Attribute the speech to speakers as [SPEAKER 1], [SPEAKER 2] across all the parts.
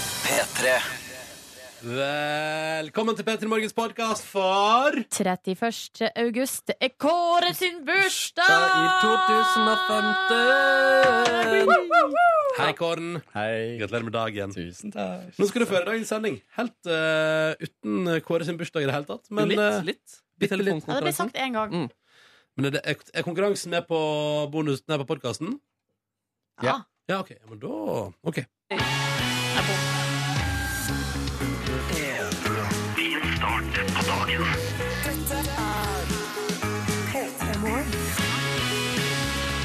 [SPEAKER 1] P3
[SPEAKER 2] Velkommen til Petter Morgens podkast for
[SPEAKER 3] 31. august er Kåre sin
[SPEAKER 4] I
[SPEAKER 3] bursdag!
[SPEAKER 4] 2015.
[SPEAKER 2] Hei, Kåren.
[SPEAKER 4] Hei.
[SPEAKER 2] Gratulerer med dagen.
[SPEAKER 4] Tusen takk.
[SPEAKER 2] Nå skal du føre dagens sending helt eh, uten Kåre sin bursdag i det hele tatt. Men,
[SPEAKER 4] litt,
[SPEAKER 2] eh,
[SPEAKER 4] litt.
[SPEAKER 3] Ja,
[SPEAKER 4] I
[SPEAKER 2] bitte litt.
[SPEAKER 3] det ble
[SPEAKER 4] telefonkonferansen.
[SPEAKER 3] sagt én gang.
[SPEAKER 2] men er, det, er, er konkurransen med på bonus Nei, på podkasten?
[SPEAKER 4] Ja.
[SPEAKER 3] Ah,
[SPEAKER 2] Ja, OK. Ja, men da OK.
[SPEAKER 3] det er bom.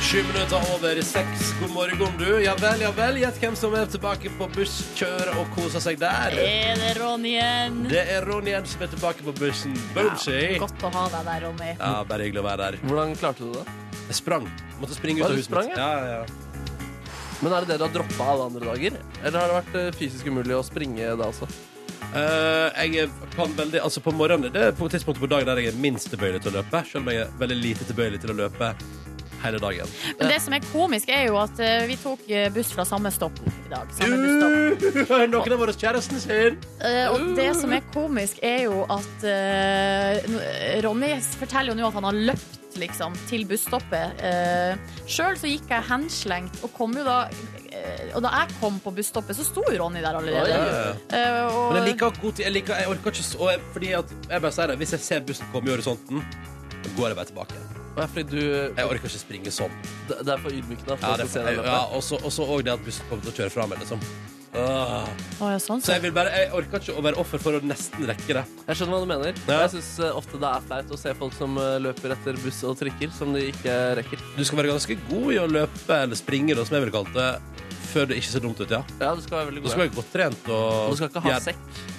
[SPEAKER 2] Sju minutter over seks. God morgen, du. Ja vel, ja vel. Gjett hvem som er tilbake på busskjør og koser seg der.
[SPEAKER 3] Er det Ronny igjen?
[SPEAKER 2] Det er Ronny Jens som er tilbake på bussen. Boomsy.
[SPEAKER 3] Godt å ha deg der, Ronny.
[SPEAKER 2] Ja, bare hyggelig å være der.
[SPEAKER 4] Hvordan klarte du det?
[SPEAKER 2] Jeg sprang. Måtte springe
[SPEAKER 4] Hva,
[SPEAKER 2] ut av
[SPEAKER 4] du
[SPEAKER 2] huset
[SPEAKER 4] sprang,
[SPEAKER 2] mitt.
[SPEAKER 4] ja?
[SPEAKER 2] ja, ja.
[SPEAKER 4] Men Er det det du har droppa alle andre dager? Eller har det vært eh, fysisk umulig å springe da altså? også?
[SPEAKER 2] Eh, jeg kan veldig, altså På morgenen det er på tidspunktet på dagen der jeg er minst tilbøyelig til å løpe. Selv om jeg er veldig lite tilbøyelig til å løpe hele dagen.
[SPEAKER 3] Men det som er komisk, er jo at eh, vi tok eh, buss fra samme stopp i dag. Samme busstopp.
[SPEAKER 2] noen av våre kjæresten sin!
[SPEAKER 3] Eh, og det som er komisk, er jo at eh, n- Ronny forteller jo nå at han har løpt liksom, til busstoppet. Uh, Sjøl så gikk jeg henslengt, og, kom jo da, eh, og da jeg kom på busstoppet, så sto jo Ronny der allerede. Eh, og,
[SPEAKER 2] Men jeg liker å ha god tid. Jeg, liker, jeg orker ikke så og jeg, Fordi at jeg bare sier det, hvis jeg ser bussen komme i horisonten, så går jeg bare tilbake.
[SPEAKER 4] Og er fordi du
[SPEAKER 2] Jeg orker ikke springe sånn.
[SPEAKER 4] Det det er for ydmykende.
[SPEAKER 2] Ja,
[SPEAKER 4] at folk skal
[SPEAKER 2] det er,
[SPEAKER 4] se deg løpe.
[SPEAKER 2] ja, og så og så også det at bussen kommer til å kjøre fra meg, liksom. Åh.
[SPEAKER 3] Å, ja, sånn,
[SPEAKER 2] Så
[SPEAKER 3] så.
[SPEAKER 2] jeg, vil bare, jeg orker ikke å være offer for å nesten rekke det.
[SPEAKER 4] Jeg skjønner hva du mener.
[SPEAKER 2] Ja.
[SPEAKER 4] Jeg syns ofte det er flaut å se folk som eh, løper etter buss og trikker som de ikke rekker.
[SPEAKER 2] Du skal være ganske god i å løpe eller springe, da, som jeg ville kalt det, før det ikke ser dumt ut, ja.
[SPEAKER 4] Ja, du skal være veldig
[SPEAKER 2] Du
[SPEAKER 4] god.
[SPEAKER 2] skal være godt trent og
[SPEAKER 4] Du skal ikke ha
[SPEAKER 2] gjerne-
[SPEAKER 4] sekk.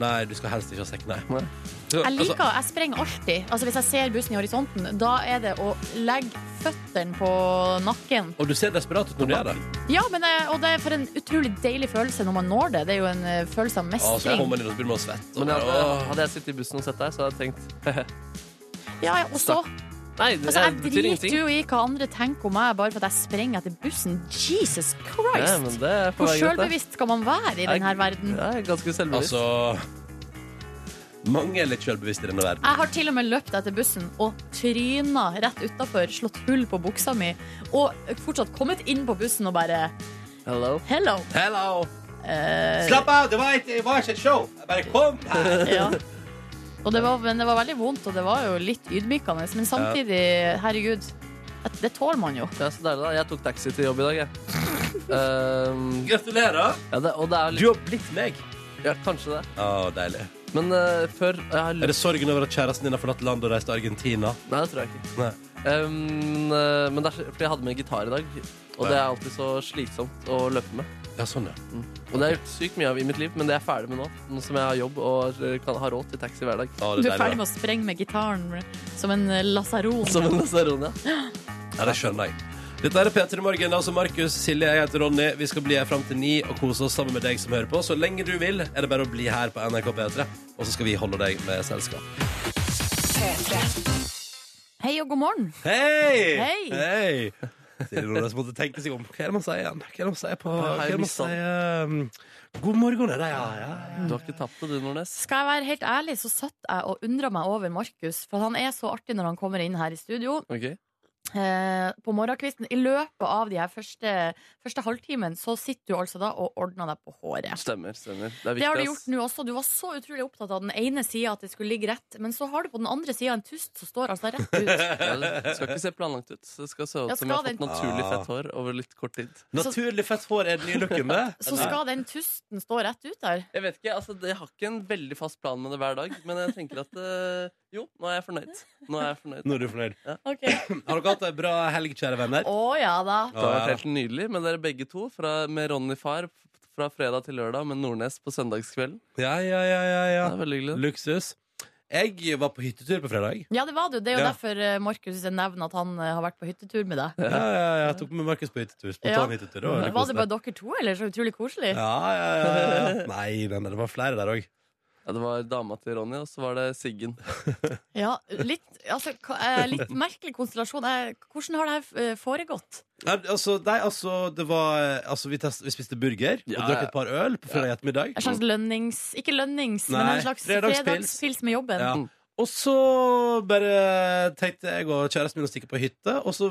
[SPEAKER 2] Nei, du skal helst ikke ha sekk, nei.
[SPEAKER 4] Nei.
[SPEAKER 2] Så,
[SPEAKER 3] Jeg liker,
[SPEAKER 2] altså,
[SPEAKER 3] jeg sprenger alltid. Altså, hvis jeg ser bussen i horisonten, da er det å legge føttene på nakken.
[SPEAKER 2] og du ser desperat ut når du gjør det.
[SPEAKER 3] Ja, men, eh, og det er for en utrolig deilig følelse når man når det. Det er jo en eh, følelse av
[SPEAKER 2] Og så
[SPEAKER 3] mestring.
[SPEAKER 2] kommer man inn og så begynner man å svette. og
[SPEAKER 4] Men jeg, eh,
[SPEAKER 2] bare, åh.
[SPEAKER 4] hadde jeg sittet i bussen og sett deg, så hadde jeg tenkt
[SPEAKER 3] Ja, ja, og så
[SPEAKER 4] Nei, det,
[SPEAKER 3] Altså, jeg
[SPEAKER 4] det betyr
[SPEAKER 3] driter
[SPEAKER 4] ingenting.
[SPEAKER 3] jo i hva andre tenker om meg, bare for at jeg sprenger etter bussen. Jesus
[SPEAKER 4] Ja,
[SPEAKER 3] Christ!
[SPEAKER 4] men det er på
[SPEAKER 3] Hvor
[SPEAKER 4] vei godt, det.
[SPEAKER 3] sjølbevisst skal man være i denne verden?
[SPEAKER 4] Ja, jeg er ganske selvbevisst.
[SPEAKER 2] Altså Mange er litt selvbevisste i denne verden.
[SPEAKER 3] Jeg har til og med løpt etter bussen og tryna rett utafor, slått hull på buksa mi og fortsatt kommet inn på bussen og bare
[SPEAKER 4] Hello.
[SPEAKER 3] Hello!
[SPEAKER 2] Hello!
[SPEAKER 3] Eh,
[SPEAKER 2] Slapp av! Det var, ikke- det var ikke et show! Jeg bare kom her!
[SPEAKER 3] ja. Og det var, men det var veldig vondt, og det var jo litt ydmykende, men samtidig, herregud, det- det tåler man jo.
[SPEAKER 4] Ja, så deilig, da. Jeg tok taxi til jobb i dag, jeg. Ehm,
[SPEAKER 2] Gratulerer!
[SPEAKER 4] ja, det, og det er
[SPEAKER 2] Du
[SPEAKER 4] litt
[SPEAKER 2] har blitt meg.
[SPEAKER 4] ja, Kanskje det.
[SPEAKER 2] Å, deilig.
[SPEAKER 4] Men eh, før jeg har
[SPEAKER 2] Er
[SPEAKER 4] løpt
[SPEAKER 2] det sorgen over at kjæresten din har forlatt landet og reist til Argentina?
[SPEAKER 4] Nei, det tror jeg ikke.
[SPEAKER 2] Nei.
[SPEAKER 4] Ehm, eh, men det er så- fordi jeg hadde med gitar i dag, og det er alltid så slitsomt å løpe med.
[SPEAKER 2] Ja, sånn, ja.
[SPEAKER 4] Og det har jeg gjort sykt mye av i mitt liv, men det er jeg ferdig med nå. Nå som jeg har jobb og eh, kan ha råd til taxi hver dag.
[SPEAKER 2] Å,
[SPEAKER 3] Du
[SPEAKER 2] det
[SPEAKER 3] er
[SPEAKER 2] deilig,
[SPEAKER 3] ferdig med å sprenge med gitaren som en lasaron.
[SPEAKER 4] Som en lasaron, ja.
[SPEAKER 2] Ja, det skjønner jeg. Dette er P3 Morgen, altså Markus, Silje, jeg heter Ronny. Vi skal bli her fram til ni og kose oss sammen med deg som hører på. Så lenge du vil, er det bare å bli her på NRK P3, og så skal vi holde deg med selskap.
[SPEAKER 3] Hei og god morgen.
[SPEAKER 2] Hei!
[SPEAKER 3] Hei!
[SPEAKER 2] Silje Nordnes måtte tenke seg om. Hva er det man sier igjen? Hva er det man sier på
[SPEAKER 4] Her har
[SPEAKER 2] Hva er
[SPEAKER 4] jeg
[SPEAKER 2] det man
[SPEAKER 4] mistet
[SPEAKER 5] eh,
[SPEAKER 2] sier um, God morgen, er det? Ja, ja, ja.
[SPEAKER 4] Du har ikke tapt det, du, Nordnes.
[SPEAKER 3] Skal jeg være helt ærlig, så satt jeg og undra meg over Markus. For han er så artig når han kommer inn her i studio
[SPEAKER 4] Ok.
[SPEAKER 3] eh, på morgenkvisten. I løpet av de her første, første halvtimen så sitter du altså da og ordner deg på håret.
[SPEAKER 4] Stemmer. stemmer. Det er viktig.
[SPEAKER 3] Det har du gjort
[SPEAKER 4] ass.
[SPEAKER 3] nå også. Du var så utrolig opptatt av den ene sida at det skulle ligge rett, men så har du på den andre sida en tust som står altså rett ut.
[SPEAKER 4] Ja, det skal ikke se planlagt ut. Det skal se ut
[SPEAKER 3] Ja,
[SPEAKER 4] som jeg har
[SPEAKER 3] skal
[SPEAKER 4] fått naturlig fett hår over litt kort tid.
[SPEAKER 2] Ah. Naturlig fett hår er den nye looken, det.
[SPEAKER 3] Så skal den tusten stå rett ut der.
[SPEAKER 4] Jeg vet ikke, altså jeg har ikke en veldig fast plan med det hver dag, men jeg tenker at eh, jo, nå er jeg fornøyd. Nå er jeg fornøyd.
[SPEAKER 2] Nå er du fornøyd.
[SPEAKER 3] Ok.
[SPEAKER 2] Har dere hatt ei bra helg, kjære venner?
[SPEAKER 3] Å ja da.
[SPEAKER 4] Det har vært helt nydelig med dere begge to, fra, med Ronny far f- fra fredag til lørdag, med Nordnes på søndagskvelden.
[SPEAKER 2] Ja, ja, ja, ja, ja.
[SPEAKER 4] Det er veldig hyggelig.
[SPEAKER 2] Luksus. Jeg var på hyttetur på fredag.
[SPEAKER 3] Ja, det var du. Det er jo
[SPEAKER 2] Ja.
[SPEAKER 3] derfor eh, Markus nevner at han eh, har vært på hyttetur med deg.
[SPEAKER 2] Ja, ja, ja, jeg tok med Markus på hyttetur. Spontan
[SPEAKER 3] Ja.
[SPEAKER 2] hyttetur. Det var veldig
[SPEAKER 3] Var det
[SPEAKER 2] koselig.
[SPEAKER 3] bare dere to, eller? Så utrolig koselig.
[SPEAKER 2] Ja, ja, ja, ja. Nei, men det var flere der òg.
[SPEAKER 4] Ja, Ja, det var dama til Ronny, og så var det Siggen.
[SPEAKER 3] Ja, litt, altså, ka- eh, litt merkelig konstellasjon. Eh, Hvordan har det her eh, foregått?
[SPEAKER 2] Nei, altså, nei, altså, det var, altså vi, test, vi spiste burger
[SPEAKER 4] Ja,
[SPEAKER 2] og drakk
[SPEAKER 4] ja. Mm.
[SPEAKER 2] et par øl på fredag ettermiddag.
[SPEAKER 3] En slags lønnings... Ikke lønnings,
[SPEAKER 2] Nei,
[SPEAKER 3] men en slags
[SPEAKER 2] fredagspils.
[SPEAKER 3] fredagspils med jobben.
[SPEAKER 2] Ja.
[SPEAKER 4] Mm.
[SPEAKER 2] Og så bare tenkte jeg og kjæresten min å stikke på hytte, og så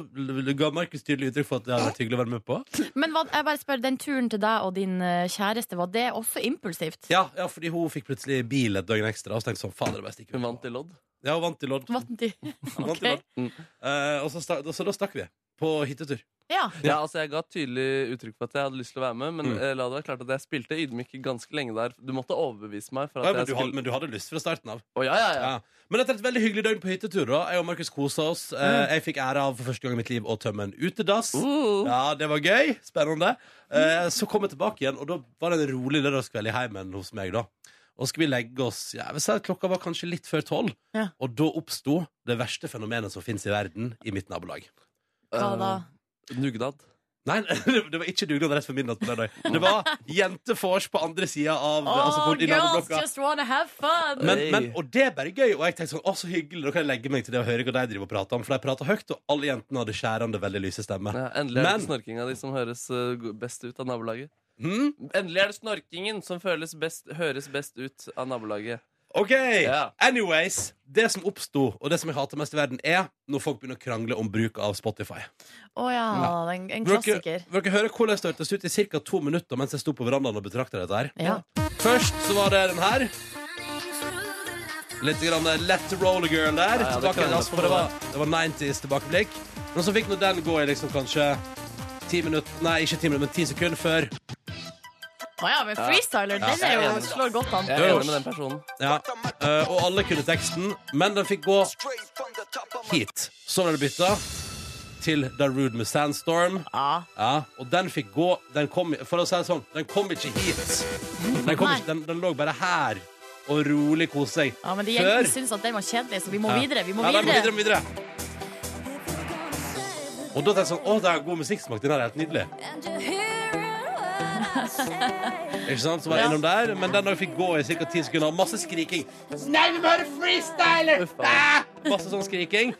[SPEAKER 2] ga Markus tydelig uttrykk for at det hadde vært hyggelig å være med på.
[SPEAKER 3] Men hva, jeg bare spør, den turen til deg og din eh, kjæreste, var det også impulsivt?
[SPEAKER 2] Ja, ja fordi hun fikk plutselig bil et døgn ekstra, og så tenkte jeg sånn, faen, det er bare å stikke
[SPEAKER 4] Hun
[SPEAKER 2] ut.
[SPEAKER 4] vant i lodd.
[SPEAKER 2] Ja, hun vant i lodd.
[SPEAKER 3] Var de-
[SPEAKER 2] Vant i
[SPEAKER 3] ok.
[SPEAKER 2] lodd. Eh, og så, stak, så da stakk vi på hyttetur.
[SPEAKER 3] Ja.
[SPEAKER 4] Ja, altså Jeg ga tydelig uttrykk for at jeg hadde lyst til å være med, men
[SPEAKER 2] Mm.
[SPEAKER 4] eh, la det være klart at jeg spilte ydmyk ganske lenge der. Du måtte overbevise meg. for at
[SPEAKER 2] Ja, men,
[SPEAKER 4] jeg
[SPEAKER 2] du hadde,
[SPEAKER 4] skulle...
[SPEAKER 2] men du hadde lyst fra starten av.
[SPEAKER 4] Å, ja, ja, ja.
[SPEAKER 2] Ja. Men etter et veldig hyggelig døgn på hyttetur, da, jeg og Markus kosa oss. Eh,
[SPEAKER 3] Mm.
[SPEAKER 2] jeg fikk æra av for første gang i mitt liv å tømme en utedass.
[SPEAKER 4] Uh.
[SPEAKER 2] Ja, det var gøy. Spennende. Eh, så kom jeg tilbake igjen, og da var det en rolig lørdagskveld i heimen hos meg. da Og så skulle vi legge oss ja, jeg vil si at Klokka var kanskje litt før tolv,
[SPEAKER 3] Ja.
[SPEAKER 2] og da oppsto det verste fenomenet som fins i verden, i mitt nabolag.
[SPEAKER 3] Hva da?
[SPEAKER 4] Eh, Dugnad.
[SPEAKER 2] Nei, det var ikke dugnad rett før midnatt på lørdag. Det var jentefors på andre sida av altså på,
[SPEAKER 3] Oh,
[SPEAKER 2] i
[SPEAKER 3] girls
[SPEAKER 2] naboblokka.
[SPEAKER 3] just wanna have fun!
[SPEAKER 2] Men,
[SPEAKER 4] Hey.
[SPEAKER 2] men, og det er bare gøy. Og jeg tenkte sånn, å så hyggelig, da kan jeg legge meg til det og høre hva de driver og prater om. For de prater høyt, og alle jentene hadde skjærende, veldig lyse stemmer.
[SPEAKER 4] Ja, endelig er det
[SPEAKER 2] Men-
[SPEAKER 4] ikke snorkinga di som høres eh, go- best ut av nabolaget.
[SPEAKER 2] Hm?
[SPEAKER 4] Endelig er det snorkingen som føles best, høres best ut av nabolaget.
[SPEAKER 2] Ok,
[SPEAKER 4] Ja.
[SPEAKER 2] anyways Det som oppstod, og det som jeg hater mest i verden Er når folk begynner å krangle om bruk av Spotify
[SPEAKER 3] Å ja, en, en
[SPEAKER 2] Vil dere-
[SPEAKER 3] klassiker.
[SPEAKER 2] Vil dere høre hvordan det hørtes ut i cirka to minutter Mens jeg sto på verandaen og betraktet dette her
[SPEAKER 3] Ja.
[SPEAKER 2] Først så var det den her Litt grann eh, Let the roller girl der
[SPEAKER 4] Ja, ja, det
[SPEAKER 2] tilbake,
[SPEAKER 4] kan jeg
[SPEAKER 2] altså, for det, var, det var 90s tilbakeblikk Men så fikk nå den gå i liksom kanskje 10 minutter, nei ikke 10 minutter, men 10 sekunder før
[SPEAKER 3] Å ja, men freestyler, den er jo, slår godt an.
[SPEAKER 4] Jeg er enig med den personen.
[SPEAKER 2] ja. eh, Og alle kunne teksten Men den fikk gå hit. Så ble det bytta til Darude med Sandstorm.
[SPEAKER 3] Ja.
[SPEAKER 2] Ja, og den fikk gå den kom, For å si det sånn, den kom ikke hit. Den, kom
[SPEAKER 3] Nei.
[SPEAKER 2] ikke, den, den lå bare her og rolig kose seg.
[SPEAKER 3] Ja, men de
[SPEAKER 2] Før-
[SPEAKER 3] jentene syns at den var kjedelig, så vi må
[SPEAKER 2] Ja.
[SPEAKER 3] videre. Vi må
[SPEAKER 2] Ja, nei, må
[SPEAKER 3] videre.
[SPEAKER 2] videre, må videre. Og da tenkte jeg sånn Å, det er god musikksmak. Den her er helt nydelig. Ikke sant? Så var jeg
[SPEAKER 3] Ja.
[SPEAKER 2] innom der, men den da fikk gå i ca. 10 sekunder. Masse skriking.
[SPEAKER 4] Uff, faen.
[SPEAKER 2] Masse sånn skriking.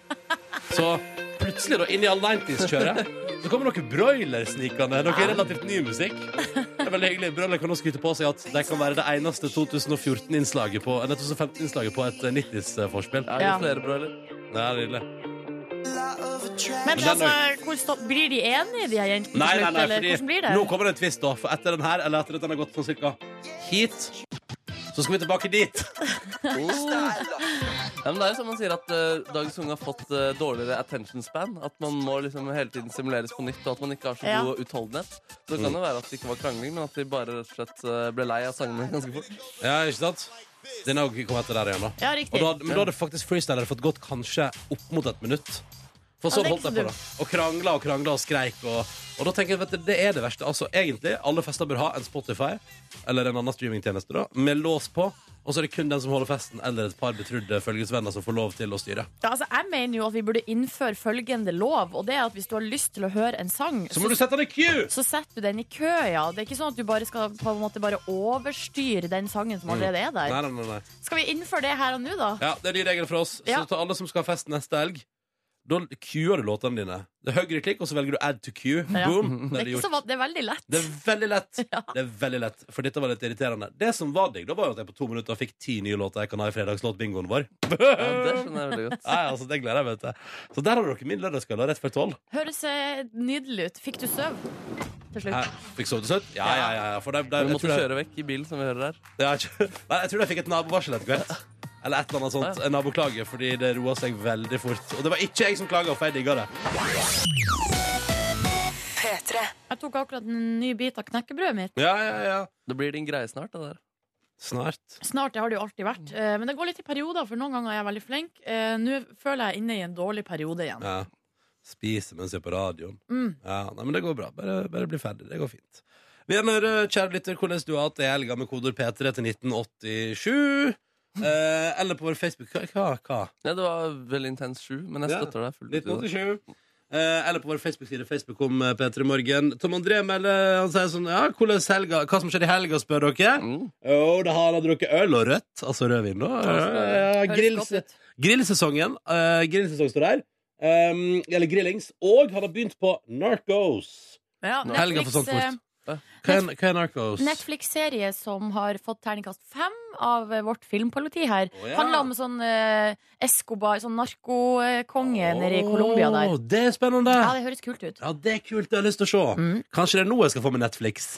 [SPEAKER 2] Så plutselig, da, inn i all 90s-kjøret, så kommer noen broiler-snikende. Noe relativt ny musikk. Det er veldig hyggelig. Broiler kan nå skryte på seg at de kan være det eneste 2014-innslaget på, nei, 2015-innslaget på et 90s-forspill.
[SPEAKER 4] Er det
[SPEAKER 3] Ja.
[SPEAKER 4] flere, bror, eller?
[SPEAKER 2] Det er nydelig.
[SPEAKER 3] Men
[SPEAKER 2] Men den
[SPEAKER 3] altså, hvor stopp, blir de enige, de her jentene? til
[SPEAKER 2] Nei, nei,
[SPEAKER 3] slutt,
[SPEAKER 2] nei,
[SPEAKER 3] eller hvordan
[SPEAKER 2] fordi
[SPEAKER 3] blir det?
[SPEAKER 2] nå kommer det en twist, da. For etter den her, eller etter at den har gått sånn cirka hit, så skal vi tilbake dit.
[SPEAKER 4] Ja, men det er jo som man sier at uh, Dagens unge har fått eh, dårligere attention span. At man må liksom hele tiden simuleres på nytt, og at man ikke har så
[SPEAKER 3] Ja.
[SPEAKER 4] god utholdenhet. Så det kan jo være at det ikke var krangling, men at de bare rett og slett eh, ble lei av sangene ganske fort.
[SPEAKER 2] Ja, ikke sant? Den har jo ikke kommet etter der igjen, da.
[SPEAKER 3] Ja,
[SPEAKER 2] Og
[SPEAKER 3] riktig.
[SPEAKER 2] da, hadde- men da hadde faktisk freestylere fått gått kanskje opp mot et minutt. For
[SPEAKER 3] Ja,
[SPEAKER 2] sånn
[SPEAKER 3] det er
[SPEAKER 2] holdt
[SPEAKER 3] ikke
[SPEAKER 2] jeg
[SPEAKER 3] så
[SPEAKER 2] på, da. Og krangla og krangla og skreik. Og, og da tenker jeg, vet du, det er det verste. Altså, egentlig, alle fester bør ha en Spotify eller en annen streamingtjeneste da, med lås på. Og så er det kun den som holder festen, eller et par betrudde følgesvenner som får lov til å styre.
[SPEAKER 3] Ja, altså, jeg mener jo at vi burde innføre følgende lov, og det er at hvis du har lyst til å høre en sang,
[SPEAKER 2] Så må du sette den i queue!
[SPEAKER 3] så setter du den i kø, ja. Det er ikke sånn at du bare skal på en måte bare overstyre den sangen som allerede er der.
[SPEAKER 2] Nei, nei, nei, nei.
[SPEAKER 3] Skal vi innføre det her og nå, da?
[SPEAKER 2] Ja, det er ny regel for oss.
[SPEAKER 3] Ja.
[SPEAKER 2] Så til alle som skal ha fest neste helg, da queuer du låtene dine. Det er høyre klikk, og så velger du add to queue.
[SPEAKER 3] Ja.
[SPEAKER 2] Boom!
[SPEAKER 3] Det
[SPEAKER 2] Da
[SPEAKER 3] er,
[SPEAKER 2] er det
[SPEAKER 3] ikke
[SPEAKER 2] gjort.
[SPEAKER 3] så, van- det er veldig lett.
[SPEAKER 2] Det er veldig lett.
[SPEAKER 3] Ja.
[SPEAKER 2] Det er veldig lett, For dette var litt irriterende. Det som var digg, da var jo at jeg på to minutter fikk ti nye låter jeg kan ha i fredagslåtbingoen vår.
[SPEAKER 4] Ja, det skjønner jeg veldig godt.
[SPEAKER 2] Nei, altså, det gleder jeg meg til. Så der har dere min lørdagskveld da, rett før tolv.
[SPEAKER 3] Høres eh, nydelig ut. Fikk du søv til
[SPEAKER 2] Jeg
[SPEAKER 3] slutt?
[SPEAKER 2] Fikk sove til søtt? Ja, ja, ja. ja, For det, det,
[SPEAKER 4] Vi
[SPEAKER 2] jeg,
[SPEAKER 4] måtte
[SPEAKER 2] tror jeg,
[SPEAKER 4] kjøre vekk i bilen, som vi hører her.
[SPEAKER 2] ja, jeg, nei, jeg tror jeg fikk et nabovarsel etter hvert. Eller et eller annet sånt. En naboklage, fordi det roa seg veldig fort. Og det var ikke jeg som klaga, for jeg digga det.
[SPEAKER 3] Jeg tok akkurat en ny bit av knekkebrødet mitt.
[SPEAKER 2] Ja, ja, ja.
[SPEAKER 4] Det blir din greie snart, det der.
[SPEAKER 2] Snart. Mm.
[SPEAKER 3] Snart, det har det jo alltid vært. Eh, Men det går litt i perioder, for noen ganger er jeg veldig flink. Eh, Nå føler jeg inne i en dårlig periode igjen.
[SPEAKER 2] Ja. Spise mens jeg er på radioen.
[SPEAKER 3] Mm.
[SPEAKER 2] Ja, nei, men det går bra. Bare, bare bli ferdig. Det går fint. Vi gjerne hører, kjære lytter, hvordan du har hatt det i helga med kodeord P3 til 1987. Eh, eller på vår Facebook Hva? hva?
[SPEAKER 4] Ja, det var veldig intens sju, men jeg
[SPEAKER 2] Ja,
[SPEAKER 4] støtter deg fullt ut. i det.
[SPEAKER 2] 1987. Eh, eller på vår Facebook-side Facebook om eh, P3 Morgen. Tom André melder Han sier sånn Ja, hvordan helga, hva som skjedde i helga, spør dere.
[SPEAKER 4] Mm.
[SPEAKER 2] Jo, da har han drukket øl og rødt. Altså rødvin, da. Eh,
[SPEAKER 3] Høres
[SPEAKER 2] grill-
[SPEAKER 3] godt ut.
[SPEAKER 2] grillsesongen. eh, grillsesong står der. Um, eller grillings. Og han har begynt på Narcos.
[SPEAKER 3] Ja,
[SPEAKER 2] Helga sånn for sånt
[SPEAKER 3] Netflix, eh,
[SPEAKER 2] fort. Hva er, hva er Narcos?
[SPEAKER 3] Netflix-serie som har fått terningkast fem av eh, vårt filmpoliti her.
[SPEAKER 2] Å, ja.
[SPEAKER 3] Handler om sånn eh, Escobar, sånn narkokonge nede i Colombia der.
[SPEAKER 2] Åh, Det er spennende!
[SPEAKER 3] Ja, det høres kult ut.
[SPEAKER 2] Ja, det er kult. Jeg har lyst til å se.
[SPEAKER 3] Mm.
[SPEAKER 2] Kanskje det er nå jeg skal få med Netflix.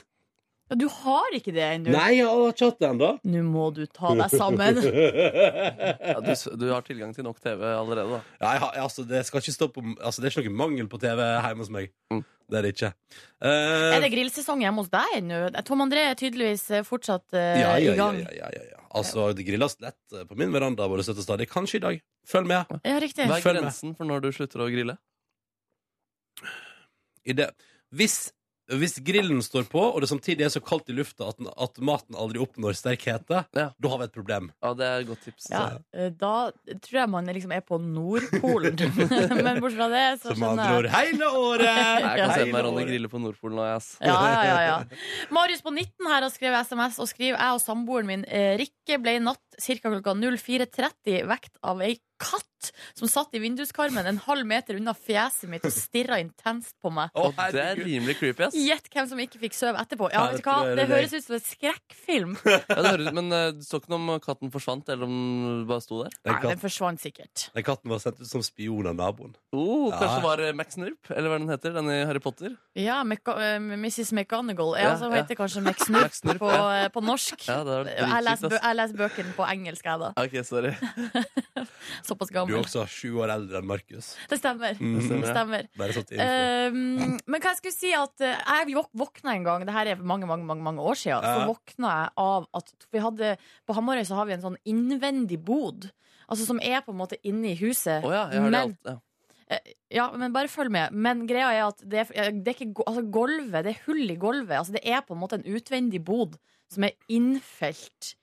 [SPEAKER 3] Ja, Du har ikke det ennå.
[SPEAKER 2] Nei, jeg har ikke hatt det ennå.
[SPEAKER 3] Nå må du ta deg sammen.
[SPEAKER 4] Ja, du, s- du har tilgang til nok TV allerede, da.
[SPEAKER 2] Nei, jeg har- altså, det skal ikke stå på altså, Det er ikke noe mangel på TV hjemme hos meg.
[SPEAKER 4] Mm.
[SPEAKER 2] Det er det ikke. Eh,
[SPEAKER 3] Er det grillsesong hjemme hos deg ennå? Tom André er tydeligvis eh, fortsatt eh,
[SPEAKER 2] ja, ja,
[SPEAKER 3] i
[SPEAKER 2] ja,
[SPEAKER 3] gang.
[SPEAKER 2] ja, ja, ja, ja. Altså, det grilles lett eh, på min veranda hvor det støtter stadig. Kanskje i dag. Følg med.
[SPEAKER 3] Ja, riktig.
[SPEAKER 4] Hva er
[SPEAKER 2] Følg med.
[SPEAKER 4] grensen for når du slutter å grille?
[SPEAKER 2] I det. Hvis, hvis grillen står på, og det samtidig er så kaldt i lufta at, den- at maten aldri oppnår sterk hete,
[SPEAKER 4] Ja.
[SPEAKER 2] da har vi et problem.
[SPEAKER 4] Ja, det er et godt tips.
[SPEAKER 3] Ja, eh, da tror jeg man liksom er på Nordpolen. Men bortsett fra det, så
[SPEAKER 2] Så med
[SPEAKER 3] skjønner
[SPEAKER 2] andre
[SPEAKER 3] jeg.
[SPEAKER 2] ord hele året!
[SPEAKER 4] Jeg kan se
[SPEAKER 2] Hele
[SPEAKER 4] meg Ronny
[SPEAKER 2] året.
[SPEAKER 4] grille på Nordpolen nå, ass.
[SPEAKER 3] Ja, ja, ja, ja. Marius på 19 her har skrevet SMS og skriver Jeg og samboeren min eh, Rikke ble i natt ca. klokka 04.30 vekt av ei katt som satt i vinduskarmen en halv meter unna fjeset mitt og stirra intenst på meg.
[SPEAKER 2] Å,
[SPEAKER 4] Og det er
[SPEAKER 2] herregud.
[SPEAKER 4] rimelig creepy, ass.
[SPEAKER 3] Gjett hvem som ikke fikk sove etterpå. Ja,
[SPEAKER 2] Ja,
[SPEAKER 3] vet
[SPEAKER 2] det
[SPEAKER 3] du hva?
[SPEAKER 2] tror jeg det
[SPEAKER 3] Det
[SPEAKER 2] er
[SPEAKER 3] høres ut som en skrekkfilm.
[SPEAKER 4] Ja, det høres, men eh, det står ikke noe om katten forsvant, eller om den bare sto der?
[SPEAKER 2] Den,
[SPEAKER 3] Nei,
[SPEAKER 2] katten,
[SPEAKER 3] den forsvant sikkert.
[SPEAKER 2] den katten var sendt ut som spion av naboen.
[SPEAKER 4] Oh,
[SPEAKER 2] Ja.
[SPEAKER 4] Kanskje det var eh, Max Nurp, eller hva den heter, den i Harry Potter?
[SPEAKER 3] Ja, Mc- eh, Mrs. McGonagall. Ja,
[SPEAKER 4] Ja,
[SPEAKER 3] som
[SPEAKER 4] ja.
[SPEAKER 3] heter kanskje McSnurp
[SPEAKER 4] McSnurp,
[SPEAKER 3] på,
[SPEAKER 4] ja.
[SPEAKER 3] eh, på norsk.
[SPEAKER 4] Ja, det var
[SPEAKER 3] Jeg leser,
[SPEAKER 4] dritsykt,
[SPEAKER 3] bø
[SPEAKER 4] ass.
[SPEAKER 3] jeg leser bøkene på engelsk, jeg, da.
[SPEAKER 4] Ok, sorry.
[SPEAKER 3] Såpass
[SPEAKER 2] Du er
[SPEAKER 3] gammel.
[SPEAKER 2] også sju år eldre enn Markus.
[SPEAKER 3] Det stemmer.
[SPEAKER 4] Mm.
[SPEAKER 2] Mhm.
[SPEAKER 3] Det stemmer.
[SPEAKER 2] Bare sånn til info.
[SPEAKER 3] Um, men hva jeg skulle si at eh, Jeg våk- våkna en gang, det her er mange mange, mange, mange år siden,
[SPEAKER 2] Ja.
[SPEAKER 3] så våkna jeg av at vi hadde, På Hamarøy så har vi en sånn innvendig bod. Altså Som er på en måte inne i huset.
[SPEAKER 4] Å ja, jeg har det
[SPEAKER 3] Men-
[SPEAKER 4] alt. Ja.
[SPEAKER 3] Eh, Ja, men Bare følg med. Men greia er at det, er- det er ikke go- altså, gulvet, det er hull i gulvet. Altså, det er på en måte en utvendig bod som er innfelt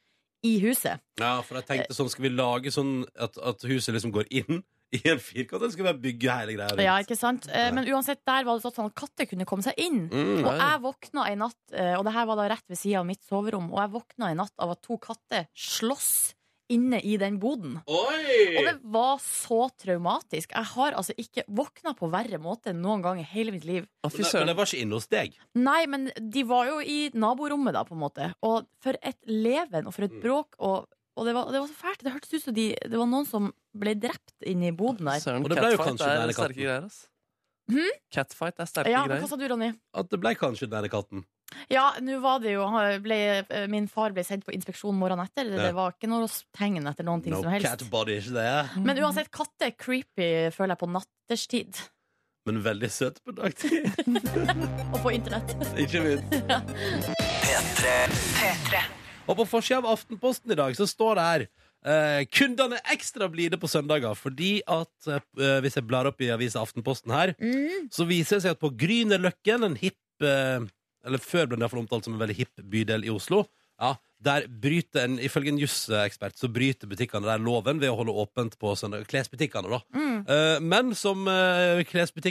[SPEAKER 3] i huset.
[SPEAKER 2] Ja, for jeg tenkte sånn, skal vi lage sånn at, at huset liksom går inn i en firkant, eller skal vi bare bygge hele greia rundt?
[SPEAKER 3] Ja, ikke sant? Eh, Men uansett, der var det sånn at katter kunne komme seg inn.
[SPEAKER 2] Mm.
[SPEAKER 3] Og jeg våkna en natt, eh, og det her var da rett ved sida av mitt soverom, og jeg våkna en natt av at to katter slåss inne i den boden. Og
[SPEAKER 2] Oi!
[SPEAKER 3] det var så traumatisk. Jeg har altså ikke våkna på verre måte enn noen gang i hele mitt liv.
[SPEAKER 4] Å, fy
[SPEAKER 2] Men det- Men
[SPEAKER 4] søren.
[SPEAKER 2] det var ikke inne hos deg.
[SPEAKER 3] Nei, men de var jo i naborommet da, på en måte. Og for et leven, og for et
[SPEAKER 2] Mm.
[SPEAKER 3] bråk, og, og det, var, det var så fælt. Det hørtes ut som de, det var noen som ble drept inne i boden der.
[SPEAKER 4] Søren,
[SPEAKER 2] Og det ble jo
[SPEAKER 4] catfight
[SPEAKER 2] kanskje den
[SPEAKER 4] er
[SPEAKER 2] ene
[SPEAKER 4] sterke
[SPEAKER 2] katten.
[SPEAKER 4] greier, ass.
[SPEAKER 3] Hmm?
[SPEAKER 4] Catfight er sterke
[SPEAKER 3] Ja, men hva
[SPEAKER 4] greier.
[SPEAKER 3] sa du, Ronny?
[SPEAKER 2] At det ble kanskje denne katten.
[SPEAKER 3] Ja, nå var det jo han ble, eh, Min far ble sendt på inspeksjon morgenen etter. Det,
[SPEAKER 2] Ja.
[SPEAKER 3] det var ikke noe tegn etter noen ting
[SPEAKER 2] No
[SPEAKER 3] som helst.
[SPEAKER 2] cat body, ikke det?
[SPEAKER 3] Men uansett, katter er creepy, føler jeg, på natterstid.
[SPEAKER 2] Men veldig søt på dagtid.
[SPEAKER 3] Og på internett.
[SPEAKER 2] ikke minst. Og på forsida av Aftenposten i dag så står det her eh, Kundene er ekstra blide på søndager fordi at eh, Hvis jeg blar opp i avisa Aftenposten her, så viser det seg at på Grünerløkken, en hipp eh, Eller før ble den i hvert fall omtalt som en veldig hipp bydel i Oslo. Ja, der bryter en, Ifølge en jusekspert så bryter butikkene der loven ved å holde åpent på søndag. Klesbutikkene, da. Eh, men som eh,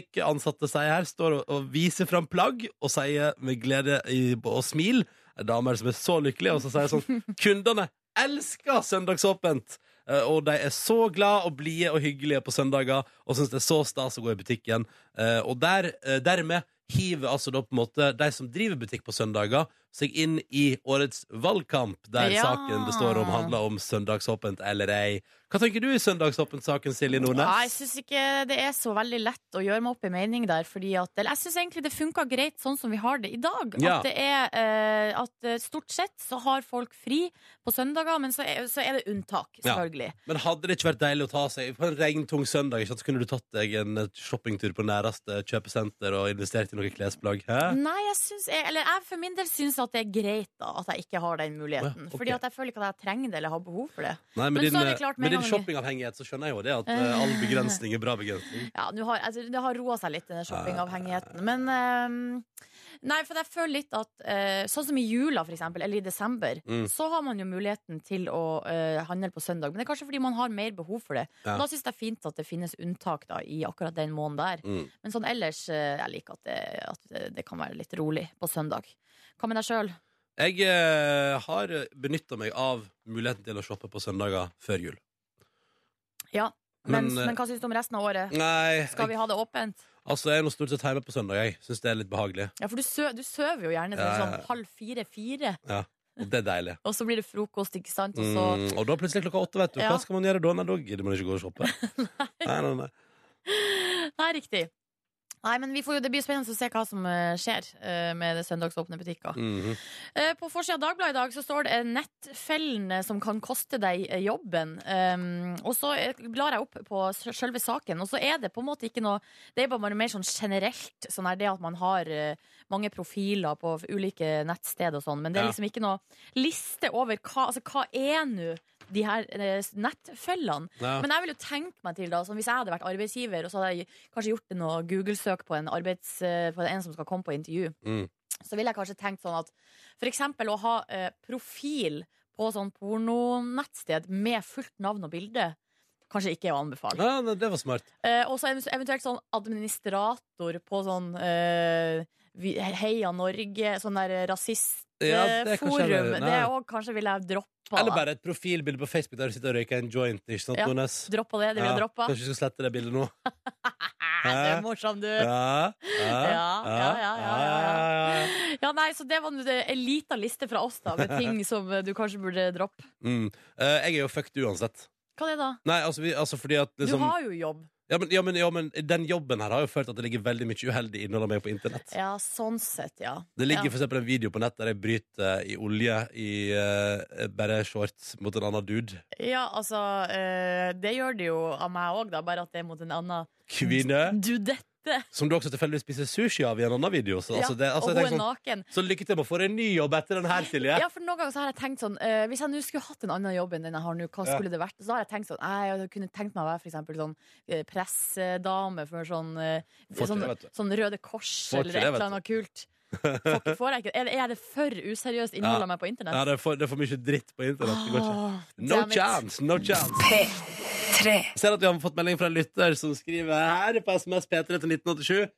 [SPEAKER 2] klesbutikkansatte sier her, står og, og viser fram plagg og sier med glede i, og smil Damer som er så lykkelige, og så sier sånn Kundene elsker søndagsåpent! Eh, Og de er så glad og blide og hyggelige på søndager og syns det er så stas å gå i butikken. Eh, Og der, eh, dermed hiver altså da på en måte de som driver butikk på søndager, seg inn i årets valgkamp, der
[SPEAKER 3] Ja.
[SPEAKER 2] saken det står om, handler om søndagsåpent eller ei. Hva tenker du i søndagsåpent-saken, Silje Nordnes?
[SPEAKER 3] Nei, jeg syns ikke det er så veldig lett å gjøre meg opp i mening der. Fordi at, eller jeg syns egentlig det funka greit sånn som vi har det i dag.
[SPEAKER 2] Ja.
[SPEAKER 3] At, det er, eh, at eh, stort sett så har folk fri på søndager, men så er, så er det unntak,
[SPEAKER 2] Ja.
[SPEAKER 3] selvfølgelig.
[SPEAKER 2] Men hadde det ikke vært deilig å ta seg på en regntung søndag? Ikke sant? Så kunne du tatt deg en eh, shoppingtur på næreste kjøpesenter og investert i noen klesplagg? Hæ?
[SPEAKER 3] Nei, jeg syns jeg, Eller jeg for min del syns at det er greit da at jeg ikke har den muligheten.
[SPEAKER 2] Ja, ok.
[SPEAKER 3] Fordi at jeg føler ikke at jeg trenger det eller har behov for det.
[SPEAKER 2] Nei,
[SPEAKER 3] Men
[SPEAKER 2] med din,
[SPEAKER 3] så er det
[SPEAKER 2] eh,
[SPEAKER 3] klart med
[SPEAKER 2] med din
[SPEAKER 3] en gang-
[SPEAKER 2] shoppingavhengighet så skjønner jeg jo det at eh, all begrensning er bra begrensning.
[SPEAKER 3] Ja, nå har, altså, Det har roa seg litt, denne shoppingavhengigheten. Men eh, Nei, for jeg føler litt at eh, Sånn som i jula, for eksempel, eller i desember,
[SPEAKER 2] Mm.
[SPEAKER 3] så har man jo muligheten til å eh, handle på søndag. Men det er kanskje fordi man har mer behov for det.
[SPEAKER 2] Ja.
[SPEAKER 3] Og Da syns jeg det er fint at det finnes unntak da, i akkurat den måneden der.
[SPEAKER 2] Mm.
[SPEAKER 3] Men sånn ellers eh, Jeg liker at det, at det- det kan være litt rolig på søndag. Hva med deg sjøl?
[SPEAKER 2] Jeg eh, har benytta meg av muligheten til å shoppe på søndager før jul.
[SPEAKER 3] Ja. Men,
[SPEAKER 2] Men,
[SPEAKER 3] men,
[SPEAKER 2] eh,
[SPEAKER 3] hva syns du om resten av året?
[SPEAKER 2] Nei,
[SPEAKER 3] Skal vi
[SPEAKER 2] jeg,
[SPEAKER 3] ha det åpent?
[SPEAKER 2] altså jeg er nå stort sett hjemme på søndag. Jeg syns det er litt behagelig.
[SPEAKER 3] Ja, for du, sø, du søver jo gjerne til
[SPEAKER 2] Ja, ja, ja.
[SPEAKER 3] sånn halv fire-fire,
[SPEAKER 2] Og det er deilig.
[SPEAKER 3] og så blir det frokost, ikke sant? Og så
[SPEAKER 2] Mm, og da plutselig klokka åtte, vet du.
[SPEAKER 3] Ja.
[SPEAKER 2] Hva skal man gjøre da? Nei, da gidder man ikke gå og shoppe. nei, nei, nei.
[SPEAKER 3] Nei, riktig. Nei, men vi får jo, Det blir spennende å se hva som eh, skjer eh, med det søndagsåpne butikker.
[SPEAKER 2] Mhm.
[SPEAKER 3] Eh, På forsida av Dagbladet i dag så står det eh, 'Nettfellene som kan koste deg eh, jobben'. Um, og så eh, blar jeg opp på s- selve saken, og så er det på en måte ikke noe Det er bare mer sånn generelt, sånn her, det at man har eh, mange profiler på f- ulike nettsted og sånn, men det er
[SPEAKER 2] Ja.
[SPEAKER 3] liksom ikke noe liste over hva Altså, hva er nå de her eh, s- nettfellene?
[SPEAKER 2] Ja.
[SPEAKER 3] Men jeg vil jo tenke meg til da, som hvis jeg hadde vært arbeidsgiver, og så hadde jeg kanskje gjort noe Google-søk på en, arbeids, eh, på en som skal komme på intervju,
[SPEAKER 2] Mm.
[SPEAKER 3] så ville jeg kanskje tenkt sånn at for eksempel å ha eh, profil på sånn pornonettsted med fullt navn og bilde, kanskje ikke er å anbefale.
[SPEAKER 2] Ja, nei, det var smart.
[SPEAKER 3] Eh, og så eventu- eventuelt sånn administrator på sånn eh, vi, Heia Norge, sånn der rasistforum.
[SPEAKER 2] Ja, det er kanskje heller- nei.
[SPEAKER 3] det òg kanskje ville jeg droppa.
[SPEAKER 2] Eller bare et profilbilde på Facebook der du sitter og røyker en joint. Ikke sant,
[SPEAKER 3] Ja,
[SPEAKER 2] Nordnes?
[SPEAKER 3] Droppa det, det ville jeg
[SPEAKER 2] Ja,
[SPEAKER 3] droppa.
[SPEAKER 2] Kanskje vi skal slette det bildet nå?
[SPEAKER 3] Æ, det er morsomt, du.
[SPEAKER 2] Ja, ja,
[SPEAKER 3] Ja, ja, ja, ja, ja,
[SPEAKER 2] ja, ja.
[SPEAKER 3] Ja, nei, så det var nå det- en lita liste fra oss da med ting som eh, du kanskje burde droppe.
[SPEAKER 2] Mm. Eh, jeg er jo fucked uansett.
[SPEAKER 3] Hva er det da?
[SPEAKER 2] Nei, altså, vi, altså fordi at
[SPEAKER 3] Du
[SPEAKER 2] liksom,
[SPEAKER 3] har jo jobb.
[SPEAKER 2] ja, men, ja, men, ja, men den jobben her har jo ført til at det ligger veldig mye uheldig innhold av meg på internett.
[SPEAKER 3] Ja, sånn sett, ja.
[SPEAKER 2] Det ligger
[SPEAKER 3] Ja.
[SPEAKER 2] for eksempel en video på nett der jeg bryter i olje i eh, bare shorts mot en annen dude.
[SPEAKER 3] Ja, altså, eh, det gjør det jo av meg òg, da, bare at det er mot en annen
[SPEAKER 2] Kvinne.
[SPEAKER 3] dudette.
[SPEAKER 2] Som du også tilfeldigvis spiser sushi av i en annen video. Så,
[SPEAKER 3] ja,
[SPEAKER 2] altså, det, altså,
[SPEAKER 3] og
[SPEAKER 2] jeg
[SPEAKER 3] hun
[SPEAKER 2] tenker
[SPEAKER 3] er
[SPEAKER 2] sånn,
[SPEAKER 3] naken.
[SPEAKER 2] så lykke til med å få deg en ny jobb etter den her, Silje.
[SPEAKER 3] Ja, for noen ganger så har jeg tenkt sånn eh, Hvis jeg nå skulle hatt en annen jobb enn den jeg har nå, hva
[SPEAKER 2] Ja.
[SPEAKER 3] skulle det vært? Så har jeg tenkt sånn eh, Jeg kunne tenkt meg å være for eksempel sånn eh, pressedame for sånn, eh,
[SPEAKER 2] Får ikke
[SPEAKER 3] sånn,
[SPEAKER 2] det, vet du.
[SPEAKER 3] sånn Røde Kors
[SPEAKER 2] Får ikke
[SPEAKER 3] eller et
[SPEAKER 2] det, vet
[SPEAKER 3] eller annet kult. Får, ikke- får jeg ikke Er, er det for useriøst innhold
[SPEAKER 2] Ja.
[SPEAKER 3] av meg på internett?
[SPEAKER 2] Ja, det, er for, det er for mye dritt på internett. Det går ikke.
[SPEAKER 3] Åh,
[SPEAKER 2] No
[SPEAKER 3] damn it.
[SPEAKER 2] chance! no chance Jeg ser at vi har fått melding fra en lytter som skriver her på SMS P3 til 1987.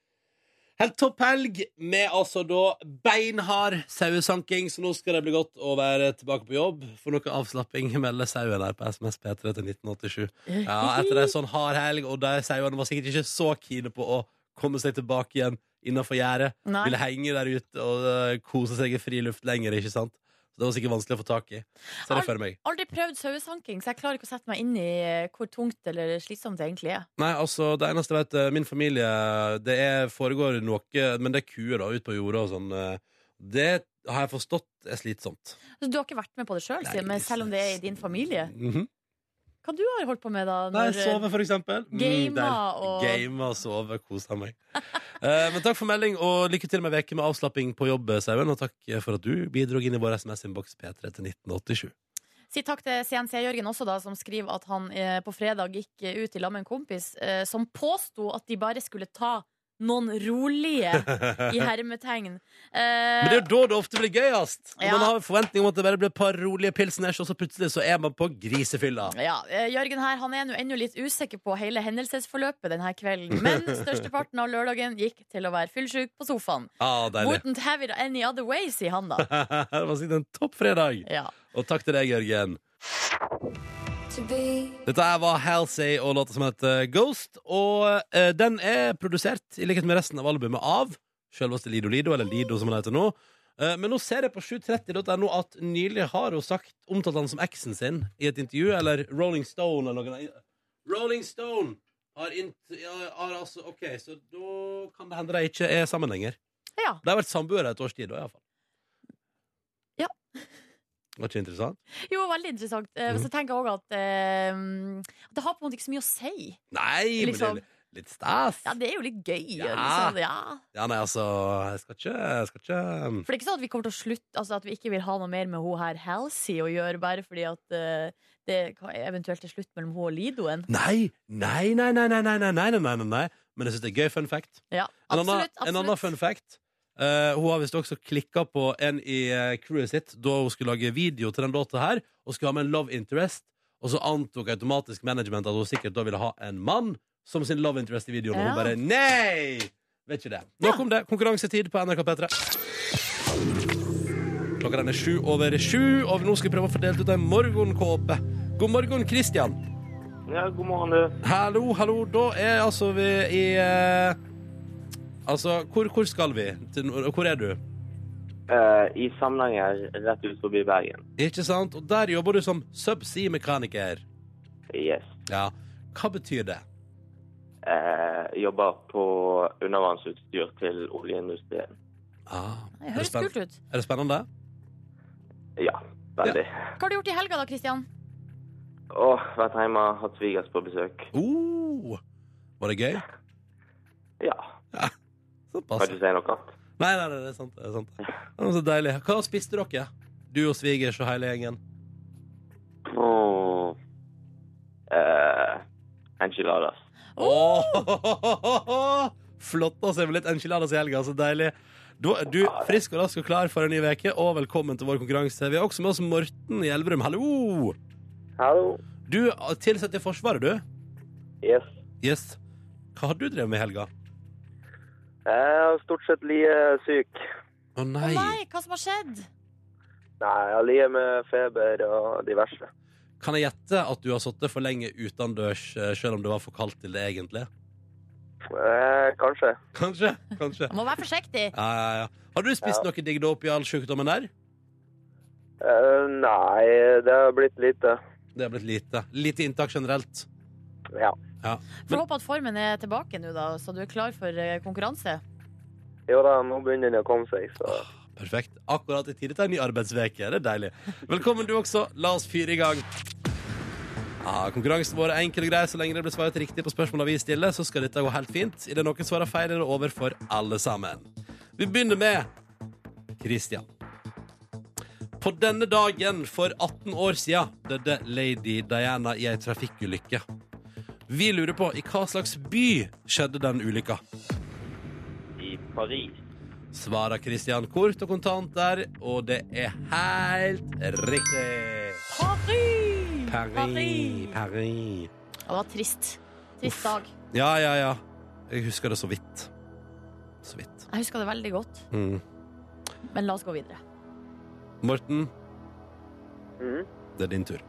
[SPEAKER 2] Helt topp helg med altså da beinhard sauesanking, så nå skal det bli godt å være tilbake på jobb. For noe avslapping melder sauen her på SMS P3 til 1987. Ja, etter ei sånn hard helg, og de sauene var sikkert ikke så kine på å komme seg tilbake igjen innafor gjerdet.
[SPEAKER 3] Nei.
[SPEAKER 2] Ville henge der ute og øh, kose seg i friluft lenger, ikke sant? Så det var sikkert vanskelig å få tak i. Ser jeg for meg.
[SPEAKER 3] Aldri prøvd sauesanking, så jeg klarer ikke å sette meg inn i eh, hvor tungt eller slitsomt det egentlig er.
[SPEAKER 2] Nei, altså, det eneste jeg vet, eh, min familie Det er, foregår noe, men det er kuer da, ute på jorda og sånn. eh, Det har jeg forstått er slitsomt.
[SPEAKER 3] Så du har ikke vært med på det sjøl, selv om det er i din familie?
[SPEAKER 2] Mhm.
[SPEAKER 3] Hva du har holdt på med, da?
[SPEAKER 2] Nei,
[SPEAKER 3] når, eh,
[SPEAKER 2] sove, for eksempel. Mm,
[SPEAKER 3] Gamer
[SPEAKER 2] der.
[SPEAKER 3] og-
[SPEAKER 2] Gamer og sove. Kosa meg. Eh, men takk for melding, og lykke til med veke med avslapping på jobb, Sauen. Og takk eh, for at du bidro inn i vår SMS-innboks P3 til 1987.
[SPEAKER 3] Si takk til CNC-Jørgen også, da, som skriver at han eh, på fredag gikk eh, ut i lag med en kompis eh, som påsto at de bare skulle ta noen rolige i hermetegn. Eh,
[SPEAKER 2] Men det er jo da det ofte blir gøyest! Når
[SPEAKER 3] Ja.
[SPEAKER 2] Man har forventning om at det bare blir et par rolige pilsners, og så plutselig så er man på grisefylla.
[SPEAKER 3] ja, eh, Jørgen her han er nå ennå litt usikker på hele hendelsesforløpet denne kvelden, men størsteparten av lørdagen gikk til å være fyllsjuk på sofaen.
[SPEAKER 2] Ah, deilig.
[SPEAKER 3] Wouldn't have it any other way, sier han da.
[SPEAKER 2] det var sikkert en topp fredag.
[SPEAKER 3] Ja.
[SPEAKER 2] Og takk til deg, Jørgen. Dette her var Halsey og låta som heter Ghost. Og eh, den er produsert, i likhet med resten av albumet, av selveste Lido Lido, eller Lido som han heter nå. Eh, men nå ser jeg på 730.no at nylig har hun sagt omtalt han som eksen sin i et intervju, eller Rolling Stone eller noe. Rolling Stone har, int, ja, har altså OK, så da kan det hende de ikke er sammen lenger.
[SPEAKER 3] ja.
[SPEAKER 2] De har vært samboere et års tid, da, iallfall.
[SPEAKER 3] Ja.
[SPEAKER 2] Var ikke interessant?
[SPEAKER 3] Jo, veldig interessant. Eh,
[SPEAKER 2] Mhm.
[SPEAKER 3] Så tenker jeg òg at eh, det har på en måte ikke så mye å si.
[SPEAKER 2] Nei,
[SPEAKER 3] Liksom-
[SPEAKER 2] men det er litt stas.
[SPEAKER 3] Ja, det er jo litt gøy.
[SPEAKER 2] Ja.
[SPEAKER 3] Liksom. ja.
[SPEAKER 2] Ja, nei, altså, jeg skal ikke, jeg skal ikke um,
[SPEAKER 3] For det er ikke sånn at vi kommer til å slutte Altså at vi ikke vil ha noe mer med hun her Halsey å gjøre, bare fordi at eh, det kan- eventuelt er slutt mellom hun og Lidoen.
[SPEAKER 2] Nei, nei, nei, nei, nei, nei, nei, nei, nei, nei, nei, nei. Men jeg synes det er gøy fun fact.
[SPEAKER 3] Ja,
[SPEAKER 2] En
[SPEAKER 3] absolutt.
[SPEAKER 2] annen, en annen
[SPEAKER 3] absolutt.
[SPEAKER 2] fun fact Eh, hun har visst også klikka på en i eh, crewet sitt da hun skulle lage video til den låta her, og skulle ha med en love interest. Og så antok automatisk management at hun sikkert da ville ha en mann som sin love interest i videoen. Og
[SPEAKER 3] Ja.
[SPEAKER 2] hun bare nei! Vet ikke det. Nok om det. Konkurransetid på NRK P3. Klokka den er sju over sju, og nå skal vi prøve å få delt ut ei morgenkåpe. God morgen, Christian.
[SPEAKER 1] Ja, god morgen, du.
[SPEAKER 2] Hallo, hallo. Da er altså vi i eh, Altså, hvor, hvor skal vi? Til, og hvor er du?
[SPEAKER 1] Eh, I Samnanger, rett ut forbi Bergen.
[SPEAKER 2] Ikke sant? Og der jobber du som subsea-mekaniker.
[SPEAKER 1] Yes.
[SPEAKER 2] Ja. Hva betyr det?
[SPEAKER 1] Eh, jobber på undervannsutstyr til oljeindustrien.
[SPEAKER 2] Ah,
[SPEAKER 3] Det
[SPEAKER 2] er, det
[SPEAKER 3] høres
[SPEAKER 2] spenn-
[SPEAKER 3] kult ut.
[SPEAKER 2] er det spennende?
[SPEAKER 1] Ja, veldig.
[SPEAKER 3] Hva har du gjort i helga da, Kristian?
[SPEAKER 1] Og vært hjemme, hatt svigers på besøk.
[SPEAKER 2] Oh, var det gøy?
[SPEAKER 1] Ja,
[SPEAKER 2] Såpass.
[SPEAKER 1] kan du si noe annet?
[SPEAKER 2] Nei, nei, nei, det er sant. Det er sant. Det var så deilig. Hva spiste dere? Du og svigers og hele gjengen.
[SPEAKER 1] Brr. Eh, enchiladas.
[SPEAKER 2] Åh, Flott å se med litt enchiladas i helga, så deilig. Du, du frisk og rask og klar for en ny veke og velkommen til vår konkurranse. Vi har også med oss Morten i Elverum. Hallo!
[SPEAKER 1] Hallo.
[SPEAKER 2] Du er tilsatt i Forsvaret, du.
[SPEAKER 1] Yes.
[SPEAKER 2] Yes. Hva har du drevet med i helga?
[SPEAKER 1] Jeg har stort sett ligget syk.
[SPEAKER 2] Å
[SPEAKER 3] Å
[SPEAKER 2] nei.
[SPEAKER 3] nei, hva som har skjedd?
[SPEAKER 1] Nei, jeg har ligget med feber og diverse.
[SPEAKER 2] Kan jeg gjette at du har sittet for lenge utendørs eh, selv om det var for kaldt til det egentlig?
[SPEAKER 1] Eh, kanskje.
[SPEAKER 2] Kanskje. Kanskje.
[SPEAKER 3] Jeg må være forsiktig.
[SPEAKER 2] Ja, ja, ja. Har du spist
[SPEAKER 1] Ja.
[SPEAKER 2] noe digg da oppi all sykdommen der?
[SPEAKER 1] Eh, nei, det har blitt lite.
[SPEAKER 2] Det har blitt lite. Lite inntak generelt.
[SPEAKER 1] Ja.
[SPEAKER 3] Får håpe at formen er tilbake nå, da, så du er klar for eh, konkurranse.
[SPEAKER 1] Jo da, nå begynner det å komme seg, så
[SPEAKER 2] Perfekt. Akkurat i tide til en ny arbeidsveke. Det er deilig. Velkommen du også. La oss fyre i gang. Ja, konkurransen vår er enkel og grei. Så lenge det blir svaret riktig på spørsmåla vi stiller, så skal dette gå helt fint. I det noen svarer feil, er det over for alle sammen. Vi begynner med Christian. På denne dagen for 18 år siden døde lady Diana i ei trafikkulykke. Vi lurer på i hva slags by skjedde den ulykka.
[SPEAKER 1] I Paris.
[SPEAKER 2] Svarer Christian kort og kontant der, og det er helt riktig.
[SPEAKER 3] Paris!
[SPEAKER 2] Paris, Paris.
[SPEAKER 3] Ja, det var trist. Trist dag.
[SPEAKER 2] Ja, ja, ja. Jeg husker det så vidt. Så vidt.
[SPEAKER 3] Jeg husker det veldig godt,
[SPEAKER 2] Mm.
[SPEAKER 3] men la oss gå videre.
[SPEAKER 2] Morten,
[SPEAKER 1] Mhm.
[SPEAKER 2] det er din tur.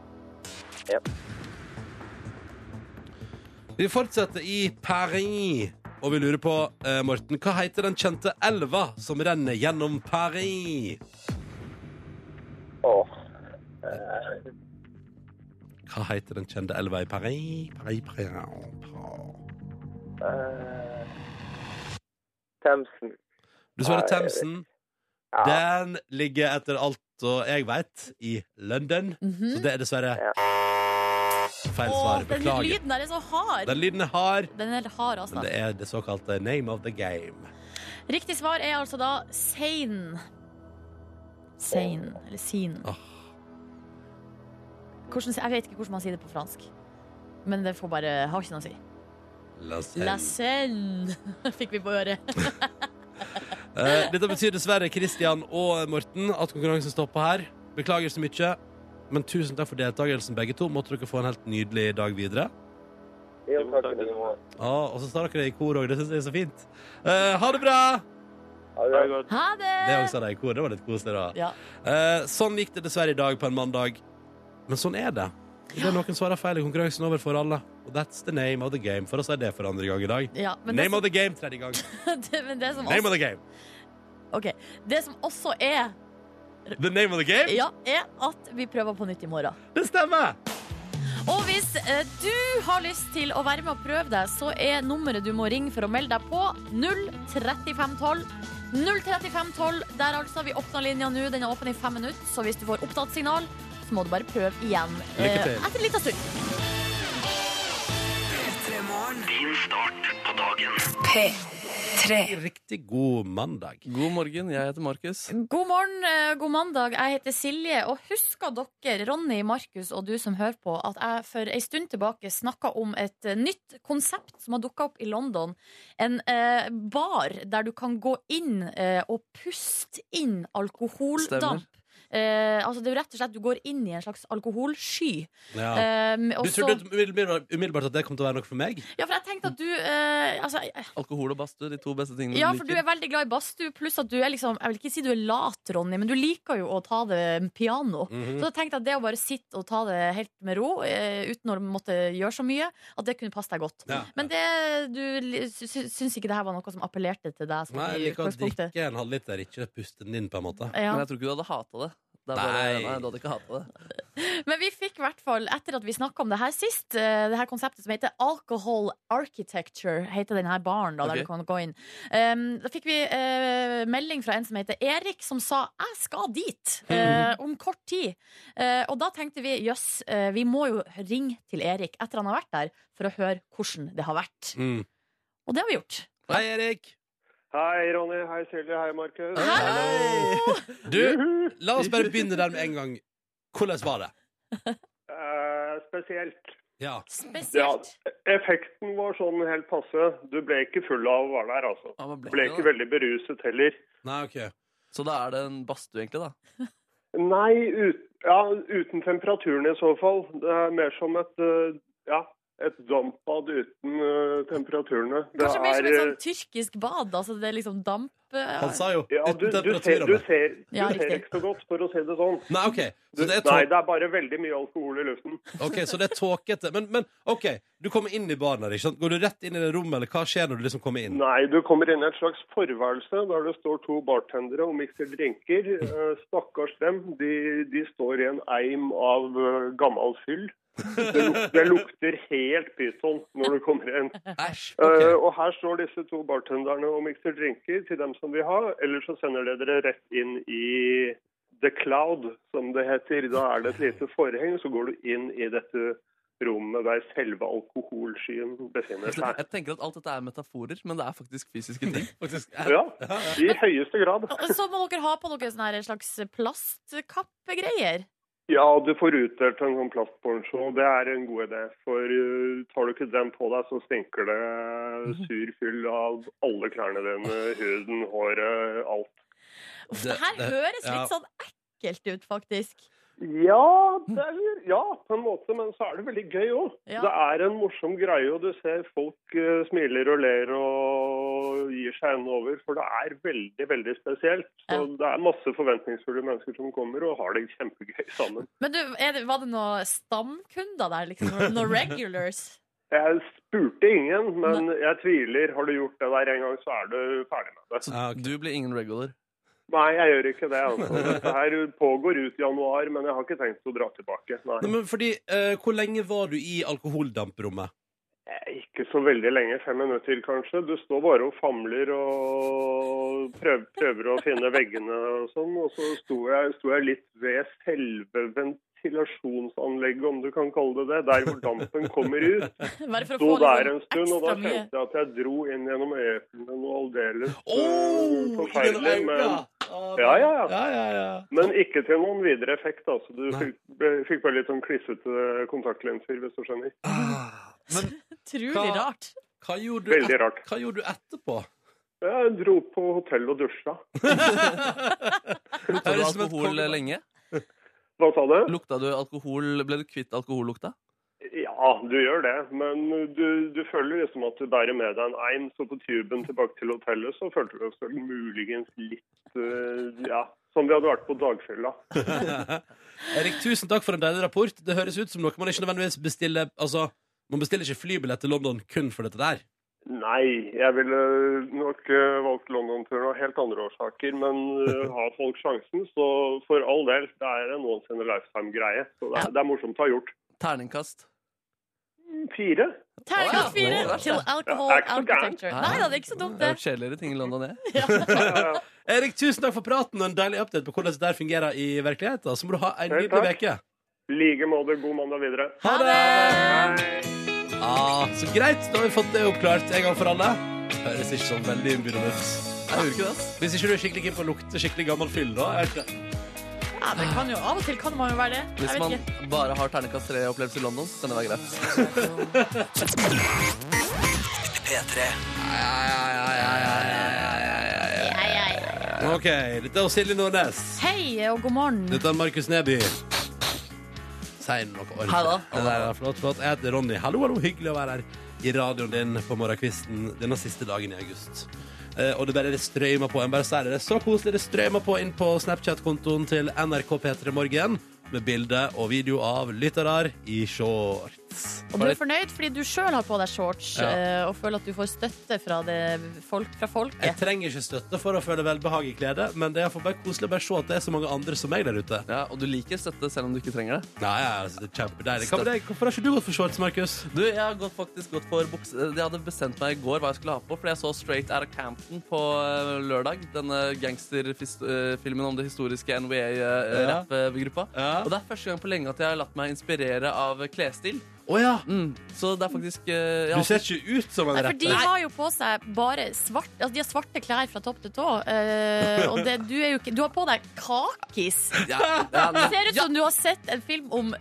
[SPEAKER 1] Ja.
[SPEAKER 2] Vi fortsetter i Paris, og vi lurer på, eh, Morten, hva heter den kjente elva som renner gjennom Paris?
[SPEAKER 1] Åh.
[SPEAKER 2] Hva heter den kjente elva i Paris? Paris, Paris, Paris.
[SPEAKER 1] eh, Themsen.
[SPEAKER 2] Du svarer
[SPEAKER 1] Nei.
[SPEAKER 2] Themsen.
[SPEAKER 1] Ja.
[SPEAKER 2] Den ligger etter alt og jeg vvet, i London. Så det er dessverre
[SPEAKER 1] Ja.
[SPEAKER 2] feil
[SPEAKER 3] Mhm. Åh,
[SPEAKER 2] svar.
[SPEAKER 3] den
[SPEAKER 2] Beklager.
[SPEAKER 3] lyden der er så hard.
[SPEAKER 2] Den lyden er hard,
[SPEAKER 3] Den er hard, altså.
[SPEAKER 2] men det er det såkalte name of the game.
[SPEAKER 3] Riktig svar er altså da sein. Sein, eller sin.
[SPEAKER 2] Åh.
[SPEAKER 3] Hvordan, jeg vet ikke hvordan man sier det på fransk, men det får bare, har ikke noe å si.
[SPEAKER 2] La oss
[SPEAKER 3] La
[SPEAKER 2] se.
[SPEAKER 3] selle fikk vi på øret.
[SPEAKER 2] Eh, Dette betyr dessverre, Christian og Morten, at konkurransen stopper her. Beklager så mye, men tusen takk for deltakelsen, begge to. Måtte dere få en helt nydelig dag videre.
[SPEAKER 1] Jo, takk i like måte.
[SPEAKER 2] Ja, og så står dere i kor òg. Det syns jeg er så fint. Eh, ha det bra!
[SPEAKER 1] Ha det.
[SPEAKER 3] Ha det!
[SPEAKER 2] Det også sa de i kor. Det var litt koselig, da.
[SPEAKER 3] Ja.
[SPEAKER 2] Eh, sånn gikk det dessverre i dag på en mandag. Men sånn er det. Det er noen svarer feil i konkurransen over for alle. Og that's the name of the game. For oss er det for andre gang i dag.
[SPEAKER 3] Ja, men det
[SPEAKER 2] name
[SPEAKER 3] som,
[SPEAKER 2] of the game tredje gang.
[SPEAKER 3] det, men det, som
[SPEAKER 2] Name of
[SPEAKER 3] også,
[SPEAKER 2] the game.
[SPEAKER 3] ok, det som også er
[SPEAKER 2] The name of the game.
[SPEAKER 3] ja, er at vi prøver på nytt i morgen.
[SPEAKER 2] Det stemmer!
[SPEAKER 3] Og hvis eh, du har lyst til å være med og prøve deg, så er nummeret du må ringe for å melde deg på 03512. 03512, Der altså, vi åpna linja nå. Den er åpen i fem minutter. Så hvis du får opptatt signal, så må du bare prøve igjen
[SPEAKER 2] Lykke
[SPEAKER 3] eh,
[SPEAKER 2] til.
[SPEAKER 3] etter en liten stund.
[SPEAKER 6] Din start på
[SPEAKER 2] Riktig god mandag.
[SPEAKER 4] God morgen, jeg heter Markus.
[SPEAKER 3] God morgen, eh, god mandag. Jeg heter Silje, og husker dere, Ronny, Markus og du som hører på, at jeg for ei stund tilbake snakka om et eh, nytt konsept som har dukka opp i London. En eh, bar der du kan gå inn eh, og puste inn alkoholdamp. Eh, altså det er jo rett og slett Du går inn i en slags alkoholsky.
[SPEAKER 2] Ja.
[SPEAKER 3] Eh, og
[SPEAKER 2] Du
[SPEAKER 3] så-
[SPEAKER 2] trodde umiddelbart umiddelbart at det kom til å være noe for meg?
[SPEAKER 3] ja, for jeg tenkte at du eh, altså,
[SPEAKER 4] Alkohol og badstue, de to beste tingene
[SPEAKER 3] Ja,
[SPEAKER 4] du
[SPEAKER 3] for du
[SPEAKER 4] liker.
[SPEAKER 3] er veldig glad i badstue, pluss at du er liksom Jeg vil ikke si du er lat, Ronny, men du liker jo å ta det piano. Så
[SPEAKER 2] Mhm.
[SPEAKER 3] da tenkte jeg at det å bare sitte og ta det helt med ro, eh, uten å måtte gjøre så mye, at det kunne passe deg godt.
[SPEAKER 2] Ja.
[SPEAKER 3] Men det, du li- sy- sy- syns ikke det her var noe som appellerte til deg? Sånn,
[SPEAKER 2] Nei,
[SPEAKER 3] i
[SPEAKER 2] jeg liker å
[SPEAKER 3] utgangspunktet?
[SPEAKER 2] drikke en halvliter, ikke puste den inn, på en måte.
[SPEAKER 3] Ja.
[SPEAKER 4] Men jeg tror ikke du hadde hata det. det er bare,
[SPEAKER 2] Nei.
[SPEAKER 4] nei. du hadde ikke hatet det.
[SPEAKER 3] Men vi fikk i hvert fall, etter at vi snakka om det her sist, eh, det her konseptet som heter Alcohol Architecture, heter den her baren da,
[SPEAKER 4] Ok.
[SPEAKER 3] der du kan gå inn. Um, da fikk vi eh, melding fra en som heter Erik, som sa 'jeg skal dit' eh, om kort tid. Eh, og da tenkte vi jøss, eh, vi må jo ringe til Erik etter han har vært der, for å høre hvordan det har vært.
[SPEAKER 2] Mm.
[SPEAKER 3] Og det har vi gjort.
[SPEAKER 2] Hei, Erik.
[SPEAKER 1] Hei, Ronny. Hei, Silje. Hei, Markus.
[SPEAKER 3] Hallo!
[SPEAKER 2] Du, la oss bare begynne der med en gang. Hvordan var det?
[SPEAKER 1] Eh, spesielt.
[SPEAKER 2] Ja.
[SPEAKER 3] Spesielt.
[SPEAKER 1] Effekten var sånn helt passe. Du ble ikke full av å være der, altså.
[SPEAKER 4] Ja, men ble
[SPEAKER 1] Ble
[SPEAKER 4] det
[SPEAKER 1] ikke
[SPEAKER 4] da?
[SPEAKER 1] veldig beruset heller.
[SPEAKER 2] Nei, OK.
[SPEAKER 4] Så da er det en badstue, egentlig, da.
[SPEAKER 1] Nei, ut, ja, uten temperaturen i så fall. Det er mer som et, eh, ja, et dampbad uten eh, temperaturene. Det
[SPEAKER 3] Kanskje mer som et
[SPEAKER 1] er, eh,
[SPEAKER 3] sånn tyrkisk bad. Altså det er liksom damp eh,
[SPEAKER 2] Han sa jo
[SPEAKER 1] Ja, du,
[SPEAKER 2] uten
[SPEAKER 1] du ser,
[SPEAKER 2] temperaturer.
[SPEAKER 1] du ser, du
[SPEAKER 3] Ja,
[SPEAKER 1] ser
[SPEAKER 3] riktig.
[SPEAKER 1] ikke så godt, for å si det sånn.
[SPEAKER 2] Nei, OK.
[SPEAKER 1] Du,
[SPEAKER 2] Så det er
[SPEAKER 1] nei,
[SPEAKER 2] tåke.
[SPEAKER 1] det er bare veldig mye alkohol i luften.
[SPEAKER 2] Ok, så det er tåkete. Men, men OK, du kommer inn i baren her, ikke sant? Går du rett inn i det rommet, eller hva skjer når du liksom kommer inn?
[SPEAKER 1] Nei, du kommer inn i et slags forværelse der det står to bartendere og mikser drinker. Eh, Stakkars dem, de, de står i en eim av eh, gammel fyll. Det, luk, det lukter helt pyton når du kommer inn.
[SPEAKER 2] Æsj.
[SPEAKER 1] Eh,
[SPEAKER 2] ok.
[SPEAKER 1] og her står disse to bartenderne og mikser drinker til dem som vil ha, eller så sender det dere rett inn i The Cloud, som det heter. Da er det et lite forheng, så går du inn i dette rommet der selve alkoholskyen befinner seg.
[SPEAKER 4] Jeg tenker at alt dette er metaforer, men det er faktisk fysiske ting.
[SPEAKER 2] Faktisk.
[SPEAKER 1] Ja, i høyeste grad.
[SPEAKER 3] Og så må dere ha på dere sånne her slags plastkappegreier.
[SPEAKER 1] Ja, du får utdelt en sånn plastponcho, og det er en god idé. For eh, tar du ikke den på deg, så stinker det
[SPEAKER 3] Mhm.
[SPEAKER 1] sur fyll av alle klærne dine, huden, håret, alt.
[SPEAKER 3] Uff,
[SPEAKER 2] Det-
[SPEAKER 3] det her
[SPEAKER 2] det-
[SPEAKER 3] høres
[SPEAKER 2] ja.
[SPEAKER 3] litt sånn ekkelt ut, faktisk.
[SPEAKER 1] Ja, det er, ja, på en måte, men så er det veldig gøy òg.
[SPEAKER 3] Ja.
[SPEAKER 1] Det er en morsom greie, og du ser folk eh, smiler og ler og gir seg enden over. For det er veldig, veldig spesielt. Så
[SPEAKER 3] Ja.
[SPEAKER 1] Det er masse forventningsfulle mennesker som kommer og har det kjempegøy sammen.
[SPEAKER 3] Men du, er det, var det noen stamkunder der, liksom? Noen noen regulars?
[SPEAKER 1] Jeg spurte ingen, men jeg tviler. Har du gjort det der en gang, så er du ferdig med det.
[SPEAKER 4] Så
[SPEAKER 2] Ja, ok.
[SPEAKER 4] du blir ingen regular.
[SPEAKER 1] Nei, jeg gjør ikke det. Altså. Dette her pågår ut i januar, men jeg har ikke tenkt å dra tilbake. Nei.
[SPEAKER 2] Nei, men fordi, eh, hvor lenge var du i alkoholdamprommet?
[SPEAKER 1] Eh, Ikke så veldig lenge, fem minutter kanskje. Du står bare og famler og prøv, prøver å finne veggene og sånn. Og så sto jeg, sto jeg litt ved selve ventilasjonsanlegget, om du kan kalle det det. Der hvor dampen kommer ut.
[SPEAKER 3] Bare for å
[SPEAKER 1] Sto
[SPEAKER 3] få
[SPEAKER 1] der
[SPEAKER 3] liksom
[SPEAKER 1] en stund, og da
[SPEAKER 3] ekstra mye.
[SPEAKER 1] kjente jeg at jeg dro inn gjennom øyeplene noe aldeles eh, forferdelig.
[SPEAKER 2] Forferdelig,
[SPEAKER 1] Men,
[SPEAKER 2] ja,
[SPEAKER 1] Ja, ja, ja.
[SPEAKER 2] ja, ja, ja.
[SPEAKER 1] men ikke til noen videre effekt. Altså. Du
[SPEAKER 2] Nei.
[SPEAKER 1] fikk, ble- fikk bare litt sånn klissete kontaktlenser, hvis du skjønner.
[SPEAKER 2] Ah, Men
[SPEAKER 3] Utrolig
[SPEAKER 2] Hva-
[SPEAKER 3] rart.
[SPEAKER 2] hva gjorde du, et,
[SPEAKER 1] Veldig rart.
[SPEAKER 2] hva gjorde du etterpå?
[SPEAKER 1] Jeg dro på hotell og dusja.
[SPEAKER 4] Lukta du
[SPEAKER 2] Høres som et
[SPEAKER 4] alkohol
[SPEAKER 2] konge-
[SPEAKER 4] lenge?
[SPEAKER 1] Hva sa du?
[SPEAKER 4] Lukta du alkohol, Ble du kvitt alkohollukta?
[SPEAKER 1] Ja, du gjør det, men du, du føler liksom at du bærer med deg en eim, så på tuben tilbake til hotellet så følte du deg muligens litt eh, Ja, som vi hadde vært på dagfylla.
[SPEAKER 2] Erik, tusen takk for en deilig rapport. Det høres ut som noe man ikke nødvendigvis bestiller Altså, man bestiller ikke flybillett til London kun for dette der.
[SPEAKER 1] Nei, jeg ville nok eh, valgt London-turen av helt andre årsaker, men eh, har folk sjansen, så for all del, det er en once in a lifetime-greie. Så det er, det er morsomt å ha gjort.
[SPEAKER 4] Terningkast.
[SPEAKER 1] Fire?
[SPEAKER 3] Terningkast
[SPEAKER 4] Ja, det er
[SPEAKER 3] fire
[SPEAKER 4] verst,
[SPEAKER 3] til alcohol
[SPEAKER 1] Ja, det er ikke så gærent.
[SPEAKER 3] architecture. Nei da, det er ikke så dumt,
[SPEAKER 4] Jeg har
[SPEAKER 3] det.
[SPEAKER 4] gjort kjedeligere ting i London, jeg.
[SPEAKER 1] Ja, ja.
[SPEAKER 2] Erik, tusen takk for praten og en deilig update på hvordan det der fungerer i virkeligheten. Så må du ha en
[SPEAKER 1] Selv
[SPEAKER 2] nydelig uke.
[SPEAKER 1] like måte, god mandag videre.
[SPEAKER 2] Ha det!
[SPEAKER 1] Hei.
[SPEAKER 2] Ah, så greit, da har vi fått det oppklart en gang for alle. Høres ikke sånn veldig innbydende ut.
[SPEAKER 4] Jeg gjorde ikke det, ass.
[SPEAKER 2] Hvis ikke du er skikkelig keen på å lukte skikkelig gammel fyll, da. er det ikke-
[SPEAKER 3] Ja, det kan jo, Av og til kan man jo være det.
[SPEAKER 4] Hvis
[SPEAKER 3] Jeg vet
[SPEAKER 4] man
[SPEAKER 3] ikke.
[SPEAKER 4] bare har ternekast 3-opplevelse i London, så kan det være greit.
[SPEAKER 3] Hei, hei.
[SPEAKER 2] OK. Dette er Silje Nordnes.
[SPEAKER 3] Hei og god morgen.
[SPEAKER 2] Dette er Markus Neby. Si noe ordentlig.
[SPEAKER 4] Hei da.
[SPEAKER 2] Det der er flott, flott. Jeg heter Ronny. Hallo, hallo. Hyggelig å være her i radioen din på morgenkvisten denne siste dagen i august. Eh, og det bare det strømmer på. Jeg bare sier det. Det er så koselig. Det strømmer på inn på Snapchat-kontoen til NRK P3 Morgen med bilde og video av lyttere i shorts.
[SPEAKER 3] Og du er fornøyd fordi du sjøl har på deg shorts
[SPEAKER 2] Ja.
[SPEAKER 3] eh, og føler at du får støtte fra, det, folk, fra
[SPEAKER 2] Jeg
[SPEAKER 3] folket.
[SPEAKER 2] trenger ikke støtte for å føle velbehag i kledet, men det er for bare koselig å bare se at det er så mange andre som meg der ute.
[SPEAKER 4] Ja, og du liker støtte selv om du ikke trenger det.
[SPEAKER 2] Nei, altså, det er kjempedeilig. Hva med deg? Hvorfor har ikke du gått for shorts, Markus?
[SPEAKER 4] Du, Jeg har gått, faktisk gått for bukse... Jeg hadde bestemt meg i går hva jeg skulle ha på, fordi jeg så Straight Out of Campton på eh, lørdag. Denne gangsterfilmen om det historiske
[SPEAKER 2] Ja.
[SPEAKER 4] NWA-rappgruppa.
[SPEAKER 2] Ja.
[SPEAKER 4] eh, Og det er første gang på lenge at jeg har latt meg inspirere av klesstil.
[SPEAKER 2] Å ja.
[SPEAKER 4] Mm. Så det er faktisk eh, jeg
[SPEAKER 2] Du
[SPEAKER 4] har
[SPEAKER 2] ser ikke ut som en
[SPEAKER 3] Nei, for de
[SPEAKER 2] rapper.
[SPEAKER 3] har jo på seg bare svart, altså de har svarte klær fra topp til tå. eh, og det, du, er jo ikke, du har på deg kakis.
[SPEAKER 4] Ja, ja,
[SPEAKER 3] Det
[SPEAKER 4] nei.
[SPEAKER 3] ser ut som du har sett en film om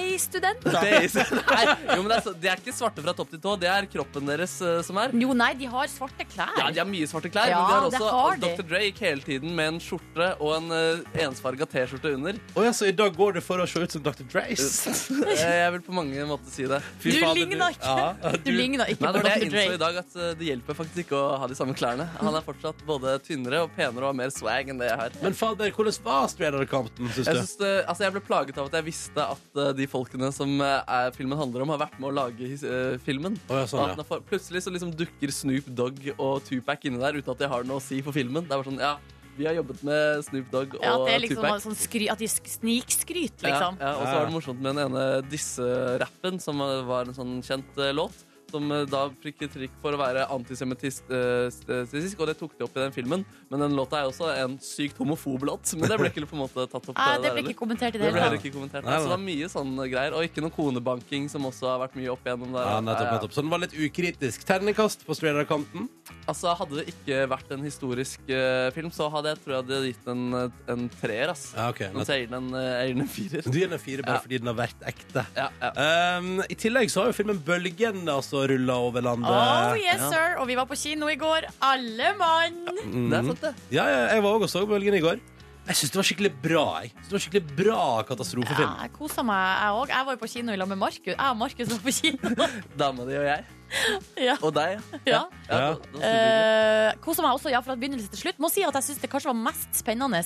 [SPEAKER 3] BI-studenter.
[SPEAKER 4] Det er, nei, jo, men det er, så- det er ikke svarte fra topp til tå, det er kroppen deres eh, som er.
[SPEAKER 3] Jo, nei, de har svarte
[SPEAKER 4] Ja,
[SPEAKER 3] klær.
[SPEAKER 4] de har mye svarte klær,
[SPEAKER 3] Ja,
[SPEAKER 4] men de
[SPEAKER 3] det
[SPEAKER 4] har også
[SPEAKER 3] har de.
[SPEAKER 4] Dr. Dre gikk hele tiden med en skjorte og en uh, ensfarga T-skjorte under.
[SPEAKER 2] Å ja, så i dag går det for å se ut som Dr. Drace?
[SPEAKER 4] Eh, Jeg vil på mange måter si det.
[SPEAKER 2] Fy
[SPEAKER 3] Du
[SPEAKER 2] fader,
[SPEAKER 3] ligner ikke.
[SPEAKER 2] Ja,
[SPEAKER 3] Du ligner ikke
[SPEAKER 4] Nei, det
[SPEAKER 3] på
[SPEAKER 4] var det
[SPEAKER 3] Dr.
[SPEAKER 4] jeg innså i
[SPEAKER 3] Dre.
[SPEAKER 4] dag, at eh, det hjelper faktisk ikke å ha de samme klærne. Han er fortsatt både tynnere og penere og har mer swag enn det jeg har.
[SPEAKER 2] Men fader, hvordan var Strader Compton, syns
[SPEAKER 4] Jeg,
[SPEAKER 2] du?
[SPEAKER 4] synes det, altså jeg ble plaget av at jeg visste at eh, de folkene som eh, er, filmen handler om, har vært med å lage his- eh, filmen.
[SPEAKER 2] Å, ja, sånn,
[SPEAKER 4] Og at
[SPEAKER 2] ja.
[SPEAKER 4] den er for, plutselig så liksom dukker Snoop Dogg og Tupac inni der uten at de har noe å si for filmen. Det er bare sånn, ja, vi har jobbet med Snoop Dogg og
[SPEAKER 3] Ja, at, det er liksom,
[SPEAKER 4] Tupac.
[SPEAKER 3] sånn skry, at de sk- snikskryter, liksom.
[SPEAKER 4] Ja, ja, og så
[SPEAKER 2] Ja, ja.
[SPEAKER 4] var det morsomt med den ene disse-rappen, som eh, var en sånn kjent eh, låt. Som eh, da prikket trikk for å være antisemittisk, eh, og det tok de opp i den filmen. Men den låta er jo også en sykt homofob låt, men det ble ikke på en måte tatt
[SPEAKER 3] Nei,
[SPEAKER 4] opp. eh,
[SPEAKER 3] det ble
[SPEAKER 4] der heller.
[SPEAKER 3] ikke kommentert i
[SPEAKER 4] det
[SPEAKER 3] det
[SPEAKER 4] ble
[SPEAKER 3] hele
[SPEAKER 4] heller
[SPEAKER 3] tatt.
[SPEAKER 4] ikke kommentert.
[SPEAKER 2] Nei, nei.
[SPEAKER 4] Så det er mye sånne greier. Og ikke noe konebanking, som også har vært mye opp igjennom der.
[SPEAKER 2] Ja, nettopp, nettopp. Så den var litt ukritisk. Terningkast på Strader Compton.
[SPEAKER 4] Altså, Hadde det ikke vært en historisk eh, film, så hadde jeg tror jeg hadde gitt en, eh, en treer. ass.
[SPEAKER 2] Ja, ok.
[SPEAKER 4] Men
[SPEAKER 2] nettopp.
[SPEAKER 4] så gir den en, eh, jeg gir den en firer.
[SPEAKER 2] Du gir den en fire bare
[SPEAKER 4] Ja.
[SPEAKER 2] fordi den har vært ekte.
[SPEAKER 4] Ja, ja.
[SPEAKER 2] Um, I tillegg så har jo filmen Bølgen altså rulla over landet.
[SPEAKER 3] Oh yes,
[SPEAKER 4] Ja.
[SPEAKER 3] sir! Og vi var på kino i går, alle mann!
[SPEAKER 4] Det er sant, det.
[SPEAKER 2] Mm. Ja, ja, jeg var òg og så Bølgen i går. Jeg syns det var skikkelig bra. jeg synes det var skikkelig bra
[SPEAKER 3] Ja,
[SPEAKER 2] katastrofefilm.
[SPEAKER 3] jeg kosa meg, jeg òg. Jeg var jo på kino i lag med Markus. Jeg og Markus var på kino.
[SPEAKER 4] Dama di og jeg.
[SPEAKER 3] ja.
[SPEAKER 4] Og deg,
[SPEAKER 3] ja.
[SPEAKER 2] Ja.
[SPEAKER 4] da- da sier
[SPEAKER 3] Eh, kosa meg også ja, fra begynnelse til slutt. Må si at jeg syns det kanskje var mest spennende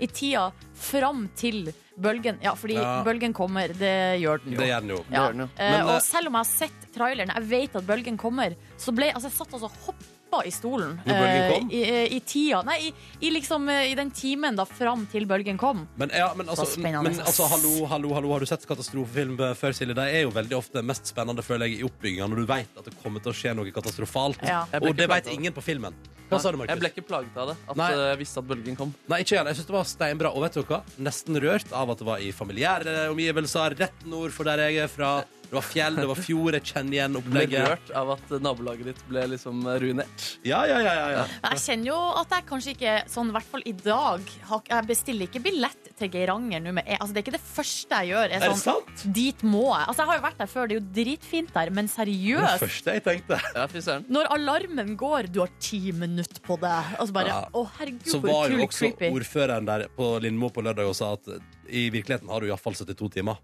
[SPEAKER 3] i tida fram til bølgen. Ja, fordi
[SPEAKER 2] Ja.
[SPEAKER 3] bølgen kommer. Det gjør den jo.
[SPEAKER 2] Det gjør den jo.
[SPEAKER 3] Ja.
[SPEAKER 4] gjør den jo.
[SPEAKER 3] Eh,
[SPEAKER 2] Men, eh,
[SPEAKER 3] og selv om jeg har sett traileren, jeg vet at bølgen kommer, så ble altså, jeg satt altså og hoppa i stolen
[SPEAKER 2] Når bølgen
[SPEAKER 3] eh,
[SPEAKER 2] kom?
[SPEAKER 3] i, i tida. Nei, i, i liksom eh, i den timen da fram til bølgen kom.
[SPEAKER 2] Men, ja, men,
[SPEAKER 3] Så
[SPEAKER 2] altså,
[SPEAKER 3] spennende.
[SPEAKER 2] men altså, hallo, hallo, hallo, har du sett katastrofefilm eh, før, Silje? De er jo veldig ofte mest spennende, føler jeg, i oppbygginga, når du vet at det kommer til å skje noe katastrofalt.
[SPEAKER 3] Ja.
[SPEAKER 4] Jeg ble
[SPEAKER 2] Og
[SPEAKER 4] ikke
[SPEAKER 2] det
[SPEAKER 4] plaget
[SPEAKER 2] vet
[SPEAKER 4] av det.
[SPEAKER 2] ingen på filmen. Hva sa du,
[SPEAKER 4] Jeg ble
[SPEAKER 2] Markus?
[SPEAKER 4] ikke plaget av det. At
[SPEAKER 2] Nei.
[SPEAKER 4] eh, jeg visste at bølgen kom.
[SPEAKER 2] Nei, ikke gjerne. Jeg syns det var steinbra. Og vet du hva? Nesten rørt av at det var i familiære omgivelser, rett nord for der jeg er fra. Det var fjell, det var fjord, jeg kjenner igjen
[SPEAKER 4] Ble
[SPEAKER 2] opplegget.
[SPEAKER 4] rørt av at nabolaget ditt ble liksom
[SPEAKER 2] eh,
[SPEAKER 4] ruinert.
[SPEAKER 2] Ja, ja, ja, ja, ja.
[SPEAKER 3] Men Jeg kjenner jo at jeg kanskje ikke, sånn i hvert fall i dag, har- jeg bestiller ikke billett til Geiranger nå med E. Altså, det er ikke det første jeg gjør. Er
[SPEAKER 2] Er det
[SPEAKER 3] sånn,
[SPEAKER 2] sant?
[SPEAKER 3] dit må jeg. Altså, jeg har jo vært der før, det er jo dritfint der, men
[SPEAKER 2] Det var det
[SPEAKER 3] seriøst.
[SPEAKER 2] første jeg tenkte.
[SPEAKER 4] Ja, fy søren.
[SPEAKER 3] Når alarmen går, du har ti minutter på deg. Altså bare,
[SPEAKER 2] Ja.
[SPEAKER 3] å herregud,
[SPEAKER 2] Så
[SPEAKER 3] hvor
[SPEAKER 2] var jo
[SPEAKER 3] utrolig
[SPEAKER 2] også
[SPEAKER 3] creepy.
[SPEAKER 2] ordføreren der på Lindmo på lørdag og sa at i virkeligheten har du iallfall 72 timer.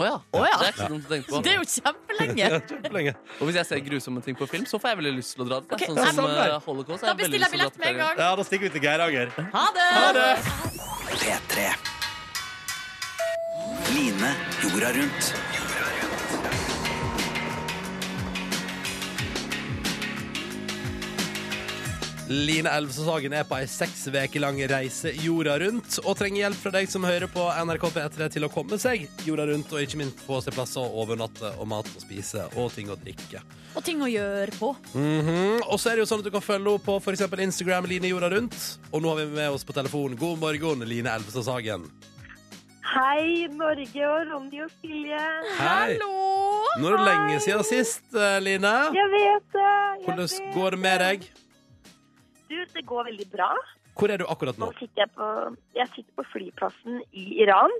[SPEAKER 4] Å ja.
[SPEAKER 3] Å ja.
[SPEAKER 4] Det er ikke dumt å tenke på.
[SPEAKER 3] Det er jo kjempelenge.
[SPEAKER 2] Kjempelenge.
[SPEAKER 4] Og hvis jeg ser grusomme ting på film, så får jeg veldig lyst til å dra dit.
[SPEAKER 3] Ok,
[SPEAKER 4] Sånn
[SPEAKER 3] da-
[SPEAKER 4] som
[SPEAKER 2] Sånn der.
[SPEAKER 4] eh, Holocaust.
[SPEAKER 3] Da bestiller jeg billett med en gang.
[SPEAKER 2] Ja, da stikker vi til Geiranger.
[SPEAKER 3] Ha det!
[SPEAKER 6] P3. Line jorda rundt.
[SPEAKER 2] Line Elvsåshagen er på ei seks veker lang reise jorda rundt og trenger hjelp fra deg som hører på NRK P3 til å komme seg jorda rundt og ikke minst få seg plasser å overnatte og mat å spise og ting å drikke.
[SPEAKER 3] Og ting å gjøre på.
[SPEAKER 2] Mhm. Og så er det jo sånn at du kan følge henne på f.eks. Instagram Line jorda rundt. Og nå har vi med oss på telefon God morgen, Line Elvsåshagen.
[SPEAKER 7] Hei, Norge og Ronny og Silje.
[SPEAKER 2] Hei.
[SPEAKER 3] Hallo!
[SPEAKER 2] Nå er det lenge siden sist, eh, Line.
[SPEAKER 7] Jeg vet det. Jeg
[SPEAKER 2] Hvordan
[SPEAKER 7] vet.
[SPEAKER 2] går det med deg?
[SPEAKER 7] Du, det går veldig bra.
[SPEAKER 2] Hvor er du akkurat
[SPEAKER 7] Nå
[SPEAKER 2] nå?
[SPEAKER 7] sitter jeg på, jeg sitter på flyplassen i Iran.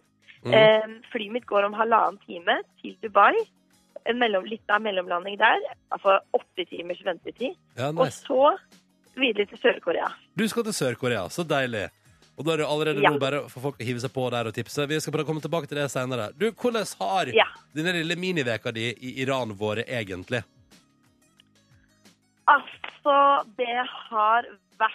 [SPEAKER 2] Mhm.
[SPEAKER 7] Eh, flyet mitt går om halvannen time til Dubai. En mellom, litt av en mellomlanding der. Altså åtte timers ventetid.
[SPEAKER 2] Ja,
[SPEAKER 7] Og
[SPEAKER 2] nice.
[SPEAKER 7] så videre til Sør-Korea.
[SPEAKER 2] Du skal til Sør-Korea, så deilig. Og da er det allerede
[SPEAKER 7] Ja.
[SPEAKER 2] nå bare for folk å hive seg på der og tipse. Vi skal prøve å komme tilbake til det senere. Du, hvordan har
[SPEAKER 7] Ja.
[SPEAKER 2] denne lille miniveka di i Iran vært egentlig?
[SPEAKER 7] Altså, det har vært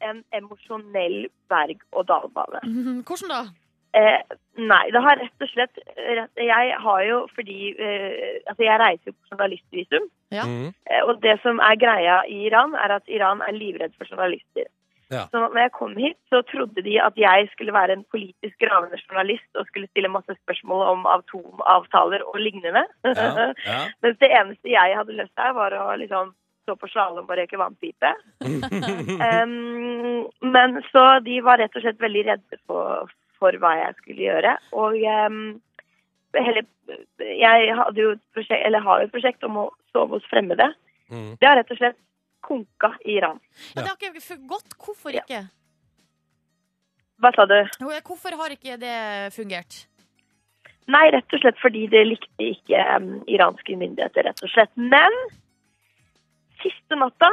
[SPEAKER 7] en emosjonell berg-og-dal-bane.
[SPEAKER 3] Mhm, Hvordan da?
[SPEAKER 7] Eh, nei, det har rett og slett rett, Jeg har jo fordi eh, Altså, jeg reiser jo på journalistvisum.
[SPEAKER 3] Ja.
[SPEAKER 2] Mhm.
[SPEAKER 7] Eh, og det som er greia i Iran, er at Iran er livredd for journalister.
[SPEAKER 2] Ja.
[SPEAKER 7] Så når jeg kom hit, så trodde de at jeg skulle være en politisk gravende journalist og skulle stille masse spørsmål om atomavtaler og lignende.
[SPEAKER 2] Ja, ja.
[SPEAKER 7] Mens det eneste jeg hadde lyst til, var å liksom stå på slalåm og røyke vannpipe. Em, men så de var rett og slett veldig redde for, for hva jeg skulle gjøre. Og em, hele, jeg hadde jo et prosjekt, eller har jo et prosjekt om å sove hos fremmede.
[SPEAKER 2] Mhm.
[SPEAKER 7] Det har rett og slett konka i Iran.
[SPEAKER 3] Ja, det har ikke gått. Hvorfor
[SPEAKER 7] Ja.
[SPEAKER 3] ikke?
[SPEAKER 7] Hva sa du?
[SPEAKER 3] Jo, ja, Hvorfor har ikke det fungert?
[SPEAKER 7] Nei, rett og slett fordi det likte ikke em, iranske myndigheter, rett og slett. Men siste natta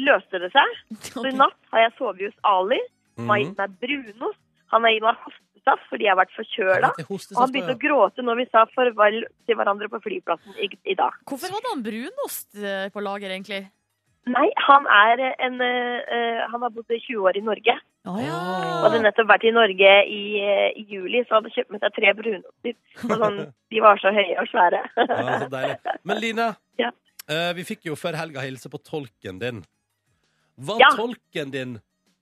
[SPEAKER 7] løste det seg. Så i natt har jeg sovet hos Ali. Han har
[SPEAKER 2] Mhm.
[SPEAKER 7] gitt meg brunost. Han har gitt meg hostesaft fordi jeg har vært forkjøla.
[SPEAKER 2] Jeg hostes
[SPEAKER 7] Og han
[SPEAKER 2] opp,
[SPEAKER 7] begynte å
[SPEAKER 2] ja.
[SPEAKER 7] gråte når vi sa farvel til hverandre på flyplassen i, i dag.
[SPEAKER 3] Hvorfor hadde han brunost eh, på lager, egentlig?
[SPEAKER 7] Nei, han er en eh, eh, Han har bodd i 20 år i Norge.
[SPEAKER 3] Å ja.
[SPEAKER 7] Og hadde nettopp vært i Norge i, eh, i juli, så hadde kjøpt med seg tre brunoster. Og sånn, de var så høye og svære.
[SPEAKER 2] Ja, så deilig. Men Line,
[SPEAKER 7] Ja.
[SPEAKER 2] eh, vi fikk jo før helga hilse på tolken din. Var
[SPEAKER 7] Ja.
[SPEAKER 2] tolken din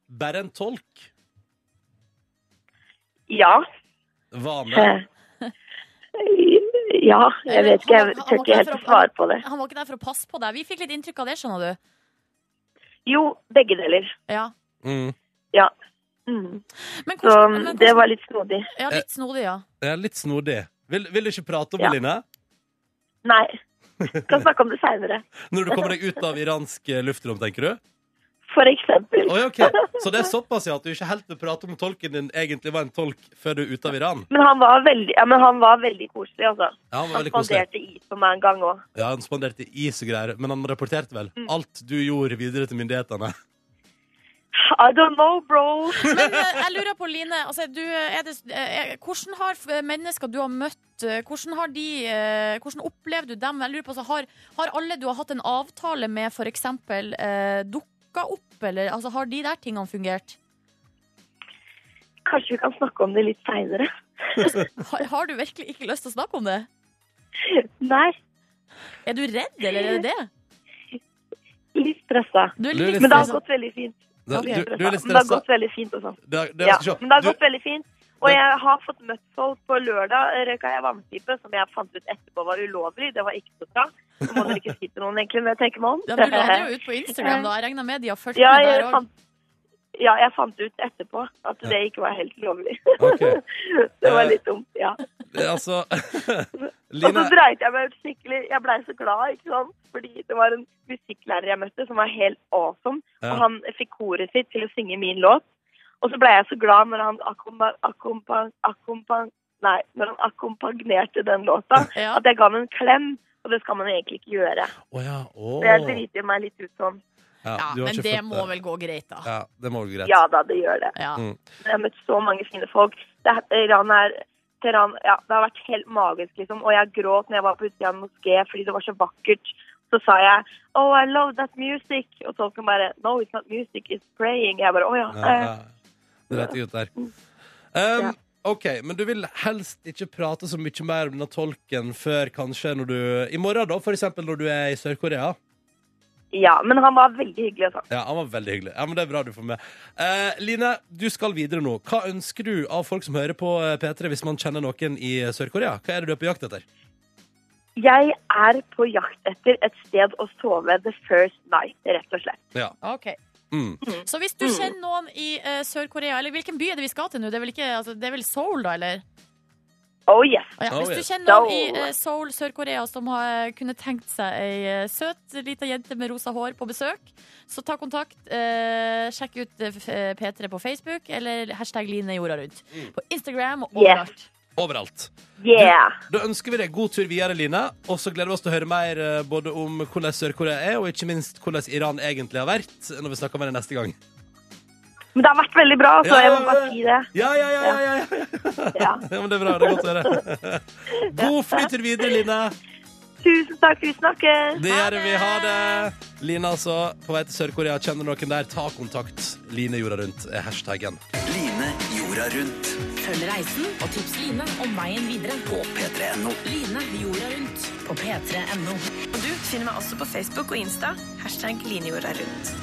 [SPEAKER 2] bare en tolk?
[SPEAKER 7] Ja.
[SPEAKER 2] Var han det?
[SPEAKER 7] eh, Ja, jeg vet ikke. Jeg tør ikke helt å svare på det.
[SPEAKER 3] Han var ikke der for å passe på deg. Vi fikk litt inntrykk av det, skjønner du.
[SPEAKER 7] Jo, begge deler.
[SPEAKER 3] Ja.
[SPEAKER 2] Mm.
[SPEAKER 7] Ja. Mm.
[SPEAKER 3] Men
[SPEAKER 7] Så
[SPEAKER 3] hvordan,
[SPEAKER 7] mm,
[SPEAKER 3] men
[SPEAKER 7] det
[SPEAKER 3] hvordan
[SPEAKER 7] var litt snodig.
[SPEAKER 3] Ja, litt snodig, ja.
[SPEAKER 2] Ja, litt snodig. Vil, vil du ikke prate om
[SPEAKER 7] Ja.
[SPEAKER 2] det, Line?
[SPEAKER 7] Nei. Skal snakke om det seinere.
[SPEAKER 2] Når du kommer deg ut av iransk eh, luftrom, tenker du?
[SPEAKER 7] For eksempel.
[SPEAKER 2] Oi, ok. Så det er såpass ja, at du ikke helt vil prate om tolken din egentlig var en tolk før du er ute av Iran?
[SPEAKER 7] Men han var veldig, ja, men han var veldig koselig, altså.
[SPEAKER 2] Ja, han
[SPEAKER 7] Han
[SPEAKER 2] var veldig koselig.
[SPEAKER 7] spanderte is på meg en gang òg.
[SPEAKER 2] Ja, han spanderte is og greier, men han rapporterte vel
[SPEAKER 7] Mm.
[SPEAKER 2] alt du gjorde videre til myndighetene.
[SPEAKER 7] I don't know, bro.
[SPEAKER 3] Men eh, jeg lurer på, Line, altså, du, er det, eh, hvordan har f- mennesker du har møtt, eh, hvordan, har de, eh, hvordan opplever du dem? Jeg lurer på, altså, har, har alle du har hatt en avtale med, for eksempel, eh, dukka opp, eller altså, har de der tingene fungert?
[SPEAKER 7] Kanskje vi kan snakke om det litt seinere.
[SPEAKER 3] Har, har du virkelig ikke lyst til å snakke om det?
[SPEAKER 7] Nei,
[SPEAKER 3] Er du redd, eller er det det?
[SPEAKER 7] litt stressa.
[SPEAKER 3] Du er
[SPEAKER 2] Du er
[SPEAKER 3] litt
[SPEAKER 2] litt
[SPEAKER 7] Men det har
[SPEAKER 3] stressa.
[SPEAKER 7] gått veldig fint.
[SPEAKER 2] Du,
[SPEAKER 3] Ok.
[SPEAKER 2] du, du er
[SPEAKER 7] Men
[SPEAKER 2] litt
[SPEAKER 7] det har
[SPEAKER 2] stressa?
[SPEAKER 7] gått veldig fint og sånn.
[SPEAKER 2] Det, det,
[SPEAKER 7] Ja.
[SPEAKER 2] skal vi se.
[SPEAKER 7] Men det har
[SPEAKER 2] Du-
[SPEAKER 7] gått veldig fint. Og
[SPEAKER 2] Det-
[SPEAKER 7] jeg har fått møtt folk på lørdag. eh, Røyka jeg vannpipe, som jeg fant ut etterpå var ulovlig. Det var ikke så bra. Nå må dere ikke si til noen, egentlig, når jeg tenker meg om.
[SPEAKER 3] Ja, men du la det jo ut på Instagram, da. Jeg regner med de har fulgt
[SPEAKER 7] Ja,
[SPEAKER 3] med
[SPEAKER 7] jeg
[SPEAKER 3] der òg.
[SPEAKER 7] fant, ja, jeg fant ut etterpå at det ikke var helt lovlig.
[SPEAKER 2] Ok.
[SPEAKER 7] det var
[SPEAKER 2] Eh,
[SPEAKER 7] litt dumt, ja.
[SPEAKER 2] Det er Altså
[SPEAKER 7] Og så
[SPEAKER 2] Line
[SPEAKER 7] Altså, dreit jeg meg ut skikkelig. Jeg blei så glad, ikke sant. Fordi det var en musikklærer jeg møtte som var helt awesome.
[SPEAKER 2] Ja.
[SPEAKER 7] Og han fikk koret sitt til å synge min låt. Og så blei jeg så glad når han akkompa... akkompa, akkompa nei, når han akkompagnerte den låta.
[SPEAKER 3] Ja.
[SPEAKER 7] At jeg ga ham en klem. Og det skal man egentlig ikke gjøre.
[SPEAKER 2] Å ja. Å.
[SPEAKER 7] Så jeg driter meg litt ut sånn.
[SPEAKER 3] Ja,
[SPEAKER 2] du har
[SPEAKER 3] men
[SPEAKER 2] ikke
[SPEAKER 3] det
[SPEAKER 2] fått
[SPEAKER 3] må vel gå greit, da.
[SPEAKER 2] Ja, det må gå greit.
[SPEAKER 7] Ja da, det gjør det.
[SPEAKER 3] Ja.
[SPEAKER 2] Mm.
[SPEAKER 7] Jeg har møtt så mange fine folk. Det, er- Iran er Teheran, ja, det har vært helt magisk, liksom. Og jeg gråt når jeg var på utsida av en moské fordi det var så vakkert. Så sa jeg 'Oh, I love that music'. Og tolken bare 'No, it's not music, it's praying'. Jeg bare 'Å ja'.
[SPEAKER 2] Ja,
[SPEAKER 7] eh, Mm.
[SPEAKER 2] ja. Det retter jeg ut der. Um, OK, men du vil helst ikke prate så mye mer om denne tolken før kanskje når du I morgen, da, for eksempel når du er i Sør-Korea?
[SPEAKER 7] Eh, Ja, men han var veldig hyggelig og sånn.
[SPEAKER 2] Ja, han var veldig hyggelig. Ja, men Det er bra du får med. Eh, Line, du skal videre nå. Hva ønsker du av folk som hører på eh, P3, hvis man kjenner noen i eh, Sør-Korea? Hva er det du er på jakt etter?
[SPEAKER 7] Jeg er på jakt etter et sted å sove the first night, rett og slett.
[SPEAKER 3] Ok.
[SPEAKER 2] Mm.
[SPEAKER 3] Så hvis du kjenner noen i eh, Sør-Korea, eller hvilken by er det vi skal til nå? Det er vel, ikke, altså, det er vel Seoul, da, eller?
[SPEAKER 7] Oh yes.
[SPEAKER 3] Å Ja,
[SPEAKER 2] Oh,
[SPEAKER 3] hvis du
[SPEAKER 2] yes.
[SPEAKER 3] kjenner noen i eh, Seoul, Sør-Korea, som har eh, kunne tenkt seg ei eh, søt lita jente med rosa hår på besøk, så ta kontakt. Eh, sjekk ut eh, f- eh, P3 på Facebook eller hashtag Line jorda rundt. På Instagram og
[SPEAKER 7] Yes.
[SPEAKER 3] overalt.
[SPEAKER 2] Overalt.
[SPEAKER 7] Yeah.
[SPEAKER 2] Da ønsker vi deg god tur videre, Line. Og så gleder vi oss til å høre mer eh, både om hvordan Sør-Korea er, og ikke minst hvordan Iran egentlig har vært, når vi snakker med deg neste gang.
[SPEAKER 7] Men det har vært veldig bra, så
[SPEAKER 2] Ja,
[SPEAKER 7] jeg må
[SPEAKER 2] ja,
[SPEAKER 7] bare
[SPEAKER 2] ja.
[SPEAKER 7] si det.
[SPEAKER 2] Ja, ja, ja, ja, ja, ja.
[SPEAKER 7] Ja.
[SPEAKER 2] ja men det er bra. Det er godt å høre. God flytur videre, Line.
[SPEAKER 7] Tusen takk, vi snakkes.
[SPEAKER 2] Det gjør vi. Ha det. Line, altså, på vei til Sør-Korea. Kjenner noen der, ta kontakt. Line jorda rundt er hashtaggen.
[SPEAKER 6] Line jorda rundt
[SPEAKER 8] Følg reisen og tips Line om veien videre på
[SPEAKER 6] på p3.no.
[SPEAKER 8] Line jorda rundt på p3.no.
[SPEAKER 9] Og du finner meg også på Facebook og Insta. Hashtag linjorda rundt.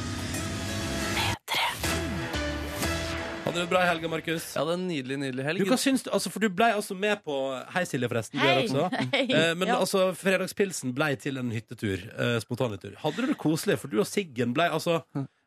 [SPEAKER 2] Hadde du det bra i helga, Markus?
[SPEAKER 4] Jeg hadde en nydelig, nydelig
[SPEAKER 2] Du,
[SPEAKER 4] helg.
[SPEAKER 2] hva syns du? Altså, for du blei altså med på Hei, Silje, forresten. Du er
[SPEAKER 3] Hei.
[SPEAKER 2] også.
[SPEAKER 3] Hei.
[SPEAKER 2] Eh, men
[SPEAKER 3] Ja.
[SPEAKER 2] altså, fredagspilsen blei til en hyttetur. Eh, spontanhyttetur. Hadde du det koselig? For du og Siggen blei altså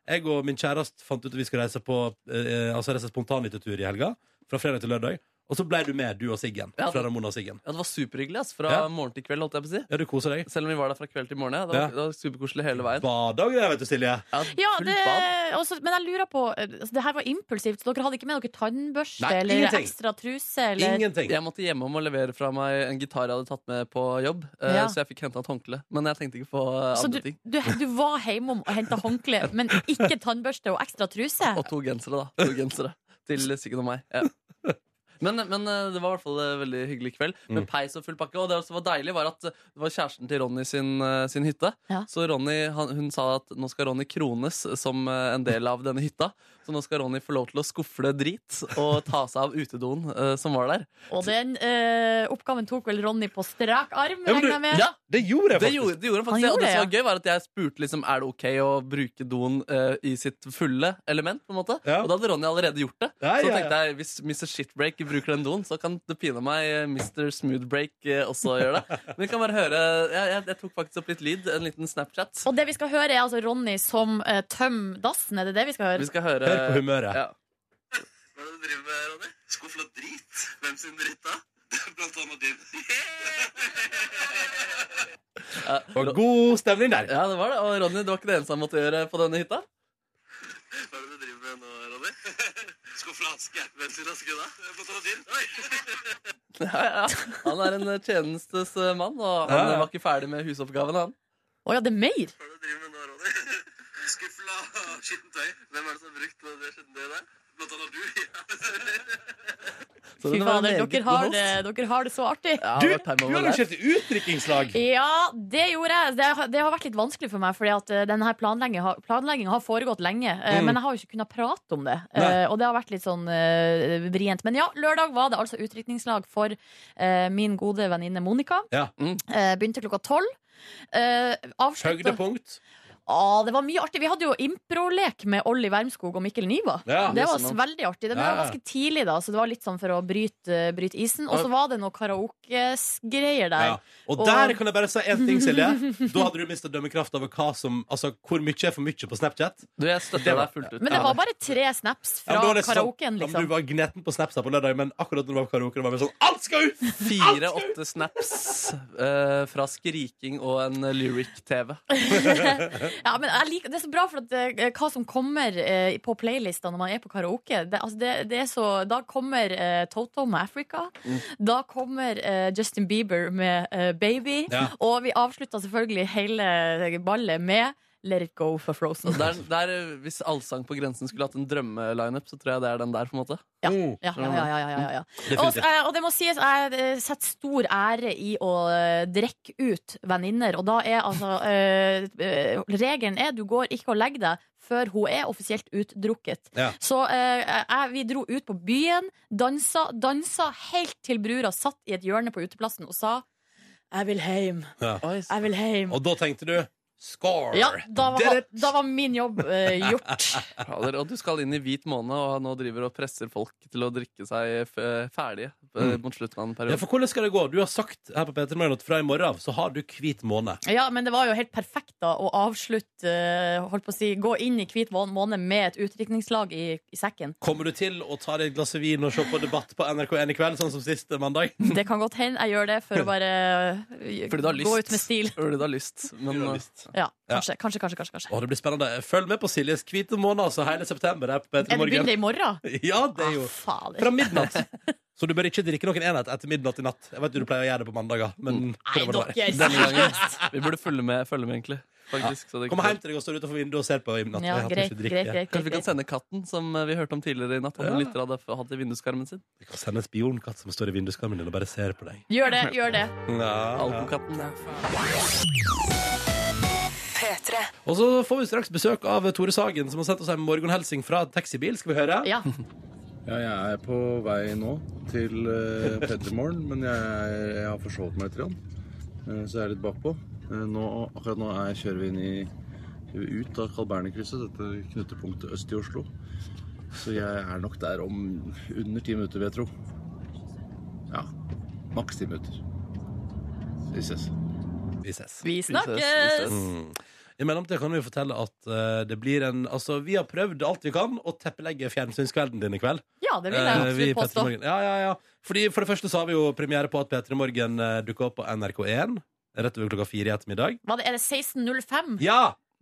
[SPEAKER 2] Jeg og min kjæreste fant ut at vi skulle reise på eh, Altså reise spontanhyttetur i helga. Fra fredag til lørdag. Og så blei du med, du og Siggen.
[SPEAKER 4] Ja.
[SPEAKER 2] Fra Ramona og Siggen.
[SPEAKER 4] Ja, det var superhyggelig. ass. Fra
[SPEAKER 2] Ja.
[SPEAKER 4] morgen til kveld, holdt jeg på å si.
[SPEAKER 2] Ja, du koser deg.
[SPEAKER 4] Selv om vi var der fra kveld til morgen. ja. Det var,
[SPEAKER 2] Ja.
[SPEAKER 4] det var superkoselig hele veien.
[SPEAKER 2] Bada og greier, vet du, Silje.
[SPEAKER 4] Ja,
[SPEAKER 3] Ja,
[SPEAKER 4] fullt
[SPEAKER 3] det, eh,
[SPEAKER 4] bad.
[SPEAKER 3] også, men jeg lurer på eh, altså, Det her var impulsivt, så dere hadde ikke med dere tannbørste
[SPEAKER 2] Nei,
[SPEAKER 3] eller
[SPEAKER 2] ingenting.
[SPEAKER 3] ekstra truse? Eller?
[SPEAKER 2] Ingenting.
[SPEAKER 4] Jeg måtte hjemme om å levere fra meg en gitar jeg hadde tatt med på jobb. eh,
[SPEAKER 3] Ja.
[SPEAKER 4] Så jeg fikk henta et håndkle. Men jeg tenkte ikke på eh,
[SPEAKER 3] Så du,
[SPEAKER 4] andre ting.
[SPEAKER 3] du, du var hjemom og henta håndkle, men ikke tannbørste og ekstra truse?
[SPEAKER 4] Og to gensere, da. To gensere Til Siggen og meg. Ja. Men, men eh, det var i hvert fall en veldig hyggelig kveld med peis og full pakke. Og det som var deilig, var at eh, det var kjæresten til Ronny sin, eh, sin hytte.
[SPEAKER 3] Ja.
[SPEAKER 4] Så Ronny han, hun sa at nå skal Ronny krones som eh, en del av denne hytta. Så nå skal Ronny få lov til å skufle drit og ta seg av utedoen eh, som var der.
[SPEAKER 3] Og den eh, oppgaven tok vel Ronny på strak arm,
[SPEAKER 2] Ja, men du-
[SPEAKER 3] regner jeg med?
[SPEAKER 4] Ja,
[SPEAKER 2] Det gjorde jeg
[SPEAKER 4] det
[SPEAKER 2] faktisk.
[SPEAKER 4] gjorde, det gjorde han
[SPEAKER 3] Han
[SPEAKER 4] faktisk. og
[SPEAKER 3] gjorde
[SPEAKER 4] det som
[SPEAKER 3] det,
[SPEAKER 4] var gøy, var at jeg spurte liksom, er det ok å bruke doen eh, i sitt fulle element. på en måte
[SPEAKER 2] Ja.
[SPEAKER 4] Og da hadde Ronny allerede gjort det.
[SPEAKER 2] Ja,
[SPEAKER 4] så
[SPEAKER 2] ja, ja.
[SPEAKER 4] tenkte jeg hvis Mr. Shitbreak bruker den doen, så kan det pine meg eh, Mr. Smoothbreak eh, også gjøre det. Men vi kan bare høre jeg, jeg, jeg tok faktisk opp litt lyd. En liten Snapchat.
[SPEAKER 3] Og det vi skal høre, er altså Ronny som eh, tømmer dassen. Er det det vi skal høre?
[SPEAKER 4] Vi skal høre
[SPEAKER 2] Hør på humøret.
[SPEAKER 4] Ja.
[SPEAKER 6] Hva er det du driver med, Ronny? Skuffla drit. Hvem sin dritt, da? Blant annet din.
[SPEAKER 2] Og god stemning der.
[SPEAKER 4] ja, det var det. Og Ronny, det var ikke det eneste han måtte gjøre på denne hytta.
[SPEAKER 6] Hva er det du driver med nå, Ronny? Skuffla aske. Hvem sin aske, da? Blant annet din.
[SPEAKER 4] Ja, ja. Han er en eh, tjenestes eh, mann, og han
[SPEAKER 2] Ja, ja.
[SPEAKER 4] var ikke ferdig med husoppgaven, han.
[SPEAKER 3] Å ja, det er mer?
[SPEAKER 6] Hva er det du driver med nå, Ronny? Skuffla skittent tøy. Hvem er det som har brukt det skittent tøyet der? Blant annet du.
[SPEAKER 3] Fy
[SPEAKER 4] Så det var en
[SPEAKER 3] fader,
[SPEAKER 4] meget
[SPEAKER 3] dere,
[SPEAKER 4] god
[SPEAKER 3] har
[SPEAKER 4] host.
[SPEAKER 3] det, dere har det så artig.
[SPEAKER 4] Ja,
[SPEAKER 2] Du,
[SPEAKER 4] det var
[SPEAKER 2] du
[SPEAKER 4] time over
[SPEAKER 2] har
[SPEAKER 4] der.
[SPEAKER 2] jo kjørt utdrikningslag.
[SPEAKER 3] Ja, det gjorde jeg. Det, har- det har vært litt vanskelig for meg, fordi at eh, denne planlegginga har, planleggingen har foregått lenge. eh,
[SPEAKER 2] Mm.
[SPEAKER 3] Men jeg har jo ikke kunnet prate om det.
[SPEAKER 2] Nei.
[SPEAKER 3] eh, og det har vært litt sånn eh, vrient. Men ja, lørdag var det altså utdrikningslag for eh, min gode venninne Monica.
[SPEAKER 2] Ja.
[SPEAKER 4] Mm.
[SPEAKER 3] Eh, begynte klokka tolv. Uh,
[SPEAKER 2] Høydepunkt.
[SPEAKER 3] Ah, det var mye artig. Vi hadde jo improlek med Olli Wermskog og Mikkel Niva.
[SPEAKER 2] Ja.
[SPEAKER 3] Det var
[SPEAKER 4] Jøsse navn.
[SPEAKER 3] veldig artig. Det var
[SPEAKER 2] Ja, ja.
[SPEAKER 3] ganske tidlig, da, så det var litt sånn for å bryte, bryte isen. Og så var det noe karaokegreier der.
[SPEAKER 2] Ja. Og
[SPEAKER 3] Og-
[SPEAKER 2] der kan jeg bare si én ting, Silje. Da hadde du mista dømmekraft over hva som, altså, hvor mye er for mye på Snapchat.
[SPEAKER 4] Du, jeg
[SPEAKER 2] Det
[SPEAKER 4] støtter
[SPEAKER 2] var-
[SPEAKER 4] deg fullt ut.
[SPEAKER 3] Men det var bare tre snaps
[SPEAKER 2] Ja,
[SPEAKER 3] fra
[SPEAKER 2] men da var det sånn-
[SPEAKER 3] karaoken,
[SPEAKER 2] ja, men Du
[SPEAKER 3] liksom.
[SPEAKER 2] var gneten på Snaps her på lørdag, men akkurat når du var på karaoke, det var bare sånn Alt skal ut!
[SPEAKER 4] Fire-åtte snaps eh, fra skriking og en lyric-TV.
[SPEAKER 3] Ja, men jeg liker, det er så bra, for at eh, hva som kommer eh, på playlista når man er på karaoke det, altså det, det er så, Da kommer eh, Toto med 'Africa'. Da kommer eh, Justin Bieber med eh, 'Baby'.
[SPEAKER 2] Ja.
[SPEAKER 3] Og vi avslutta selvfølgelig hele ballet med 'Let It Go' for Frozen.
[SPEAKER 4] Der, der, eh, hvis Allsang på grensen skulle hatt en drømmelineup, så tror jeg det er den der. på en måte
[SPEAKER 3] Ja.
[SPEAKER 2] Mm.
[SPEAKER 3] Ja, ja, ja, ja, ja, ja, ja. Og,
[SPEAKER 2] Definitivt.
[SPEAKER 3] eh, og det må sies, jeg eh, setter stor ære i å eh, drikke ut venninner. Og da er altså eh, eh, Regelen er du går ikke og legger deg før hun er offisielt utdrukket.
[SPEAKER 2] Ja.
[SPEAKER 3] Så eh, jeg, vi dro ut på byen, dansa, dansa helt til brura satt i et hjørne på uteplassen og sa 'Jeg vil heim,
[SPEAKER 2] Ja.
[SPEAKER 3] jeg vil heim'.
[SPEAKER 2] Og da tenkte du Score!
[SPEAKER 3] Ja, da
[SPEAKER 2] Did
[SPEAKER 3] var,
[SPEAKER 2] it!
[SPEAKER 3] da var min jobb eh, gjort.
[SPEAKER 4] Fader, og du skal inn i hvit måned og nå driver og presser folk til å drikke seg f ferdige eh, mot slutten av en
[SPEAKER 2] Mm. Ja,
[SPEAKER 4] periode.
[SPEAKER 2] for hvordan skal det gå? Du har sagt her på Peter Morgen at fra i morgen av så har du hvit måned.
[SPEAKER 3] Ja, men det var jo helt perfekt da å avslutte eh, Holdt på å si, gå inn i hvit mån- måned med et utdrikningslag i, i sekken.
[SPEAKER 2] Kommer du til å ta deg et glass vin og se på debatt på NRK1 i kveld, sånn som sist mandag?
[SPEAKER 3] Det kan godt hende jeg gjør det for å bare eh,
[SPEAKER 4] Fordi du har lyst.
[SPEAKER 3] gå ut med stil.
[SPEAKER 4] Fordi du har lyst. Men,
[SPEAKER 2] Du har
[SPEAKER 4] eh,
[SPEAKER 2] lyst.
[SPEAKER 3] Ja, kanskje, kanskje, kanskje, kanskje, kanskje.
[SPEAKER 2] Å, det blir spennende. Følg med på Siljes hvite måned, altså hele september her på Peter
[SPEAKER 3] Er det
[SPEAKER 2] Morgen.
[SPEAKER 3] begynner i morgen?
[SPEAKER 2] Ja, det er jo
[SPEAKER 3] Ah, fader.
[SPEAKER 2] fra midnatt. Så du bør ikke drikke noen enhet etter midnatt i natt. Jeg vet du pleier å gjøre det på mandager, men
[SPEAKER 3] Nei,
[SPEAKER 2] prøv å la være.
[SPEAKER 3] dere!
[SPEAKER 4] denne gangen. Vi burde følge med, følge med egentlig. Faktisk, så det ikke-
[SPEAKER 2] Kom hjem til deg og står utenfor vinduet og ser på i natt.
[SPEAKER 3] Ja,
[SPEAKER 2] Jeg hater
[SPEAKER 3] greit,
[SPEAKER 2] ikke å
[SPEAKER 3] greit,
[SPEAKER 2] drikke.
[SPEAKER 3] greit, greit,
[SPEAKER 4] Kanskje vi kan
[SPEAKER 3] greit.
[SPEAKER 4] sende katten, som eh, vi hørte om tidligere i natt. Han
[SPEAKER 2] Ja.
[SPEAKER 4] lytter av derfor hatt i vinduskarmen sin.
[SPEAKER 2] Vi kan sende en spionkatt som står i vinduskarmen din og bare ser på deg.
[SPEAKER 3] Gjør det, gjør det.
[SPEAKER 4] Alkokatten.
[SPEAKER 2] Og så får vi straks besøk av Tore Sagen, som har sendt oss en morgenhelsing fra taxibil. Skal vi høre?
[SPEAKER 3] Ja.
[SPEAKER 10] Ja, jeg er på vei nå til uh, Pettermoren, men jeg, er, jeg har forsovet meg litt, grann. Eh, så jeg er litt bakpå. Eh, nå, akkurat nå er, kjører vi inn i, ut av Carl Berner-krysset, dette knutepunktet øst i Oslo. Så jeg er nok der om under ti minutter, vil jeg tro. Ja, maks ti minutter. Vi ses.
[SPEAKER 2] Vi ses. Mm.
[SPEAKER 3] Vi
[SPEAKER 4] ses,
[SPEAKER 3] snakkes!
[SPEAKER 2] I mellomtida kan vi fortelle at eh, det blir en Altså, vi har prøvd alt vi kan å teppelegge fjernsynskvelden din i kveld.
[SPEAKER 3] Ja, det vil jeg
[SPEAKER 2] Eh, vi i
[SPEAKER 3] absolutt
[SPEAKER 2] Petter
[SPEAKER 3] påstå.
[SPEAKER 2] Morgen. Ja, ja, ja. Fordi For det første så har vi jo premiere på at P3 Morgen uh, dukker opp på NRK1 rett over klokka fire i ettermiddag.
[SPEAKER 3] Var det, er det 16.05?
[SPEAKER 2] Ja!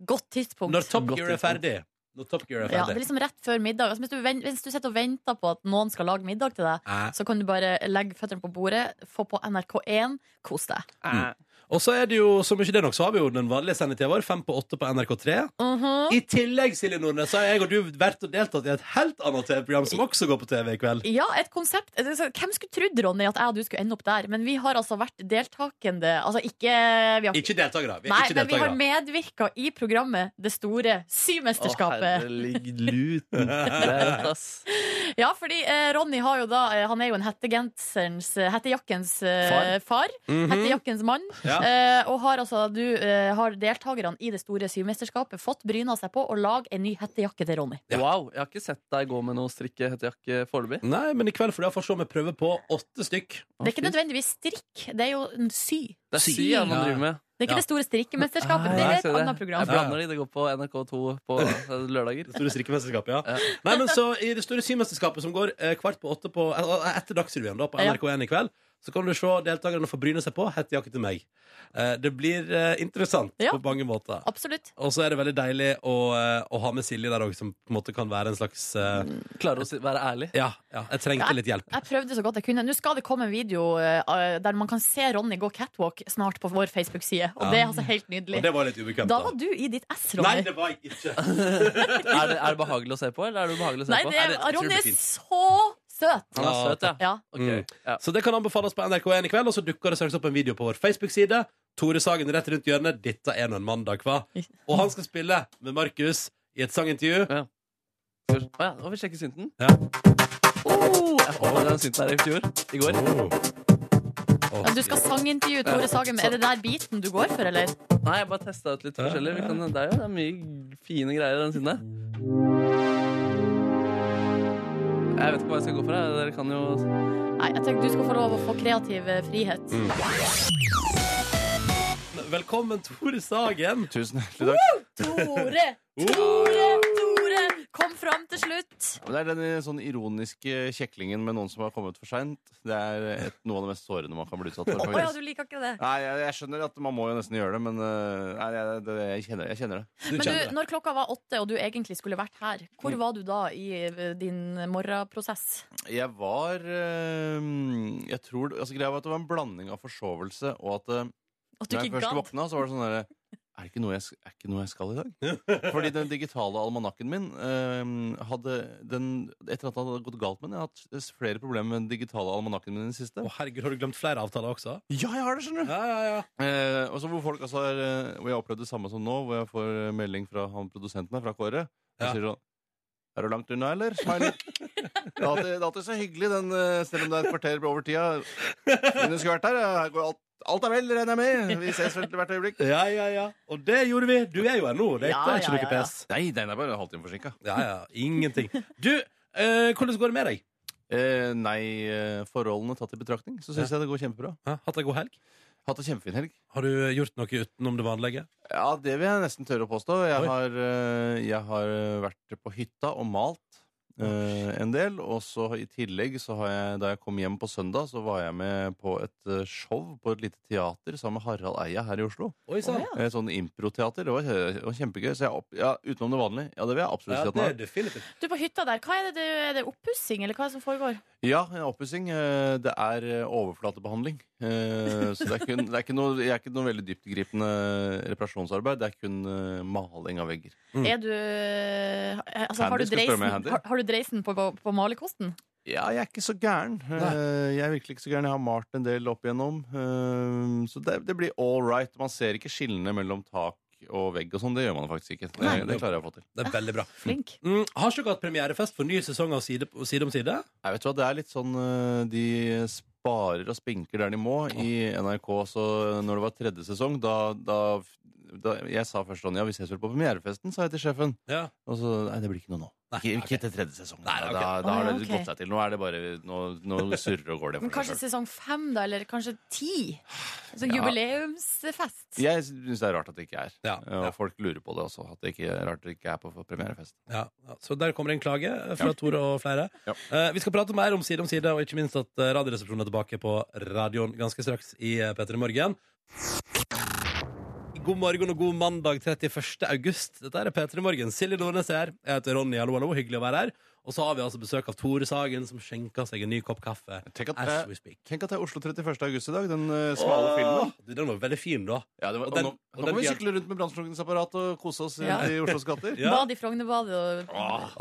[SPEAKER 3] Godt tidspunkt.
[SPEAKER 2] Når Top
[SPEAKER 4] Godt
[SPEAKER 2] Gear er
[SPEAKER 4] tidspunkt.
[SPEAKER 2] ferdig. Når Top Gear er
[SPEAKER 3] Ja, det er
[SPEAKER 2] ferdig.
[SPEAKER 3] liksom rett før middag. Altså, hvis, du, ven- hvis du sitter og venter på at noen skal lage middag til deg,
[SPEAKER 2] Eh.
[SPEAKER 3] så kan du bare legge føttene på bordet, få på NRK1, kos deg.
[SPEAKER 2] Mm. Og så er det jo, som ikke det er nok, så har vi jo den vanlige sendetida vår, fem på åtte på NRK3.
[SPEAKER 3] Mhm.
[SPEAKER 2] I tillegg, Silje Nordnes, så har jeg og du vært og deltatt i et helt annet TV-program som også går på TV i kveld.
[SPEAKER 3] Ja, et konsept. Altså, Hvem skulle trodd, Ronny, at jeg og du skulle ende opp der? Men vi har altså vært deltakende. Altså ikke vi har,
[SPEAKER 2] Ikke deltakere. Vi er
[SPEAKER 3] Nei,
[SPEAKER 2] ikke
[SPEAKER 3] men vi har
[SPEAKER 2] deltakere.
[SPEAKER 3] medvirka i programmet Det store symesterskapet.
[SPEAKER 4] herregluten. Det er rett, ass.
[SPEAKER 3] Ja, fordi eh, Ronny har jo da eh, Han er jo en hettegenserens eh, Hettejakkens eh, far. Hettejakkens mann.
[SPEAKER 2] Mhm. Ja.
[SPEAKER 3] Eh, og har altså du eh, har deltakerne i det store symesterskapet fått bryna seg på å lage en ny hettejakke til Ronny.
[SPEAKER 2] Ja.
[SPEAKER 4] Wow, jeg har ikke sett deg gå med noe strikke hettejakke foreløpig.
[SPEAKER 2] Nei, men i kveld får du iallfall se om jeg prøver på åtte stykk.
[SPEAKER 3] Det er ikke nødvendigvis strikk, det er jo en sy.
[SPEAKER 4] Det er sy ja, man
[SPEAKER 2] Ja.
[SPEAKER 4] driver med.
[SPEAKER 3] Det er ikke
[SPEAKER 2] Ja.
[SPEAKER 3] det store strikkemesterskapet,
[SPEAKER 4] Ah,
[SPEAKER 3] det
[SPEAKER 4] ja,
[SPEAKER 3] er
[SPEAKER 4] jeg
[SPEAKER 3] et
[SPEAKER 4] ser det.
[SPEAKER 3] annet program.
[SPEAKER 4] Jeg blander de. Det går på NRK2 på eh, lørdager.
[SPEAKER 2] Det store strikkemesterskapet, ja.
[SPEAKER 4] Ja.
[SPEAKER 2] Nei, men så I det store symesterskapet som går eh, kvart på åtte på, eh, etter Dagsrevyen da, på
[SPEAKER 3] Ja.
[SPEAKER 2] NRK1 i kveld, så kan du se deltakerne få bryne seg på hettejakke til meg. Eh, det blir eh, interessant
[SPEAKER 3] Ja.
[SPEAKER 2] på mange måter.
[SPEAKER 3] Absolutt.
[SPEAKER 2] Og så er det veldig deilig å, eh, å ha med Silje der òg, som på en måte kan være en slags eh,
[SPEAKER 4] Klarer å si- være ærlig.
[SPEAKER 2] Ja, ja jeg trengte
[SPEAKER 3] Ja.
[SPEAKER 2] litt hjelp.
[SPEAKER 3] Jeg prøvde så godt jeg kunne. Nå skal det komme en video eh, der man kan se Ronny gå catwalk snart på vår Facebook-side, og
[SPEAKER 2] Ja.
[SPEAKER 3] det er altså helt nydelig.
[SPEAKER 2] Og det var litt ubekvemt.
[SPEAKER 3] Da var du i ditt ess, Ronny.
[SPEAKER 2] Nei, det var jeg ikke.
[SPEAKER 4] Er det, er det behagelig å se på, eller er det ubehagelig å se
[SPEAKER 3] Nei,
[SPEAKER 4] på?
[SPEAKER 3] det
[SPEAKER 2] Er
[SPEAKER 3] er,
[SPEAKER 2] det- jeg tror
[SPEAKER 3] Ronny
[SPEAKER 2] det
[SPEAKER 3] er
[SPEAKER 2] blir fint.
[SPEAKER 3] så søt!
[SPEAKER 4] Han er søt, ja.
[SPEAKER 3] Ja.
[SPEAKER 4] Ok,
[SPEAKER 2] Mm.
[SPEAKER 4] ja.
[SPEAKER 2] Så det kan anbefales på NRK1 i kveld, og så dukker det straks opp en video på vår Facebook-side. Tore Sagen rett rundt hjørnet. Dette er nå en mandag, hva? Og han skal spille med Markus i et sangintervju.
[SPEAKER 4] Skal vi- Å ja, nå får vi sjekke synten.
[SPEAKER 2] Ja.
[SPEAKER 4] Oh, jeg håper den synten her i fjor. I går.
[SPEAKER 2] Å,
[SPEAKER 3] Ja, Du skal sangintervjue Tore Sagen. Er det der biten du går for, eller?
[SPEAKER 4] Nei, jeg bare testa ut litt forskjellig. Vi kan, det er jo det er mye fine greier i den siden der. Jeg vet ikke hva jeg skal gå for. Jeg. Dere kan jo
[SPEAKER 3] Nei, jeg tenker du skal få lov å få kreativ eh, frihet.
[SPEAKER 2] Mm. Velkommen, Tore Sagen.
[SPEAKER 10] Tusen hjertelig takk.
[SPEAKER 3] Tore! Tore! Tore! Kom fram til slutt.
[SPEAKER 10] Det er den sånn ironiske kjeklingen med noen som har kommet for seint. Det er noe av det mest sårende man kan bli utsatt for.
[SPEAKER 3] Å ja, du liker ikke det.
[SPEAKER 10] Nei, jeg, jeg skjønner at man må jo nesten gjøre det, men eh, nei, jeg, det, jeg, kjenner, jeg kjenner det. Mm.
[SPEAKER 2] Du
[SPEAKER 3] Men du,
[SPEAKER 2] kjenner det.
[SPEAKER 3] når klokka var åtte, og du egentlig skulle vært her, hvor var du da i eh, din morgenprosess?
[SPEAKER 10] Jeg var eh, Jeg tror altså, Greia var at det var en blanding av forsovelse og at eh,
[SPEAKER 3] At du
[SPEAKER 10] når jeg
[SPEAKER 3] ikke
[SPEAKER 10] først
[SPEAKER 3] gadd?
[SPEAKER 10] våkna, så var det sånn derre er det ikke noe jeg, sk- er det ikke noe jeg skal i dag? Fordi den digitale almanakken min eh, hadde den, Etter at det hadde gått galt med den, jeg har hatt flere problemer med den digitale almanakken min i det siste.
[SPEAKER 2] Å, herregud, har du glemt flere avtaler også?
[SPEAKER 10] Ja, jeg har det, skjønner du!
[SPEAKER 2] Ja, ja, ja.
[SPEAKER 10] Eh, og så hvor folk altså er, eh, Hvor jeg har opplevd det samme som nå, hvor jeg får eh, melding fra han produsenten her, fra Kåre.
[SPEAKER 2] Ja.
[SPEAKER 10] Jeg sier sånn Er du langt unna, eller? Smiley. det, er alltid, det er alltid så hyggelig, den, eh, selv om det er et kvarter over tida. Men du skulle vært her. eh, Her går alt Alt er vel, regner jeg med. Vi ses vel til hvert øyeblikk.
[SPEAKER 2] Ja, ja, ja. Og det gjorde vi. Du er jo her nå. Det er
[SPEAKER 10] Ja,
[SPEAKER 2] det er
[SPEAKER 10] ja,
[SPEAKER 2] ikke noe
[SPEAKER 10] ja, ja.
[SPEAKER 2] pes.
[SPEAKER 10] Nei, den er bare en halvtime forsinka.
[SPEAKER 2] Ja, ja. Ingenting. Du, eh, hvordan går det med deg?
[SPEAKER 10] nei, eh, forholdene tatt i betraktning, så syns
[SPEAKER 2] Ja.
[SPEAKER 10] jeg det går kjempebra.
[SPEAKER 2] Hatt ei god helg?
[SPEAKER 10] Hatt en kjempefin helg.
[SPEAKER 2] Har du gjort noe utenom det vanlige?
[SPEAKER 10] Ja, det vil jeg nesten tørre å påstå. Jeg har, eh, jeg har vært på hytta og malt eh, en del. Og så i tillegg, så har jeg, da jeg kom hjem på søndag, så var jeg med på et eh, show på et lite teater sammen med Harald Eia her i Oslo.
[SPEAKER 2] Oi sann.
[SPEAKER 10] Eh, Sånn improteater. Det var, det var kjempegøy. Så jeg opp, ja, utenom det vanlige. Ja, det vil jeg absolutt
[SPEAKER 2] Ja,
[SPEAKER 10] si at den
[SPEAKER 2] det
[SPEAKER 10] er.
[SPEAKER 2] er definitivt.
[SPEAKER 3] Du, på hytta der, hva er det, du- er det oppussing, eller hva er det som foregår?
[SPEAKER 10] Ja, en oppussing. eh, Det er eh, overflatebehandling. Eh, Så det er, kun, det, er ikke noe, det er ikke noe veldig dyptgripende reparasjonsarbeid. Det er kun eh, maling av vegger.
[SPEAKER 2] Mm.
[SPEAKER 3] Er du altså,
[SPEAKER 10] Mm. Handy,
[SPEAKER 3] har, du
[SPEAKER 10] skal du spørre meg, Handy?
[SPEAKER 3] dreisen, har, har du dreisen på, på, på malerkosten?
[SPEAKER 10] Ja, jeg er ikke så gæren. Eh, Jeg er virkelig ikke så gæren. Jeg har malt en del opp igjennom. Eh, Så det, det blir all right. Man ser ikke skillene mellom tak og vegg og sånn. Det gjør man faktisk ikke. Det, det klarer jeg å få til.
[SPEAKER 2] Det er veldig bra.
[SPEAKER 3] Flink.
[SPEAKER 2] Mm, har ikke dere hatt premierefest for ny sesong av Side, side om side?
[SPEAKER 10] Jeg vet hva, Det er litt sånn eh, de sparer og spinker der de må i NRK. Så når det var tredje sesong, da, da, da Jeg sa først sånn Ja, vi ses vel på premierefesten, sa jeg til sjefen.
[SPEAKER 2] Ja.
[SPEAKER 10] Og så Nei, det blir ikke noe nå. Ikke, ikke til tredje sesong. da, da,
[SPEAKER 3] Å,
[SPEAKER 10] har
[SPEAKER 3] ja,
[SPEAKER 10] det
[SPEAKER 3] ok.
[SPEAKER 10] gått seg til. Nå er det bare Nå, nå surrer og går det
[SPEAKER 3] Men
[SPEAKER 10] for
[SPEAKER 3] kanskje
[SPEAKER 10] seg sjøl.
[SPEAKER 3] sesong fem, da, eller kanskje ti? Altså
[SPEAKER 10] Ja.
[SPEAKER 3] jubileumsfest.
[SPEAKER 10] Jeg syns det er rart at det ikke er.
[SPEAKER 2] Ja,
[SPEAKER 10] Og folk lurer på det også. At det ikke er rart det ikke er på premierefest.
[SPEAKER 2] Ja, ja. Så der kommer en klage eh, fra Tore og flere. Eh, vi skal prate mer om Side om side, og ikke minst at eh, Radioresepsjonen er tilbake på radioen ganske straks i eh, P3 Morgen. God morgen og god mandag 31. august. Dette er P3 Morgen. Silje Nordnes er her. Jeg heter Ronny. Hallo, hallo. Hyggelig å være her. Og så har vi altså besøk av Tore Sagen, som skjenker seg en ny kopp kaffe.
[SPEAKER 10] Tenk at,
[SPEAKER 2] As
[SPEAKER 10] det-
[SPEAKER 2] we speak.
[SPEAKER 10] tenk at det er Oslo 31. august i dag. Den eh, smale filmen.
[SPEAKER 2] Åh, du, Den var veldig fin, da.
[SPEAKER 10] Ja, det var,
[SPEAKER 2] Og
[SPEAKER 10] og
[SPEAKER 2] den-
[SPEAKER 10] nå,
[SPEAKER 2] og
[SPEAKER 10] nå
[SPEAKER 2] den
[SPEAKER 10] kan vi
[SPEAKER 2] blir-
[SPEAKER 10] sykle rundt med brannslukningsapparat og kose oss
[SPEAKER 3] Ja.
[SPEAKER 10] rundt i Oslos gater.
[SPEAKER 2] Ja.
[SPEAKER 3] Bad i Frognerbadet og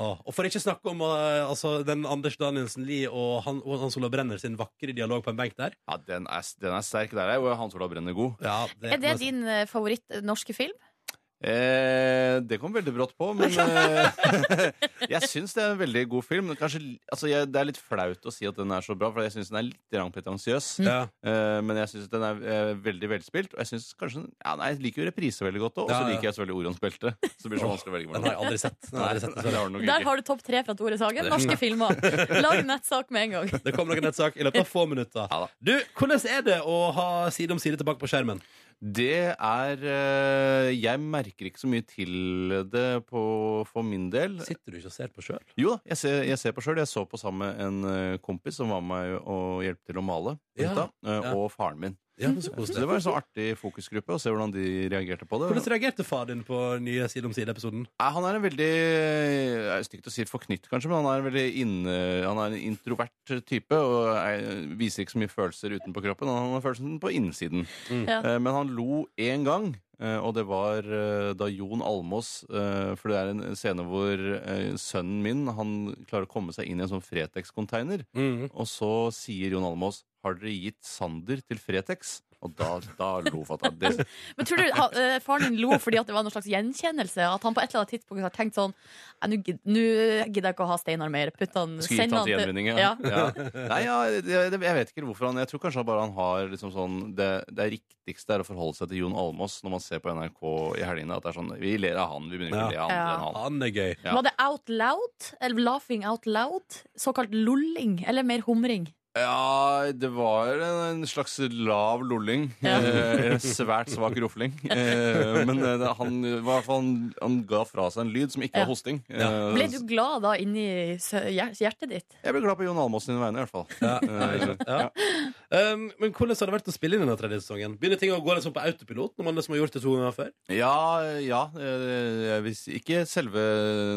[SPEAKER 2] Åh, Og for ikke snakke om eh, altså, den Anders Danielsen Lie og han- og Hans Olav Brenner sin vakre dialog på en benk der.
[SPEAKER 10] Ja, den er, den er sterk. Der er jo Hans Olav Brenner god.
[SPEAKER 2] Ja,
[SPEAKER 3] Er det din eh, favoritt norske film?
[SPEAKER 10] Eh, det kom veldig brått på, men eh, jeg syns det er en veldig god film. Men kanskje, li- altså, jeg, det er litt flaut å si at den er så bra, for jeg syns den er litt grann pretensiøs.
[SPEAKER 2] Ja.
[SPEAKER 10] Eh, men jeg syns den er eh, veldig velspilt. Og jeg synes kanskje den- ja, nei, jeg liker jo reprise veldig godt òg, og så
[SPEAKER 2] Ja, ja.
[SPEAKER 10] liker jeg selvfølgelig Orions belte. Så det blir så vanskelig å velge
[SPEAKER 2] Den
[SPEAKER 10] mellom.
[SPEAKER 2] har jeg aldri sett. Den har jeg aldri sett.
[SPEAKER 10] Nei, det har du nok
[SPEAKER 3] Der
[SPEAKER 10] ikke.
[SPEAKER 3] har du topp tre fra Tore Sagen. Norske filmer. Lag nettsak med en gang.
[SPEAKER 2] Det kommer nok en nettsak i løpet av få minutter. Du, Hvordan er det å ha Side om side tilbake på skjermen?
[SPEAKER 10] Det er eh, Jeg merker ikke så mye til det på, for min del.
[SPEAKER 2] Sitter du ikke og ser på sjøl?
[SPEAKER 10] Jo da, jeg ser, jeg ser på sjøl. Jeg så på sammen med en eh, kompis som var med meg og hjalp til å male.
[SPEAKER 2] Ja,
[SPEAKER 10] gutta, eh,
[SPEAKER 2] ja.
[SPEAKER 10] Og faren min.
[SPEAKER 2] Ja, men så
[SPEAKER 10] Så det
[SPEAKER 2] koselig.
[SPEAKER 10] var en sånn artig fokusgruppe å se hvordan de reagerte på det.
[SPEAKER 2] Hvordan reagerte far din på nye Side om side-episoden?
[SPEAKER 10] Nei, Han er en veldig det er Stygt å si forknytt, kanskje, men han er en veldig inne, han er en introvert type. og er, Viser ikke så mye følelser utenpå kroppen. Han har følelsen på innsiden.
[SPEAKER 3] Ja.
[SPEAKER 10] Eh, Men han lo én gang, eh, og det var eh, da Jon Almås eh, For det er en scene hvor eh, sønnen min han klarer å komme seg inn i en sånn Fretex-container. Og så sier Jon Almås Har dere gitt Sander til Fretex? Og da, da lo Fatah. Det,
[SPEAKER 3] Men tror du ha, eh, Faren din lo fordi at det var noen slags gjenkjennelse? At han på et eller annet tidspunkt har tenkt sånn «Nei, Nå gid- nå gidder jeg ikke å ha Steinar mer. Putt han,
[SPEAKER 10] Skulle gitt
[SPEAKER 3] send
[SPEAKER 10] han
[SPEAKER 3] han
[SPEAKER 10] til gjenvinning, ja.
[SPEAKER 3] ja.
[SPEAKER 10] ja. Nei, ja, det, det, jeg vet ikke hvorfor han Jeg tror kanskje han bare han har liksom sånn det, det riktigste er å forholde seg til Jon Almås når man ser på NRK i helgene. At det er sånn Vi ler av han, vi begynner ikke å le av andre
[SPEAKER 3] Ja.
[SPEAKER 10] enn han.
[SPEAKER 2] Han er gøy.
[SPEAKER 10] Ja.
[SPEAKER 3] Var det out loud? Eller laughing out loud? Såkalt lolling? Eller mer humring?
[SPEAKER 10] Ja, det var en, en slags lav lolling.
[SPEAKER 3] Ja.
[SPEAKER 10] Eh, en svært svak rofling. Eh, men eh, det- han, i hvert fall han, han ga fra seg en lyd som ikke
[SPEAKER 3] Ja.
[SPEAKER 10] var hosting.
[SPEAKER 2] Ja.
[SPEAKER 10] Eh,
[SPEAKER 3] Ble du glad da inni sø- hjer- hjertet ditt?
[SPEAKER 10] Jeg ble glad på Jon Almås sine vegne, i hvert fall.
[SPEAKER 2] Ja,
[SPEAKER 10] Eh,
[SPEAKER 2] ja. Um, men hvordan har det vært å spille inn denne tredje sesongen? Begynner ting å gå liksom på autopilot når man liksom har gjort det to ganger før?
[SPEAKER 10] Ja, ja. eh, jeg vil si- Ikke selve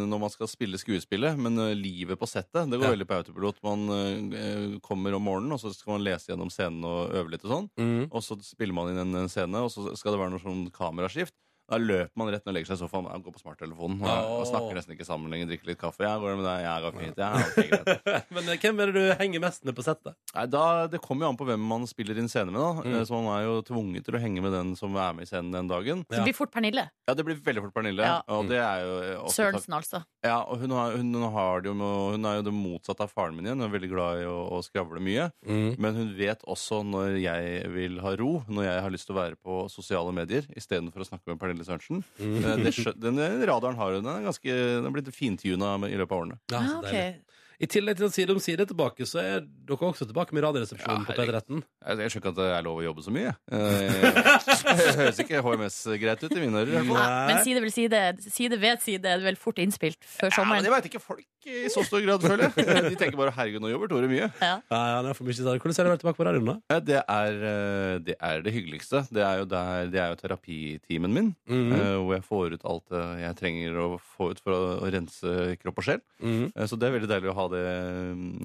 [SPEAKER 10] når man skal spille skuespillet, men eh, livet på settet. Det går
[SPEAKER 2] Ja.
[SPEAKER 10] veldig på autopilot. Man eh, kommer om morgenen, og så skal man lese gjennom
[SPEAKER 2] Mhm.
[SPEAKER 10] scenen og øve litt og sånn. Og så spiller man inn en en scene, og så skal det være noe sånn kameraskift. Da løper man rett ned og legger seg i sofaen og går på smarttelefonen. Og,
[SPEAKER 2] Ja.
[SPEAKER 10] og snakker nesten ikke sammen lenger, drikker litt kaffe. Ja, går det med deg? Ja, går fint. Ja, ok, greit.
[SPEAKER 2] Men eh, hvem er det du henger mest ned på settet?
[SPEAKER 10] Nei, da, Det kommer jo an på hvem man spiller inn scene med. da
[SPEAKER 2] Mm.
[SPEAKER 10] Eh, Så man er jo tvunget til å henge med den som er med i scenen den dagen.
[SPEAKER 3] Så det blir fort Pernille.
[SPEAKER 10] Ja, det blir veldig fort Pernille.
[SPEAKER 3] Ja.
[SPEAKER 10] Og det er jo eh, også
[SPEAKER 3] Sørensen, altså.
[SPEAKER 10] ja, og hun, har, hun, har det jo med, hun er jo det motsatte av faren min igjen. Hun er veldig glad i å, å skravle mye.
[SPEAKER 2] Mm.
[SPEAKER 10] Men hun vet også når jeg vil ha ro, når jeg har lyst til å være på sosiale medier istedenfor å snakke med Pernille Sørensen.
[SPEAKER 2] Mm.
[SPEAKER 10] Eh, Det, skjø- den radaren har hun. Den er, ganske, den er blitt fintuna med- i løpet av årene.
[SPEAKER 2] Ja, så
[SPEAKER 3] Ah, ok.
[SPEAKER 2] deilig. I tillegg til at Side om side er tilbake, så er dere også tilbake med Radioresepsjonen på
[SPEAKER 10] Ah, herregud.
[SPEAKER 2] P13.
[SPEAKER 10] Jeg, jeg skjønner ikke at det er lov å jobbe så mye. Eh, Det høres ikke HMS greit ut i mine ører. i hvert
[SPEAKER 3] Nei,
[SPEAKER 10] fall.
[SPEAKER 3] Ah, Men side ved side, side ved side er vel fort innspilt før
[SPEAKER 10] Ja, men
[SPEAKER 3] sommeren.
[SPEAKER 10] det veit ikke folk i så stor grad, føler jeg. Eh, De tenker bare 'herregud, nå jobber Tore mye'.
[SPEAKER 2] Ja, ja, det er for mye side. Hvordan er det å være tilbake på radioen, da?
[SPEAKER 10] Eh, Det er, eh, det er det hyggeligste. Det er jo, der, det er jo terapitimen min.
[SPEAKER 2] Mhm.
[SPEAKER 10] eh, Hvor jeg får ut alt det jeg trenger å få ut for å, å rense kropp og sjel.
[SPEAKER 2] Mhm.
[SPEAKER 10] Eh, Så det er veldig deilig å ha det,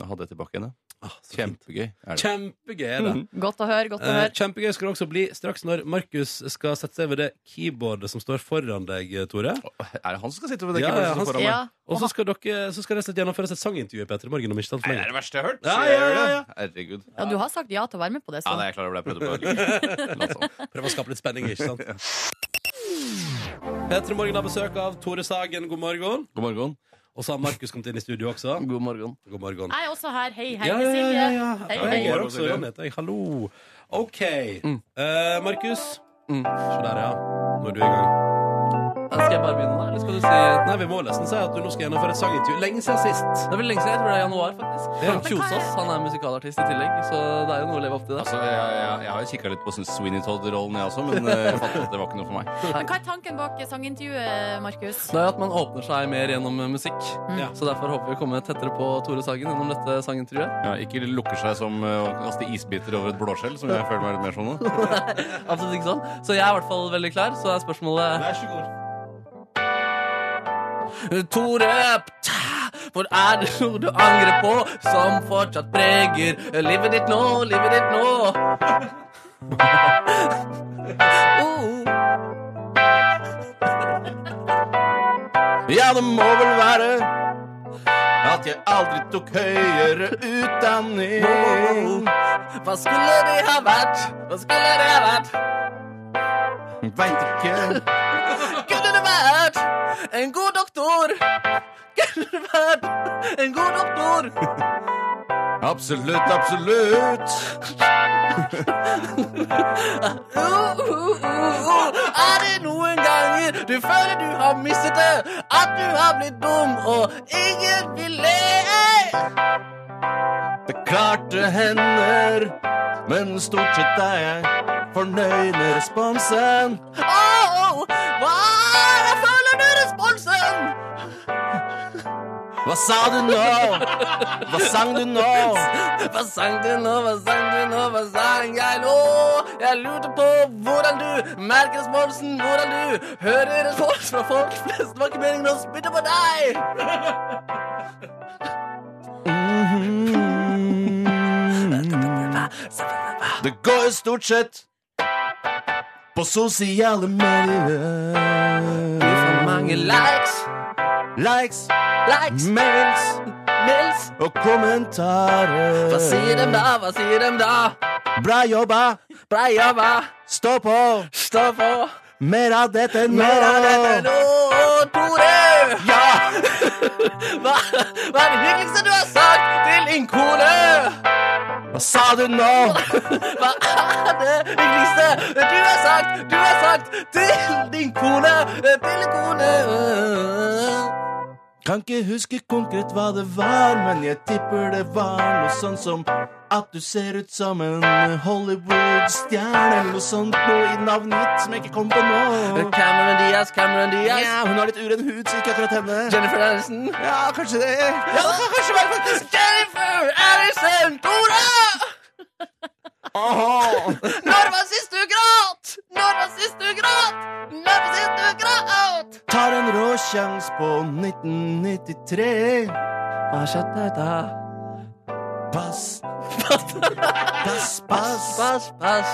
[SPEAKER 10] ha det tilbake igjen. ja. Kjempegøy. Er det.
[SPEAKER 2] Ah,
[SPEAKER 10] Mhm.
[SPEAKER 2] Kjempegøy er det.
[SPEAKER 3] Godt å høre, godt å
[SPEAKER 2] Eh,
[SPEAKER 3] høre.
[SPEAKER 2] kjempegøy skal det også bli straks når Markus skal sette seg ved det keyboardet som står foran deg, Tore.
[SPEAKER 10] er det han som skal sitte ved det
[SPEAKER 2] Ja,
[SPEAKER 10] keyboardet
[SPEAKER 2] ja,
[SPEAKER 10] som
[SPEAKER 2] han
[SPEAKER 10] står foran
[SPEAKER 2] skal-
[SPEAKER 3] Ja.
[SPEAKER 10] meg?
[SPEAKER 2] Og så skal dere så skal det rett og slett gjennomføres et sangintervju i P3 Morgen om ikke så altfor
[SPEAKER 10] Nei, det er
[SPEAKER 2] lenge.
[SPEAKER 10] det verste jeg har hørt.
[SPEAKER 2] Ja,
[SPEAKER 10] så jeg
[SPEAKER 2] ja,
[SPEAKER 10] gjør
[SPEAKER 2] ja,
[SPEAKER 10] det.
[SPEAKER 2] ja.
[SPEAKER 10] Herregud.
[SPEAKER 3] Ja, du har sagt ja til å være med på det,
[SPEAKER 10] Ja,
[SPEAKER 3] så
[SPEAKER 10] nei, jeg klarer det. Jeg prøvde på det.
[SPEAKER 2] Prøve å skape litt spenning, ikke sant? P3 Morgen har besøk av Tore Sagen, god morgen.
[SPEAKER 10] God morgen.
[SPEAKER 2] Og så har Markus kommet inn i studio også.
[SPEAKER 5] God morgen.
[SPEAKER 2] God morgen.
[SPEAKER 3] Jeg er også her. Hei, hei,
[SPEAKER 2] Ja, ja, ja,
[SPEAKER 3] Silje.
[SPEAKER 2] ja, ja.
[SPEAKER 3] Hei,
[SPEAKER 2] Ja, Jeg
[SPEAKER 3] hei.
[SPEAKER 2] er også i Ronny, heter jeg. Hallo. OK. Eh, Markus.
[SPEAKER 5] Mm.
[SPEAKER 2] Se der, ja. Nå er du i gang.
[SPEAKER 5] Skal jeg bare begynne, da? Eller skal du si
[SPEAKER 2] Nei, vi må nesten si at du nå skal gjennomføre et sangintervju. Lenge siden sist.
[SPEAKER 5] Det er vel lenge siden. Jeg tror det er januar, faktisk.
[SPEAKER 2] Ja.
[SPEAKER 5] Frank Kjosås han er musikalartist i tillegg, så det er jo noe å leve opp til. det
[SPEAKER 10] Altså, jeg, jeg, jeg har jo kikka litt på sånn Sweeney Todd-rollen, jeg også, men eh, jeg fant ut at det var ikke noe for meg.
[SPEAKER 3] Men hva er tanken bak sangintervjuet, Markus?
[SPEAKER 5] Det er jo at man åpner seg mer gjennom eh, musikk.
[SPEAKER 2] Ja.
[SPEAKER 5] Så derfor håper vi å komme tettere på Tore Sagen gjennom dette sangintervjuet.
[SPEAKER 10] Ja, ikke lukker seg som eh, å kaste isbiter over et blåskjell, som jeg føler meg litt mer som nå.
[SPEAKER 5] Absolutt ikke sånn. Så jeg er i hvert fall veldig klar. Så er spørsmålet
[SPEAKER 2] Vær så god.
[SPEAKER 5] Tore, pta, hvor er det noe du angrer på som fortsatt preger livet ditt nå, livet ditt nå?
[SPEAKER 3] Oh,
[SPEAKER 10] Ja, det må vel være at jeg aldri tok høyere utdanning.
[SPEAKER 5] Hva skulle det ha vært? Hva skulle det ha vært?
[SPEAKER 10] Veit ikke.
[SPEAKER 5] Kunne det vært en god doktor? Kunne det vært en god doktor?
[SPEAKER 10] Absolutt, absolutt.
[SPEAKER 5] Uh, uh, uh, uh. Er det noen ganger du føler du har mistet det? At du har blitt dum, og ingen vil le?
[SPEAKER 10] Det klarte hender, men stort sett er jeg fornøyd med responsen.
[SPEAKER 5] Oh, hva er det? Føler du responsen?
[SPEAKER 10] Hva sa du nå? Hva sang du nå?
[SPEAKER 5] Hva sang du nå, hva sang du nå, hva sang jeg nå? Jeg lurte på hvordan du merker responsen, hvordan du hører respons fra folk flest. Det var ikke meningen å spytte på deg.
[SPEAKER 10] Det går stort sett på sosiale
[SPEAKER 5] Du får
[SPEAKER 10] medier.
[SPEAKER 5] mange likes,
[SPEAKER 10] Likes,
[SPEAKER 5] likes,
[SPEAKER 10] mails
[SPEAKER 5] mails.
[SPEAKER 10] og kommentarer.
[SPEAKER 5] Hva sier dem da, hva sier dem da?
[SPEAKER 10] Bra jobba!
[SPEAKER 5] Bra jobba,
[SPEAKER 10] Stå på!
[SPEAKER 5] stå på.
[SPEAKER 10] Mer av dette nå!
[SPEAKER 5] Mer av dette nå, Tore!
[SPEAKER 10] Ja!
[SPEAKER 5] Hva, hva er det hyggeligste du har sagt til din kone?
[SPEAKER 10] Hva sa du nå?
[SPEAKER 5] Hva er det hyggeligste du har sagt, du har sagt til din kone, til din kone?
[SPEAKER 10] Kan ikke huske konkret hva det var, men jeg tipper det var noe sånn som at du ser ut som en Hollywood-stjerne eller noe sånt noe i navnet mitt som jeg ikke kom på nå.
[SPEAKER 5] Cameron Diaz, Cameron Diaz.
[SPEAKER 10] Ja, hun har litt uren hud, så ikke akkurat henne.
[SPEAKER 5] Jennifer Aniston.
[SPEAKER 10] Ja, kanskje det. Ja, det kan kanskje være faktisk
[SPEAKER 5] Jennifer Aniston, Tore!
[SPEAKER 10] Åhå!
[SPEAKER 5] Når var sist du gråt? Når var sist du gråt? Når var sist du gråt?
[SPEAKER 10] Tar en rå sjans på 1993.
[SPEAKER 5] Hva skjedde da?
[SPEAKER 10] Pass. Pass, pass.
[SPEAKER 5] Pass, pass.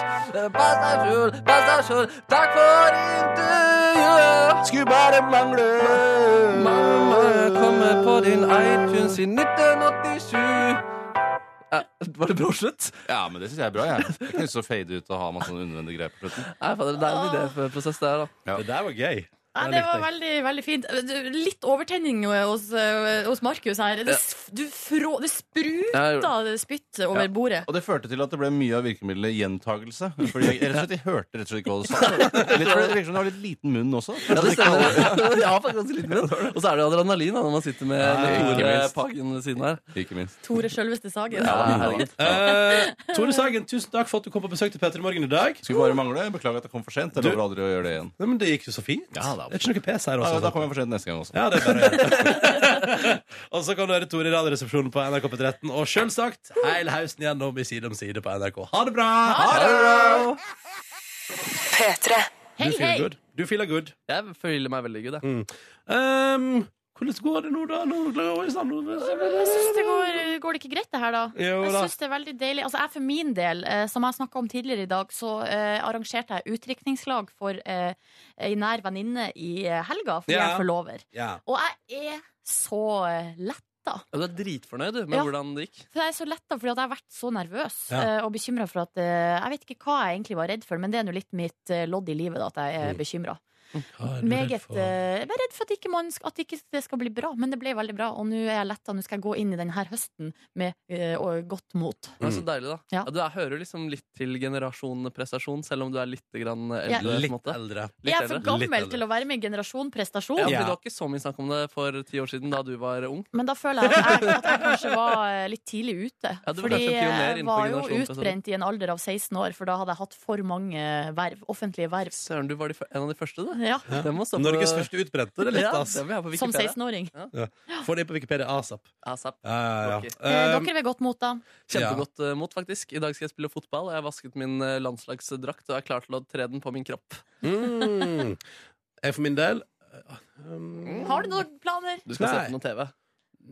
[SPEAKER 5] Bastasjon, bastasjon, takk for intervjuet. Skulle bare mangle.
[SPEAKER 4] Mamma kommer på din iTunes i 1987. Ja, Eh, var det bra slutt?
[SPEAKER 10] Ja, men det syns jeg er bra. Jeg Jeg har ikke lyst til å fade ut og ha masse sånne unødvendige greier på slutten.
[SPEAKER 4] Nei, fader, det er en idéprosess, det her, da.
[SPEAKER 10] Ja.
[SPEAKER 2] Det der var gøy.
[SPEAKER 3] Nei, det var veldig, veldig fint. Du, Litt overtenning hos, eh, hos Markus her. Det, s- du frå, det spruta spytt over
[SPEAKER 10] Ja.
[SPEAKER 3] bordet.
[SPEAKER 10] Og det førte til at det ble mye av virkemidlet gjentagelse. Fordi jeg, rett og slett, jeg hørte rett og slett ikke hva du sa. Litt, det virker som du har litt liten munn også.
[SPEAKER 4] Ja, det stemmer. Ja, faktisk ganske litt mer. Og så er det jo adrenalin da, når man sitter med
[SPEAKER 10] Ja,
[SPEAKER 4] med
[SPEAKER 10] ikke
[SPEAKER 4] Tore
[SPEAKER 10] minst.
[SPEAKER 4] Pagen ved siden her.
[SPEAKER 10] Ikke minst.
[SPEAKER 3] Tore Sjølveste Sagen.
[SPEAKER 4] Ja, herregud.
[SPEAKER 2] Eh, Tore Sagen, tusen takk for at du kom på besøk til Petter i morgen i dag.
[SPEAKER 10] Skulle bare mangle. Beklager at jeg kom for sent. Jeg
[SPEAKER 2] Du-
[SPEAKER 10] lover aldri å gjøre det igjen.
[SPEAKER 2] Nei, men det gikk jo så fint.
[SPEAKER 10] Ja, da.
[SPEAKER 2] det er ikke noe pes her
[SPEAKER 10] Ja,
[SPEAKER 2] også.
[SPEAKER 10] da kommer jeg for sent neste gang også.
[SPEAKER 2] Ja, det er bare Og så kan du høre Tore i Radioresepsjonen på NRK P13, og selvsagt heil hausen gjennom i Side om side på NRK. Ha det bra!
[SPEAKER 4] Petre.
[SPEAKER 2] Du feeler good. Du feeler good.
[SPEAKER 4] Jeg føler meg veldig good, jeg.
[SPEAKER 2] Um, hvordan går det nå, da? Nå klarer jeg
[SPEAKER 3] Jeg
[SPEAKER 2] å
[SPEAKER 3] syns det går, går det ikke greit, det her, da?
[SPEAKER 2] Jo
[SPEAKER 3] Jeg
[SPEAKER 2] da.
[SPEAKER 3] syns det er veldig deilig. Altså, jeg for min del, eh, som jeg snakka om tidligere i dag, så eh, arrangerte jeg utdrikningslag for eh, ei nær venninne i eh, helga, fordi
[SPEAKER 4] Ja.
[SPEAKER 3] jeg er forlover.
[SPEAKER 2] Ja.
[SPEAKER 3] Og jeg er så eh, letta.
[SPEAKER 4] Du er dritfornøyd du, med
[SPEAKER 3] Ja.
[SPEAKER 4] hvordan det gikk.
[SPEAKER 3] For jeg er så letta fordi at jeg har vært så nervøs
[SPEAKER 4] Ja.
[SPEAKER 3] eh, og bekymra for at eh, Jeg vet ikke hva jeg egentlig var redd for, men det er nå litt mitt eh, lodd i livet da, at jeg er
[SPEAKER 2] Mm.
[SPEAKER 3] bekymra.
[SPEAKER 2] er du redd
[SPEAKER 3] Meget
[SPEAKER 2] for?
[SPEAKER 3] eh, Jeg er redd for at, ikke man, sk- at ikke det skal bli bra, men det ble veldig bra. Og nå er jeg letta. Nå skal jeg gå inn i denne høsten med eh, og godt mot.
[SPEAKER 4] Det er
[SPEAKER 2] Mm.
[SPEAKER 4] så deilig, da. Ja. Du er, hører liksom litt til generasjonen prestasjon, selv om du er litt grann
[SPEAKER 3] Ja.
[SPEAKER 4] eldre.
[SPEAKER 3] Litt
[SPEAKER 2] eldre.
[SPEAKER 3] Jeg er for gammel til å være med i Generasjon prestasjon.
[SPEAKER 4] ja, for Det var ikke så mye snakk om det for ti år siden, da du var ung.
[SPEAKER 3] Men da føler jeg at jeg, at jeg kanskje var eh, litt tidlig ute.
[SPEAKER 4] Ja, du var
[SPEAKER 3] fordi
[SPEAKER 4] kanskje en pioner
[SPEAKER 3] jeg
[SPEAKER 4] innenfor
[SPEAKER 3] var jo
[SPEAKER 4] generasjonen, for å si det
[SPEAKER 3] utbrent i en alder av 16 år, for da hadde jeg hatt for mange verv, offentlige verv.
[SPEAKER 4] Søren, du var de, f- en av de første, du.
[SPEAKER 3] Ja.
[SPEAKER 4] Det må stå på-
[SPEAKER 2] Norges første utbrente, det er litt,
[SPEAKER 4] Ja,
[SPEAKER 2] ass.
[SPEAKER 4] det vil jeg ha på
[SPEAKER 3] Som
[SPEAKER 4] Wikipedia.
[SPEAKER 3] 16-åring.
[SPEAKER 2] Ja. Få det inn på Wikipedia asap.
[SPEAKER 4] ASAP.
[SPEAKER 2] Ja, ja,
[SPEAKER 4] Ok.
[SPEAKER 2] ja.
[SPEAKER 3] Eh, Dere ved godt mot, da.
[SPEAKER 4] Kjempegodt eh, mot, faktisk. I dag skal jeg spille fotball. og Jeg har vasket min eh, landslagsdrakt og er klar til å tre den på min kropp.
[SPEAKER 2] Mm. Jeg for min del um,
[SPEAKER 3] Har du noen planer?
[SPEAKER 4] Du skal
[SPEAKER 2] Nei.
[SPEAKER 4] se på noe TV.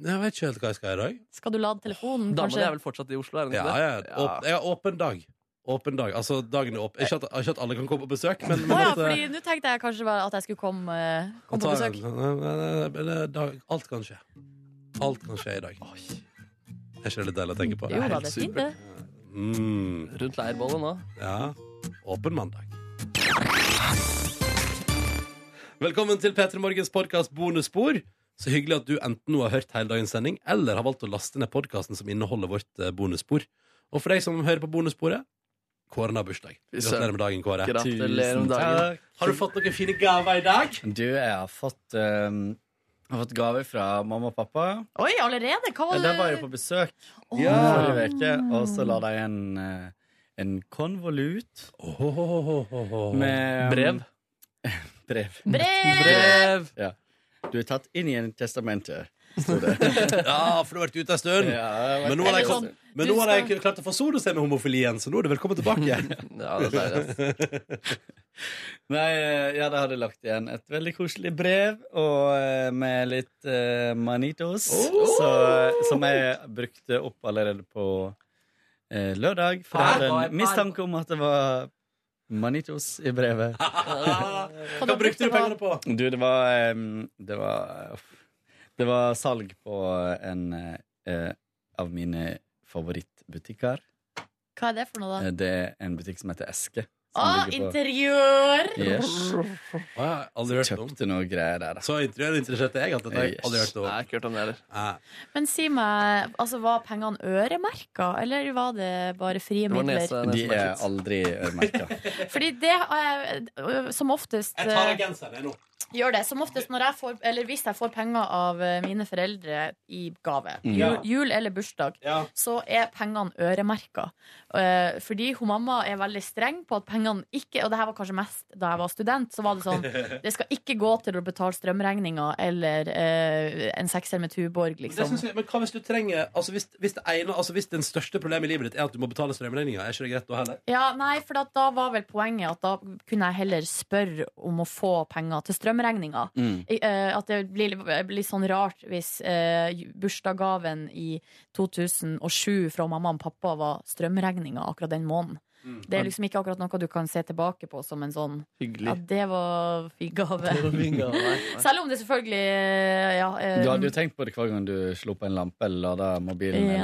[SPEAKER 2] Jeg vet ikke helt hva jeg skal i dag.
[SPEAKER 3] Skal du lade telefonen,
[SPEAKER 4] Damene
[SPEAKER 3] kanskje?
[SPEAKER 4] er vel fortsatt i Oslo? Er de
[SPEAKER 2] Ja,
[SPEAKER 4] ikke
[SPEAKER 2] ja.
[SPEAKER 4] det?
[SPEAKER 2] Åp, jeg har åpen dag. Åpen dag. Altså, dagen er åpen. Ikke at, ikke at alle kan komme på besøk, men, men
[SPEAKER 3] Å ja,
[SPEAKER 11] altså-
[SPEAKER 2] at, eh,
[SPEAKER 3] fordi nå tenkte jeg kanskje bare at jeg skulle komme, eh, komme på
[SPEAKER 2] at-
[SPEAKER 3] besøk.
[SPEAKER 2] Nei, nei, nei, nei, nei, dag- Alt kan skje. Alt kan skje i dag. Er ikke det litt deilig å tenke på?
[SPEAKER 3] Jo da, det er fint, det.
[SPEAKER 4] Rundt leirbollet nå.
[SPEAKER 2] Mm. Ja. Åpen mandag. Velkommen til P3 Morgens podkast Bonusspor. Så hyggelig at du enten nå har hørt hele dagens sending, eller har valgt å laste ned podkasten som inneholder vårt eh, bonusspor. Og for deg som hører på bonussporet, Kåren har bursdag. Gratulerer med dagen, Kåre.
[SPEAKER 11] Gratulerer med
[SPEAKER 2] Tusen
[SPEAKER 11] dagen.
[SPEAKER 2] takk. Har du fått noen fine gaver i dag?
[SPEAKER 11] Du, jeg har fått, um, har fått gaver fra mamma og pappa.
[SPEAKER 3] Oi, allerede? Hva
[SPEAKER 11] Ja,
[SPEAKER 3] var
[SPEAKER 11] De var jo
[SPEAKER 3] det?
[SPEAKER 11] på besøk
[SPEAKER 3] Ja.
[SPEAKER 11] forrige uke, og så la de en, eh, en konvolutt med
[SPEAKER 4] Brev?
[SPEAKER 11] brev.
[SPEAKER 3] Brev!
[SPEAKER 11] Ja. Du er tatt inn i en testamente.
[SPEAKER 2] ja, for du har vært ute en stund.
[SPEAKER 11] jeg vet
[SPEAKER 2] men nå har
[SPEAKER 11] det.
[SPEAKER 2] jeg,
[SPEAKER 11] Eller sånn,
[SPEAKER 2] men
[SPEAKER 11] du
[SPEAKER 2] nå har jeg klart å forsone seg med homofilien, så nå er du velkommen tilbake.
[SPEAKER 4] ja, det er deilig,
[SPEAKER 11] Nei, eh, ja, da hadde jeg lagt igjen et veldig koselig brev og eh, med litt eh, manitos,
[SPEAKER 2] Oh!
[SPEAKER 11] så, eh, som jeg brukte opp allerede på eh, lørdag. For jeg
[SPEAKER 5] Her var
[SPEAKER 11] hadde
[SPEAKER 5] jeg-
[SPEAKER 11] en mistanke om at det var manitos i brevet.
[SPEAKER 2] Hva brukte du pengene på?
[SPEAKER 11] Du, det var eh, Det var, uff. det var salg på en eh, av mine favorittbutikker.
[SPEAKER 3] Hva er det for noe,
[SPEAKER 11] Eh,
[SPEAKER 3] da?
[SPEAKER 11] Det er en butikk som heter Eske. som
[SPEAKER 3] Å,
[SPEAKER 11] ligger på-
[SPEAKER 3] interiør!
[SPEAKER 11] Yes.
[SPEAKER 2] Aldri hørt
[SPEAKER 11] Kjøpte noe greier der, da.
[SPEAKER 2] Så interiørinteressert er jeg at dette har jeg aldri hørt om.
[SPEAKER 4] Nei, ikke hørt om det heller.
[SPEAKER 3] Men si meg, altså, var pengene øremerka, eller var det bare frie midler?
[SPEAKER 11] De er aldri øremerka.
[SPEAKER 3] Fordi det eh, øh, som oftest
[SPEAKER 2] Jeg tar av
[SPEAKER 3] eh,
[SPEAKER 2] genseren jeg, nå.
[SPEAKER 3] Gjør det. Som oftest når jeg får, eller hvis jeg får penger av eh, mine foreldre i gave,
[SPEAKER 2] Mm.
[SPEAKER 3] jul,
[SPEAKER 2] Ja.
[SPEAKER 3] jul eller bursdag,
[SPEAKER 2] Ja.
[SPEAKER 3] så er pengene øremerka. Eh, fordi hun mamma er veldig streng på at pengene ikke Og det her var kanskje mest da jeg var student. Så var det sånn Det skal ikke gå til å betale strømregninga eller eh, en sekser med Tuborg,
[SPEAKER 2] Men Det
[SPEAKER 3] liksom.
[SPEAKER 2] synes jeg, men hva hvis du trenger altså hvis, hvis, det ene, altså hvis det største problemet i livet ditt er at du må betale strømregninga, er ikke det greit da heller?
[SPEAKER 3] Ja, nei, for at da var vel poenget at da kunne jeg heller spørre om å få penger til strømregninga.
[SPEAKER 2] Mm.
[SPEAKER 3] I- eh, at det blir, blir sånn rart hvis eh, bursdagsgaven i 2007 fra mamma og pappa var strømregninga akkurat den måneden.
[SPEAKER 7] Mm.
[SPEAKER 12] Mm.
[SPEAKER 3] Det er liksom ikke akkurat noe du kan se tilbake på som en sånn Ja, det var fin gave.
[SPEAKER 11] Det var fin gave, nei.
[SPEAKER 3] Selv om det selvfølgelig Ja. eh,
[SPEAKER 11] Du hadde jo tenkt på det hver gang du slo på en lampe eller lada mobilen. eller-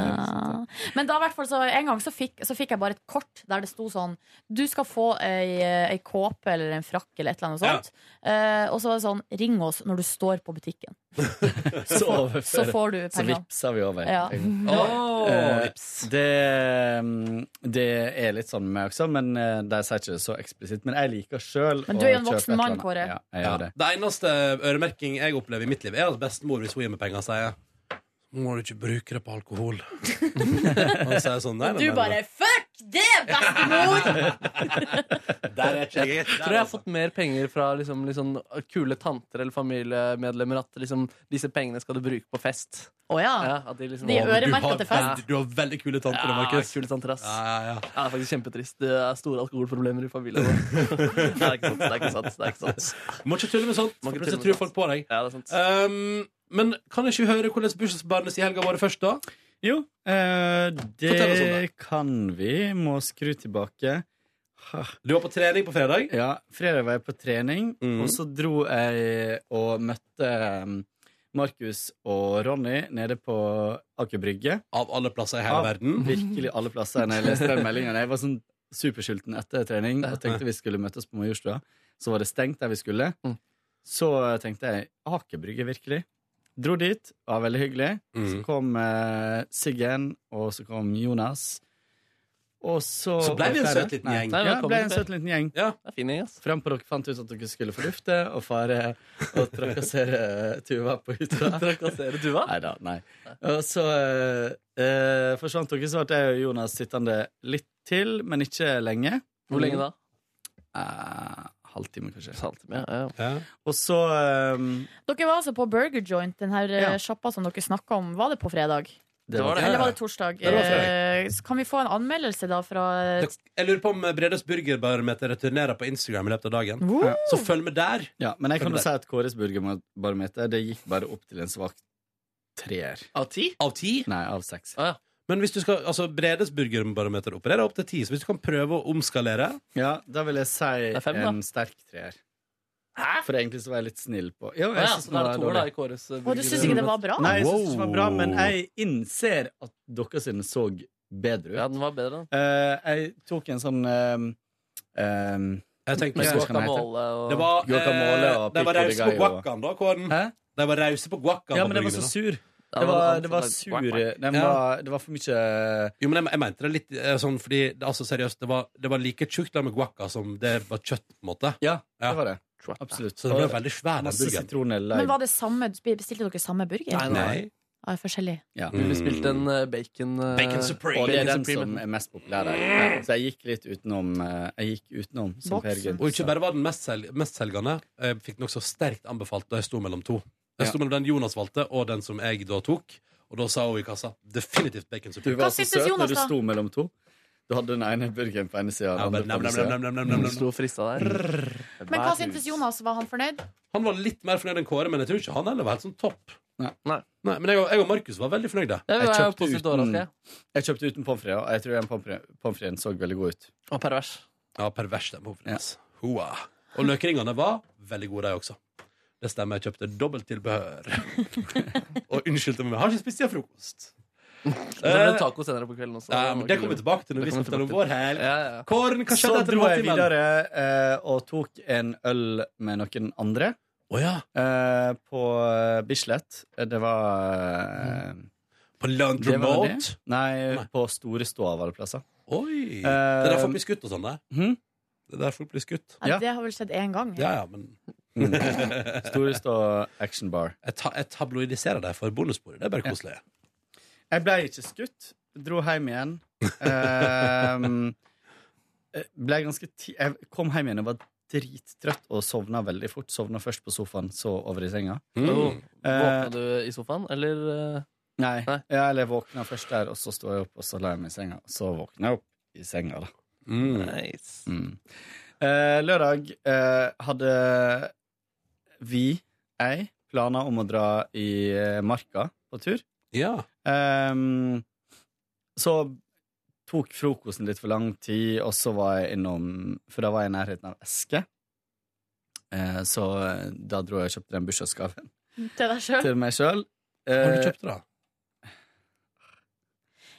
[SPEAKER 3] Ja. Men da i hvert fall så en gang så fikk, så fikk jeg bare et kort der det sto sånn Du skal få ei, ei kåpe eller en frakk eller et eller annet sånt. Eh, og så var det sånn Ring oss når du står på butikken.
[SPEAKER 11] så, overfører-
[SPEAKER 3] så får du
[SPEAKER 11] Så
[SPEAKER 3] penger.
[SPEAKER 11] vipser vi over.
[SPEAKER 3] Ja.
[SPEAKER 11] Oi.
[SPEAKER 3] Åh,
[SPEAKER 11] Eh, det, mm, det er litt sånn med meg også, men eh, de sier ikke det så eksplisitt. Men jeg liker sjøl
[SPEAKER 3] Men du er jo en voksen mann, Kåre.
[SPEAKER 11] Ja, jeg gjør det.
[SPEAKER 2] Det eneste øremerking jeg opplever i mitt liv, er at bestemor, hvis hun gir meg penger, sier Må du ikke bruke det på alkohol. Og så er jeg sånn, nei, nei,
[SPEAKER 3] Du
[SPEAKER 2] nei,
[SPEAKER 3] bare
[SPEAKER 2] nei.
[SPEAKER 3] Fuck det, bestemor!
[SPEAKER 2] Der er ikke jeg.
[SPEAKER 4] tror jeg har fått mer penger fra liksom, litt sånn kule tanter eller familiemedlemmer. At liksom, disse pengene skal du bruke på fest.
[SPEAKER 3] Å ja.
[SPEAKER 4] at de liksom,
[SPEAKER 3] De er øremerket til fest.
[SPEAKER 2] Du har veldig kule tanter,
[SPEAKER 4] ja,
[SPEAKER 2] Markus.
[SPEAKER 4] Kule tanter, ass.
[SPEAKER 2] Ja, ja, ja.
[SPEAKER 4] Ja, det er faktisk kjempetrist. Det er store alkoholproblemer i familien. vår. det er ikke sant. det er ikke sant, det er ikke sant.
[SPEAKER 2] Må ikke tulle med sånt,
[SPEAKER 4] Må
[SPEAKER 2] for
[SPEAKER 4] ikke
[SPEAKER 2] plutselig
[SPEAKER 4] tulle med
[SPEAKER 2] tror folk på deg.
[SPEAKER 4] Ja, det er sant.
[SPEAKER 2] Um, men kan ikke vi høre hvordan bursdagsbarnet i helga var først, da?
[SPEAKER 11] Jo, eh,
[SPEAKER 2] Fortell oss om
[SPEAKER 11] det kan vi. Må skru tilbake.
[SPEAKER 2] Du var på trening på fredag? Mhm.
[SPEAKER 11] Ja, fredag var jeg på trening. Og så dro jeg og møtte um, Markus og Ronny nede på Aker Brygge.
[SPEAKER 2] Av alle plasser i hele verden.
[SPEAKER 11] Virkelig alle plasser. Når jeg leste den meldingen. Jeg var sånn supersulten etter trening og tenkte vi skulle møtes på Majorstua. Så var det stengt der vi skulle. Så tenkte jeg Aker Brygge, virkelig. Dro dit, var veldig hyggelig. Så
[SPEAKER 2] Mm.
[SPEAKER 11] kom eh, Siggen, og så kom Jonas. Og så
[SPEAKER 2] Så ble vi en
[SPEAKER 11] Flere?
[SPEAKER 2] søt liten
[SPEAKER 11] Nei.
[SPEAKER 2] gjeng.
[SPEAKER 11] Nei,
[SPEAKER 2] Ja,
[SPEAKER 11] ja, ble en
[SPEAKER 2] velkommen.
[SPEAKER 11] søt liten gjeng. Frem på dere fant ut at dere skulle fordufte og fare og trakassere Tuva på hytta.
[SPEAKER 4] Trakassere Tuva?
[SPEAKER 11] Nei da, nei. Og så eh, eh, forsvant dere, så ble jeg og Jonas sittende litt til, men ikke lenge.
[SPEAKER 4] Hvor lenge da?
[SPEAKER 11] Eh, halvtime, kanskje.
[SPEAKER 4] Halvtime, ja,
[SPEAKER 11] Og så eh,
[SPEAKER 3] Dere var altså på Burger Joint, den her eh, sjappa som dere snakka om. Var det på fredag?
[SPEAKER 11] Det var det.
[SPEAKER 3] Eller var det torsdag?
[SPEAKER 2] Det var fredag.
[SPEAKER 3] Eh, så kan vi få en anmeldelse da fra eh,
[SPEAKER 2] Dere- Jeg lurer på om Bredes burgerbarometer returnerer på Instagram i løpet av dagen.
[SPEAKER 3] Woo!
[SPEAKER 2] Så følg med der.
[SPEAKER 11] Ja, men jeg
[SPEAKER 2] Følg
[SPEAKER 11] kan jo
[SPEAKER 2] med
[SPEAKER 11] si
[SPEAKER 2] der.
[SPEAKER 11] at Kåres burgerbarometer Det gikk bare opp til en svak treer.
[SPEAKER 4] Av ti? Ah,
[SPEAKER 2] Av ti?
[SPEAKER 11] Nei, av seks.
[SPEAKER 2] Men hvis du skal, altså Bredes burgerbarometer opererer opp til ti, så hvis du kan prøve å omskalere
[SPEAKER 11] Ja, da vil jeg si
[SPEAKER 2] er fem, da.
[SPEAKER 11] en sterk treer. For egentlig så var jeg litt snill på Jo,
[SPEAKER 4] Å
[SPEAKER 11] jeg
[SPEAKER 4] ja,
[SPEAKER 11] synes
[SPEAKER 4] så
[SPEAKER 11] den
[SPEAKER 4] da er
[SPEAKER 11] var
[SPEAKER 4] det toer da
[SPEAKER 11] dårlig.
[SPEAKER 4] i Kåres eh,
[SPEAKER 3] Å, du synes ikke det var bra?
[SPEAKER 11] Nei, jeg synes ikke den var bra,
[SPEAKER 4] Wow.
[SPEAKER 11] men jeg innser at dere sine så bedre ut.
[SPEAKER 4] Ja, den var bedre. da.
[SPEAKER 11] Eh, jeg tok en sånn eh, eh,
[SPEAKER 2] Jeg tenkte
[SPEAKER 11] hva
[SPEAKER 2] meg
[SPEAKER 11] skal den hete?
[SPEAKER 2] Det var,
[SPEAKER 11] Guacamole
[SPEAKER 2] eh,
[SPEAKER 11] og
[SPEAKER 2] de var
[SPEAKER 11] pico de
[SPEAKER 2] rause på
[SPEAKER 11] gallo.
[SPEAKER 2] guacan, da, Kåren. De var rause på guacan.
[SPEAKER 11] Ja,
[SPEAKER 2] på
[SPEAKER 11] men den var så
[SPEAKER 2] burgerne, da.
[SPEAKER 11] sur.
[SPEAKER 2] Ja,
[SPEAKER 11] Det var,
[SPEAKER 2] men
[SPEAKER 11] det var
[SPEAKER 2] altså,
[SPEAKER 11] sur eh,
[SPEAKER 2] quack, quack.
[SPEAKER 11] den
[SPEAKER 2] Ja.
[SPEAKER 11] var, Det var for mye
[SPEAKER 2] Jo, men jeg, jeg mente det litt eh, sånn fordi det- altså seriøst, det var, det var like tjukt lag med guacca som det var kjøtt, på en måte.
[SPEAKER 11] Ja, det var det. Absolutt.
[SPEAKER 2] Så det ble veldig svær, den
[SPEAKER 11] Masse
[SPEAKER 2] burgeren.
[SPEAKER 11] sitronelle.
[SPEAKER 3] Men var det samme, Bestilte dere samme burger?
[SPEAKER 4] Nei, nei.
[SPEAKER 3] Ah, forskjellig.
[SPEAKER 11] Ja.
[SPEAKER 4] Ville spilt en eh, bacon eh,
[SPEAKER 11] Bacon Supreme. Og det er
[SPEAKER 4] Bacon
[SPEAKER 11] den
[SPEAKER 4] Supreme.
[SPEAKER 11] som er mest populær der. Ja, Så jeg gikk litt utenom. eh, Jeg gikk utenom som Per Gynt
[SPEAKER 2] Og ikke
[SPEAKER 11] sa.
[SPEAKER 2] bare var den mestselgende, mest selgende, jeg fikk den også sterkt anbefalt da jeg sto mellom to. Jeg
[SPEAKER 11] Ja.
[SPEAKER 2] sto mellom den Jonas valgte, og den som jeg da tok. Og da sa hun i kassa definitivt bacon
[SPEAKER 11] Du
[SPEAKER 2] supreme.
[SPEAKER 11] var så søt når du sto mellom to. Du hadde den ene burgeren på ene sida.
[SPEAKER 2] Ja, men nam, nam, nam, nam, nam, nam, nam.
[SPEAKER 4] Sto og frista der.
[SPEAKER 11] Mm.
[SPEAKER 3] Men hva syntes Jonas? Var han fornøyd?
[SPEAKER 2] Han var litt mer fornøyd enn Kåre, men jeg tror ikke han heller var helt sånn topp. Nei, men jeg og, jeg og Markus var veldig fornøyde.
[SPEAKER 4] Ja, vi var jo positivt overrasket, ja.
[SPEAKER 11] jeg kjøpte uten pommes frites, og jeg tror den pommes frites- pommes fritesen så veldig god ut.
[SPEAKER 4] Og pervers.
[SPEAKER 2] Ja, pervers den pommes frites. Hoa. Og løkringene var veldig gode, de også. Det stemmer, jeg kjøpte dobbelt tilbehør. og unnskyldte meg, jeg har ikke spist siden frokost.
[SPEAKER 4] Det ble taco senere på kvelden også.
[SPEAKER 2] Eh, Ja, men det kommer vi tilbake til når
[SPEAKER 4] Det
[SPEAKER 2] vi
[SPEAKER 4] kommer
[SPEAKER 2] snakker om
[SPEAKER 4] tilbake
[SPEAKER 2] vår
[SPEAKER 4] til.
[SPEAKER 2] helg.
[SPEAKER 4] Ja, ja.
[SPEAKER 2] Kåren, hva skjedde
[SPEAKER 11] Så
[SPEAKER 2] etter
[SPEAKER 11] dro jeg
[SPEAKER 2] mattimen?
[SPEAKER 11] videre eh, og tok en øl med noen andre. Eh, på eh, Bislett. Eh, Det var eh,
[SPEAKER 2] Mm. På
[SPEAKER 11] det var det.
[SPEAKER 2] Laundromat?
[SPEAKER 11] Nei, på Store Eh, Stå av alle plasser.
[SPEAKER 2] Oi! Det er der folk blir skutt og sånn, det.
[SPEAKER 11] Hm?
[SPEAKER 2] Det er der folk blir skutt.
[SPEAKER 3] Ja, Det har vel skjedd én gang.
[SPEAKER 2] Ja, ja, men
[SPEAKER 11] Mm. Store Stå Action Bar.
[SPEAKER 2] Jeg, ta, jeg tabloidiserer deg for bonusbordet. Det er bare koselig.
[SPEAKER 11] Jeg ble ikke skutt. Dro hjem igjen. Ehm, eh, ble ganske ti jeg kom hjem igjen og var drittrøtt og sovna veldig fort. Sovna først på sofaen, så over i senga.
[SPEAKER 4] Mm.
[SPEAKER 11] Eh,
[SPEAKER 4] Våkna du i sofaen, eller eh,
[SPEAKER 11] nei. Ja, eller jeg våkna først der, og så sto jeg opp, og så la jeg meg i senga. Og så våkna jeg opp i senga, da.
[SPEAKER 4] Nice.
[SPEAKER 11] Mm. Eh, lørdag eh, hadde vi, jeg, planer om å dra i eh, marka på tur.
[SPEAKER 2] Ja.
[SPEAKER 11] Ehm, så tok frokosten litt for lang tid, og så var jeg innom For da var jeg i nærheten av Eske. Eh, Så eh, da dro jeg og kjøpte den bursdagsgaven
[SPEAKER 3] Til deg sjøl?
[SPEAKER 11] til meg Eh, sjøl.
[SPEAKER 2] Hva har du kjøpt, da?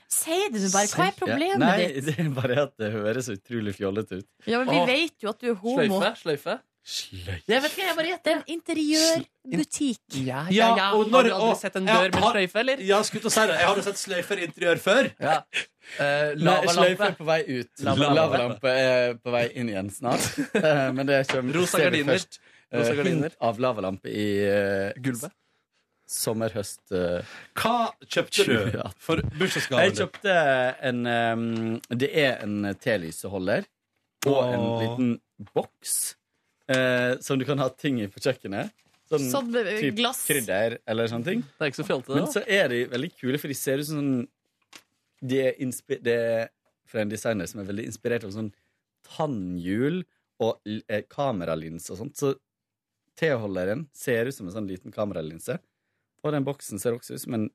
[SPEAKER 3] Si det nå bare. Hva er problemet
[SPEAKER 11] Nei,
[SPEAKER 3] ditt?
[SPEAKER 11] det er bare at det høres utrolig fjollete ut.
[SPEAKER 3] Ja, men Vi
[SPEAKER 11] Åh.
[SPEAKER 3] vet jo at du er homo.
[SPEAKER 4] Sløyfe?
[SPEAKER 11] Sløyfe?
[SPEAKER 3] Jeg vet ikke, jeg bare gjetter. Det er en interiørbutikk.
[SPEAKER 4] Ja,
[SPEAKER 2] Ja,
[SPEAKER 4] ja.
[SPEAKER 2] og
[SPEAKER 4] Har
[SPEAKER 2] når-
[SPEAKER 4] du aldri
[SPEAKER 2] og-
[SPEAKER 4] sett en
[SPEAKER 2] Ja,
[SPEAKER 4] dør med
[SPEAKER 2] har-
[SPEAKER 4] sløyfe, eller?
[SPEAKER 2] Ja, skulle til å si det. Jeg hadde sett sløyfer i interiør før.
[SPEAKER 4] Ja. Eh,
[SPEAKER 11] Nei, sløyfe er på vei ut.
[SPEAKER 4] Lavalampe.
[SPEAKER 11] Lavalampe er på vei inn igjen snart. Eh, Men det kommer
[SPEAKER 4] Rosa
[SPEAKER 11] ser vi
[SPEAKER 4] gardiner.
[SPEAKER 11] først. Eh,
[SPEAKER 4] Rosa gardiner.
[SPEAKER 11] Hint av lavalampe i gulvet. Sommer-høst. eh.
[SPEAKER 2] Hva kjøpte du for bursdagsgaven
[SPEAKER 11] Jeg kjøpte en ehm, Det er en telyseholder og en
[SPEAKER 2] Åh.
[SPEAKER 11] liten boks eh, som du kan ha ting i på kjøkkenet. Sånn
[SPEAKER 3] Sånn, eh,
[SPEAKER 11] typ
[SPEAKER 3] glass.
[SPEAKER 11] krydder eller sånne ting.
[SPEAKER 4] Det er ikke så fjolte,
[SPEAKER 11] Men
[SPEAKER 4] det.
[SPEAKER 11] så er de veldig kule, for de ser ut som sånn De er, inspi de er fra en designer som er veldig inspirert av sånn tannhjul og l- eh, kameralins og sånt. Så T-holderen ser ut som en sånn liten kameralinse, og den boksen ser også ut som en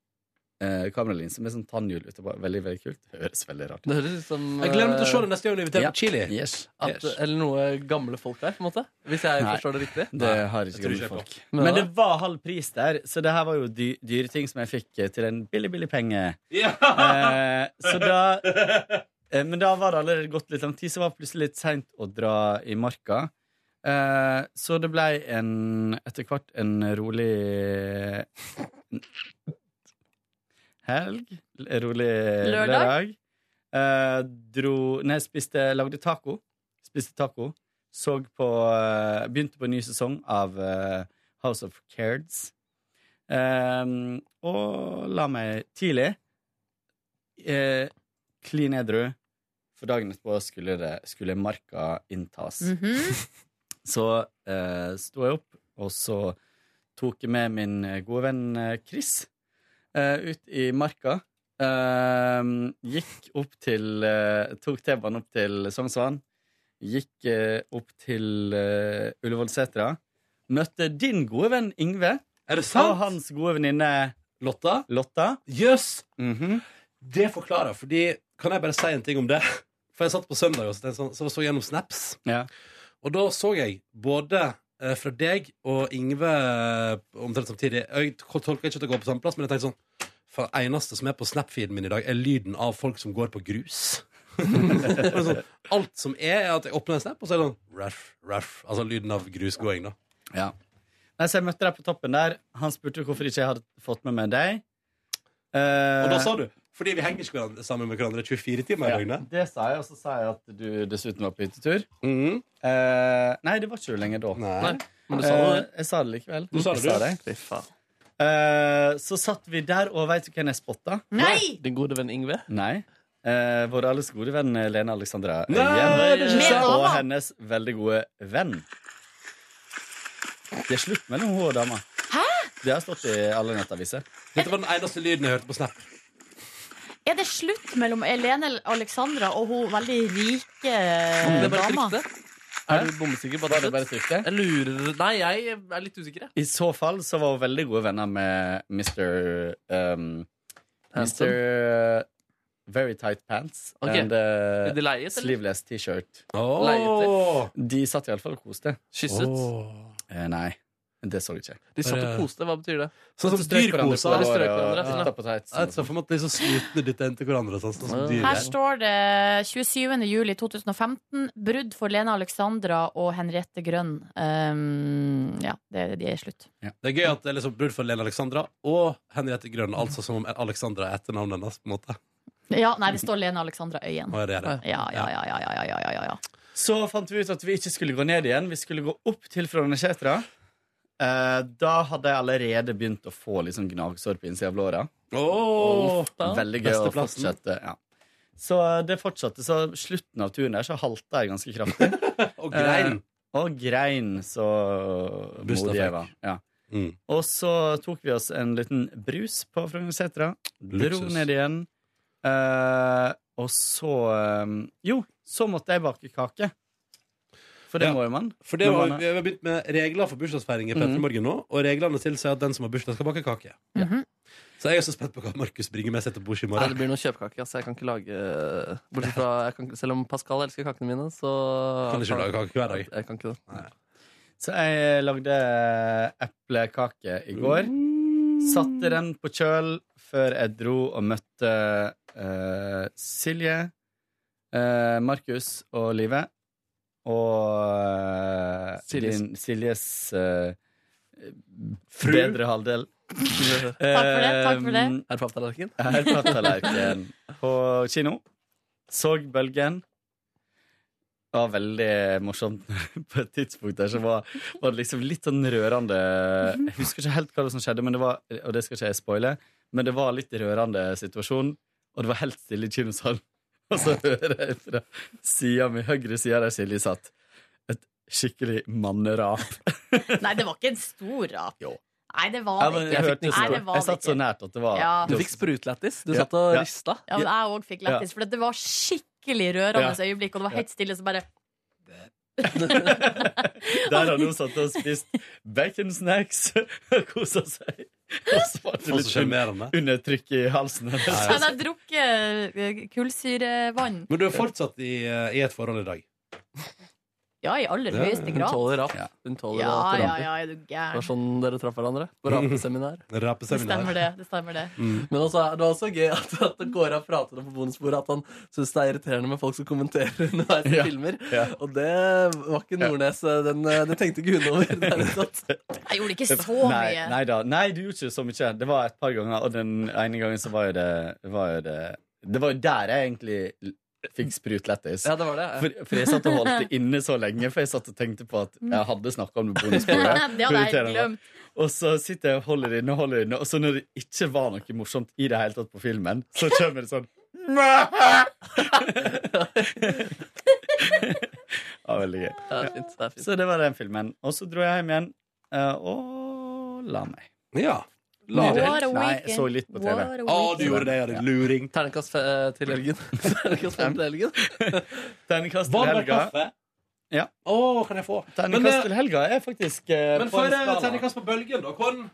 [SPEAKER 11] eh, kameralinse med sånn tannhjul utenpå. Veldig, veldig kult. Det høres veldig rart
[SPEAKER 4] Det høres ut som eh,
[SPEAKER 2] Jeg gleder meg til å se det neste gang du inviterer
[SPEAKER 11] Ja.
[SPEAKER 2] på chili.
[SPEAKER 11] Yes.
[SPEAKER 4] At, Eller noe gamle folk der, på en måte. Hvis jeg
[SPEAKER 11] Nei.
[SPEAKER 4] forstår det riktig.
[SPEAKER 11] Det har ikke
[SPEAKER 2] tror
[SPEAKER 11] gamle
[SPEAKER 2] ikke jeg
[SPEAKER 11] folk.
[SPEAKER 4] på.
[SPEAKER 11] Men det var halv pris der, så det her var jo dy dyre ting som jeg fikk eh, til en billig, billig penge. Eh, så da eh, Men da var det allerede gått litt lang tid, så var det plutselig litt seint å dra i marka. Eh, så det blei en etter hvert en rolig helg. l- Rolig
[SPEAKER 5] Lørdag.
[SPEAKER 11] lørdag. Eh, dro Nei, spiste Lagde taco. Spiste taco. Så på eh, Begynte på en ny sesong av eh, House of Cards. Eh, og la meg tidlig. Eh, Klin edru. For dagen etterpå skulle, det, skulle marka inntas. Så eh, sto jeg opp, og så tok jeg med min gode venn eh, Chris eh, ut i marka. Eh, gikk opp til eh, Tok T-banen opp til Sognsvann. Gikk eh, opp til eh, Ullevålsetra. Møtte din gode venn Yngve.
[SPEAKER 2] Er det sant?
[SPEAKER 11] Og hans gode venninne
[SPEAKER 2] Lotta.
[SPEAKER 11] Lotta.
[SPEAKER 2] Jøss! Det forklarer, fordi Kan jeg bare si en ting om det? For jeg satt på søndag og så, tenkte jeg sånn- så så jeg gjennom snaps. Og da så jeg både eh, fra deg og Ingve eh, omtrent samtidig Jeg tolker ikke at det går på samme plass, men jeg tenkte sånn For det eneste som er på Snap-feeden min i dag, er lyden av folk som går på grus. Og det er sånn, alt som er, er at jeg åpner en snap, og så er det sånn ruff, ruff. Altså lyden av grusgåing, da.
[SPEAKER 11] Ja. Nei, så jeg møtte deg på toppen der. Han spurte hvorfor ikke jeg hadde fått med meg deg. Eh,
[SPEAKER 2] Og da sa du fordi vi henger ikke hverandre- sammen med hverandre 24 timer i døgnet.
[SPEAKER 11] Det sa jeg, og så sa jeg at du dessuten var på hyttetur. Eh, nei, det var ikke jo lenger da.
[SPEAKER 2] Mhm. Nei, men du sa det.
[SPEAKER 11] Eh, jeg sa det likevel.
[SPEAKER 2] Du sa det, du.
[SPEAKER 11] Jeg Eh, så satt vi der, og veit du hvem jeg spotta?
[SPEAKER 3] Nei!
[SPEAKER 4] Din gode venn Yngve?
[SPEAKER 11] Nei. Eh, vår alles gode venn eh, Lene Alexandra
[SPEAKER 4] Nei,
[SPEAKER 11] Øyen.
[SPEAKER 4] det er ikke sant.
[SPEAKER 11] Og hennes veldig gode venn. Det er slutt mellom hun og dama.
[SPEAKER 3] Hæ?
[SPEAKER 11] Det har stått i alle nettaviser.
[SPEAKER 2] Dette var den eneste lyden jeg hørte på Snap.
[SPEAKER 3] Er det slutt mellom Elene Alexandra og hun veldig rike
[SPEAKER 4] Om det bare
[SPEAKER 3] dama?
[SPEAKER 4] Er du bombesikker på at
[SPEAKER 11] Var det bare trykte?
[SPEAKER 4] Jeg lurer Nei, jeg er litt usikker. jeg.
[SPEAKER 11] I så fall så var hun veldig gode venner med Mr. Um,
[SPEAKER 4] Handsome.
[SPEAKER 11] Mr. Very Tight Pants
[SPEAKER 4] Ok.
[SPEAKER 11] and uh,
[SPEAKER 4] Er de leiet, eller?
[SPEAKER 11] Sleeveless T-shirt.
[SPEAKER 2] Oh.
[SPEAKER 4] Leiet
[SPEAKER 11] De satt iallfall og koste.
[SPEAKER 4] Kysset?
[SPEAKER 11] Eh, nei, det så jeg ikke.
[SPEAKER 4] De satt og koste. Hva betyr det?
[SPEAKER 2] Sånn som
[SPEAKER 11] Strøk
[SPEAKER 2] dyr
[SPEAKER 11] hverandre
[SPEAKER 2] koser.
[SPEAKER 11] på
[SPEAKER 2] Ja, de
[SPEAKER 11] håret
[SPEAKER 2] strøk
[SPEAKER 11] og
[SPEAKER 2] hverandre,
[SPEAKER 11] dytta på
[SPEAKER 2] Jeg
[SPEAKER 11] tightsen.
[SPEAKER 2] ser for meg at de er så slitne dytter inn til hverandre. Sånn, sånn som dyr
[SPEAKER 3] Her
[SPEAKER 2] er.
[SPEAKER 3] står det 27. juli 2015. Brudd for Lene Alexandra og Henriette Grønn. Um, ja, det, de er slutt.
[SPEAKER 2] Det er gøy at det er liksom brudd for Lene Alexandra og Henriette Grønn. Altså som om Alexandra er etternavnet hennes. på en måte
[SPEAKER 3] Ja, nei, det står Lene Alexandra Øyen.
[SPEAKER 2] Å, ja, det er det.
[SPEAKER 3] Ja, ja, ja, ja, ja, ja, ja, ja, ja.
[SPEAKER 11] Så fant vi ut at vi ikke skulle gå ned igjen. Vi skulle gå opp til Frognersetra. Eh, da hadde jeg allerede begynt å få litt sånn gnagsår på innsida av låra.
[SPEAKER 2] Åh, da.
[SPEAKER 11] Veldig gøy å
[SPEAKER 2] Besteplassen.
[SPEAKER 11] fortsette. Ja. Så eh, det fortsatte. Så slutten av turen der så halta jeg ganske kraftig.
[SPEAKER 2] og grein.
[SPEAKER 11] Eh, og grein, så
[SPEAKER 2] Busta
[SPEAKER 11] modig
[SPEAKER 2] fikk.
[SPEAKER 11] jeg var. Ja.
[SPEAKER 2] Mm.
[SPEAKER 11] Og så tok vi oss en liten brus på Frognersetra. Dro
[SPEAKER 2] Luksus.
[SPEAKER 11] ned igjen. Eh, og så eh, Jo, så måtte jeg bake kake. For det må jo man.
[SPEAKER 2] For det
[SPEAKER 11] Når
[SPEAKER 2] var,
[SPEAKER 11] man er-
[SPEAKER 2] vi har begynt med regler for bursdagsfeiring i Petter
[SPEAKER 11] Mhm.
[SPEAKER 2] Morgen nå, og reglene tilsier at den som har bursdag, skal bake kake. Så jeg er så spent på hva Markus bringer med seg til bords i
[SPEAKER 4] Nei,
[SPEAKER 2] morgen.
[SPEAKER 4] det blir noe kjøpekake. Altså, jeg kan ikke lage eh, Bortsett fra jeg kan, ikke- Selv om Pascal elsker kakene mine, så
[SPEAKER 2] Kan ikke lage kake hver dag.
[SPEAKER 4] Jeg kan ikke det.
[SPEAKER 11] Så jeg lagde eplekake i går.
[SPEAKER 4] Mm.
[SPEAKER 11] Satte den på kjøl før jeg dro og møtte eh, Silje, eh, Markus og Live. Og eh,
[SPEAKER 4] Siljes.
[SPEAKER 11] din, Siljes eh,
[SPEAKER 4] Fru.
[SPEAKER 11] bedre halvdel.
[SPEAKER 4] Takk for det.
[SPEAKER 11] Eh,
[SPEAKER 4] Er det papptallerken?
[SPEAKER 11] her på tallerkenen på kino. Så bølgen. Det var veldig morsomt. På et tidspunkt der så var, var det liksom litt sånn rørende Jeg husker ikke helt hva det som skjedde, men det var, og det skal ikke jeg spoile, men det var litt rørende situasjon, og det var helt stille i kinosalen. Og så hører jeg fra sida mi, høyre sida der Silje satt, et skikkelig mannerap.
[SPEAKER 3] Nei, det var ikke en stor rap. Nei, det var
[SPEAKER 11] Jeg,
[SPEAKER 3] det
[SPEAKER 11] men,
[SPEAKER 3] ikke.
[SPEAKER 11] jeg,
[SPEAKER 3] Nei,
[SPEAKER 11] hørte
[SPEAKER 3] det
[SPEAKER 11] det.
[SPEAKER 3] var
[SPEAKER 11] jeg
[SPEAKER 3] det
[SPEAKER 11] satt sånn, så nært at det var
[SPEAKER 3] Ja. Du
[SPEAKER 4] fikk sprutlættis?
[SPEAKER 11] Du satt og
[SPEAKER 4] rista?
[SPEAKER 3] Ja, men jeg òg fikk lættis, for det var skikkelig rørende
[SPEAKER 11] Ja.
[SPEAKER 3] øyeblikk, og det var helt stille, så bare
[SPEAKER 11] Der har noen satt og spist bacon snacks og kosa seg. Og så var det
[SPEAKER 2] Faen, så
[SPEAKER 11] litt un-
[SPEAKER 2] sjarmerende.
[SPEAKER 11] undertrykk i halsen hennes.
[SPEAKER 3] Så hadde jeg drukket eh, kullsyrevann.
[SPEAKER 2] Men du er fortsatt i, eh, i et forhold i dag.
[SPEAKER 3] Ja, i aller høyeste grad.
[SPEAKER 4] Hun tåler rapp. Hun tåler
[SPEAKER 3] Ja,
[SPEAKER 4] alt på
[SPEAKER 3] ja,
[SPEAKER 4] ramper.
[SPEAKER 3] ja, er du
[SPEAKER 4] Det var
[SPEAKER 3] gæren.
[SPEAKER 4] sånn dere traff hverandre. På rapeseminar.
[SPEAKER 3] Det stemmer det. det, stemmer det.
[SPEAKER 2] Mm.
[SPEAKER 4] Men også, det var også gøy at, at det går av prater om på bonusbordet at han syns det er irriterende med folk som kommenterer underveis i
[SPEAKER 11] Ja,
[SPEAKER 4] filmer.
[SPEAKER 11] ja.
[SPEAKER 4] Og det var ikke Nordnes. Den, eh, det tenkte ikke hun over. Det er litt sånn- godt.
[SPEAKER 3] Jeg gjorde ikke så
[SPEAKER 11] Nei,
[SPEAKER 3] mye.
[SPEAKER 11] nei da. Nei, du gjorde ikke så mye. Det var et par ganger, og den ene gangen så var jo det var jo det, det var jo der jeg egentlig fikk sprutlættis.
[SPEAKER 4] Ja, det var det, ja.
[SPEAKER 11] for, for jeg satt og holdt det inne så lenge, for jeg satt og tenkte på at jeg hadde snakka om det på bonusbordet.
[SPEAKER 3] Det hadde jeg
[SPEAKER 11] Prioriterer meg.
[SPEAKER 3] glemt.
[SPEAKER 11] Og så sitter jeg og holder det inne, og holder det inne, og så når det ikke var noe morsomt i det hele tatt på filmen, så kommer det sånn Ja, veldig gøy.
[SPEAKER 4] Det er fint, det er fint.
[SPEAKER 11] Så det var den filmen. Og så dro jeg hjem igjen eh, og la meg.
[SPEAKER 2] Ja.
[SPEAKER 4] La deg.
[SPEAKER 11] Nydelig.
[SPEAKER 4] What a
[SPEAKER 11] Nei,
[SPEAKER 4] weekend.
[SPEAKER 11] jeg så litt på TV.
[SPEAKER 4] What a Å, du gjorde det, ja, din
[SPEAKER 2] luring.
[SPEAKER 4] Terningkast eh, til helgen. Terningkast fem til helgen.
[SPEAKER 11] Terningkast
[SPEAKER 4] Hva
[SPEAKER 11] til
[SPEAKER 4] med
[SPEAKER 11] helga.
[SPEAKER 4] kaffe?
[SPEAKER 11] Ja.
[SPEAKER 2] kan jeg få? Men, eh,
[SPEAKER 11] Terningkast til helga er faktisk eh,
[SPEAKER 2] Men
[SPEAKER 11] på
[SPEAKER 2] for
[SPEAKER 11] en skala.
[SPEAKER 2] terningkast på bølgen, da, Kåren?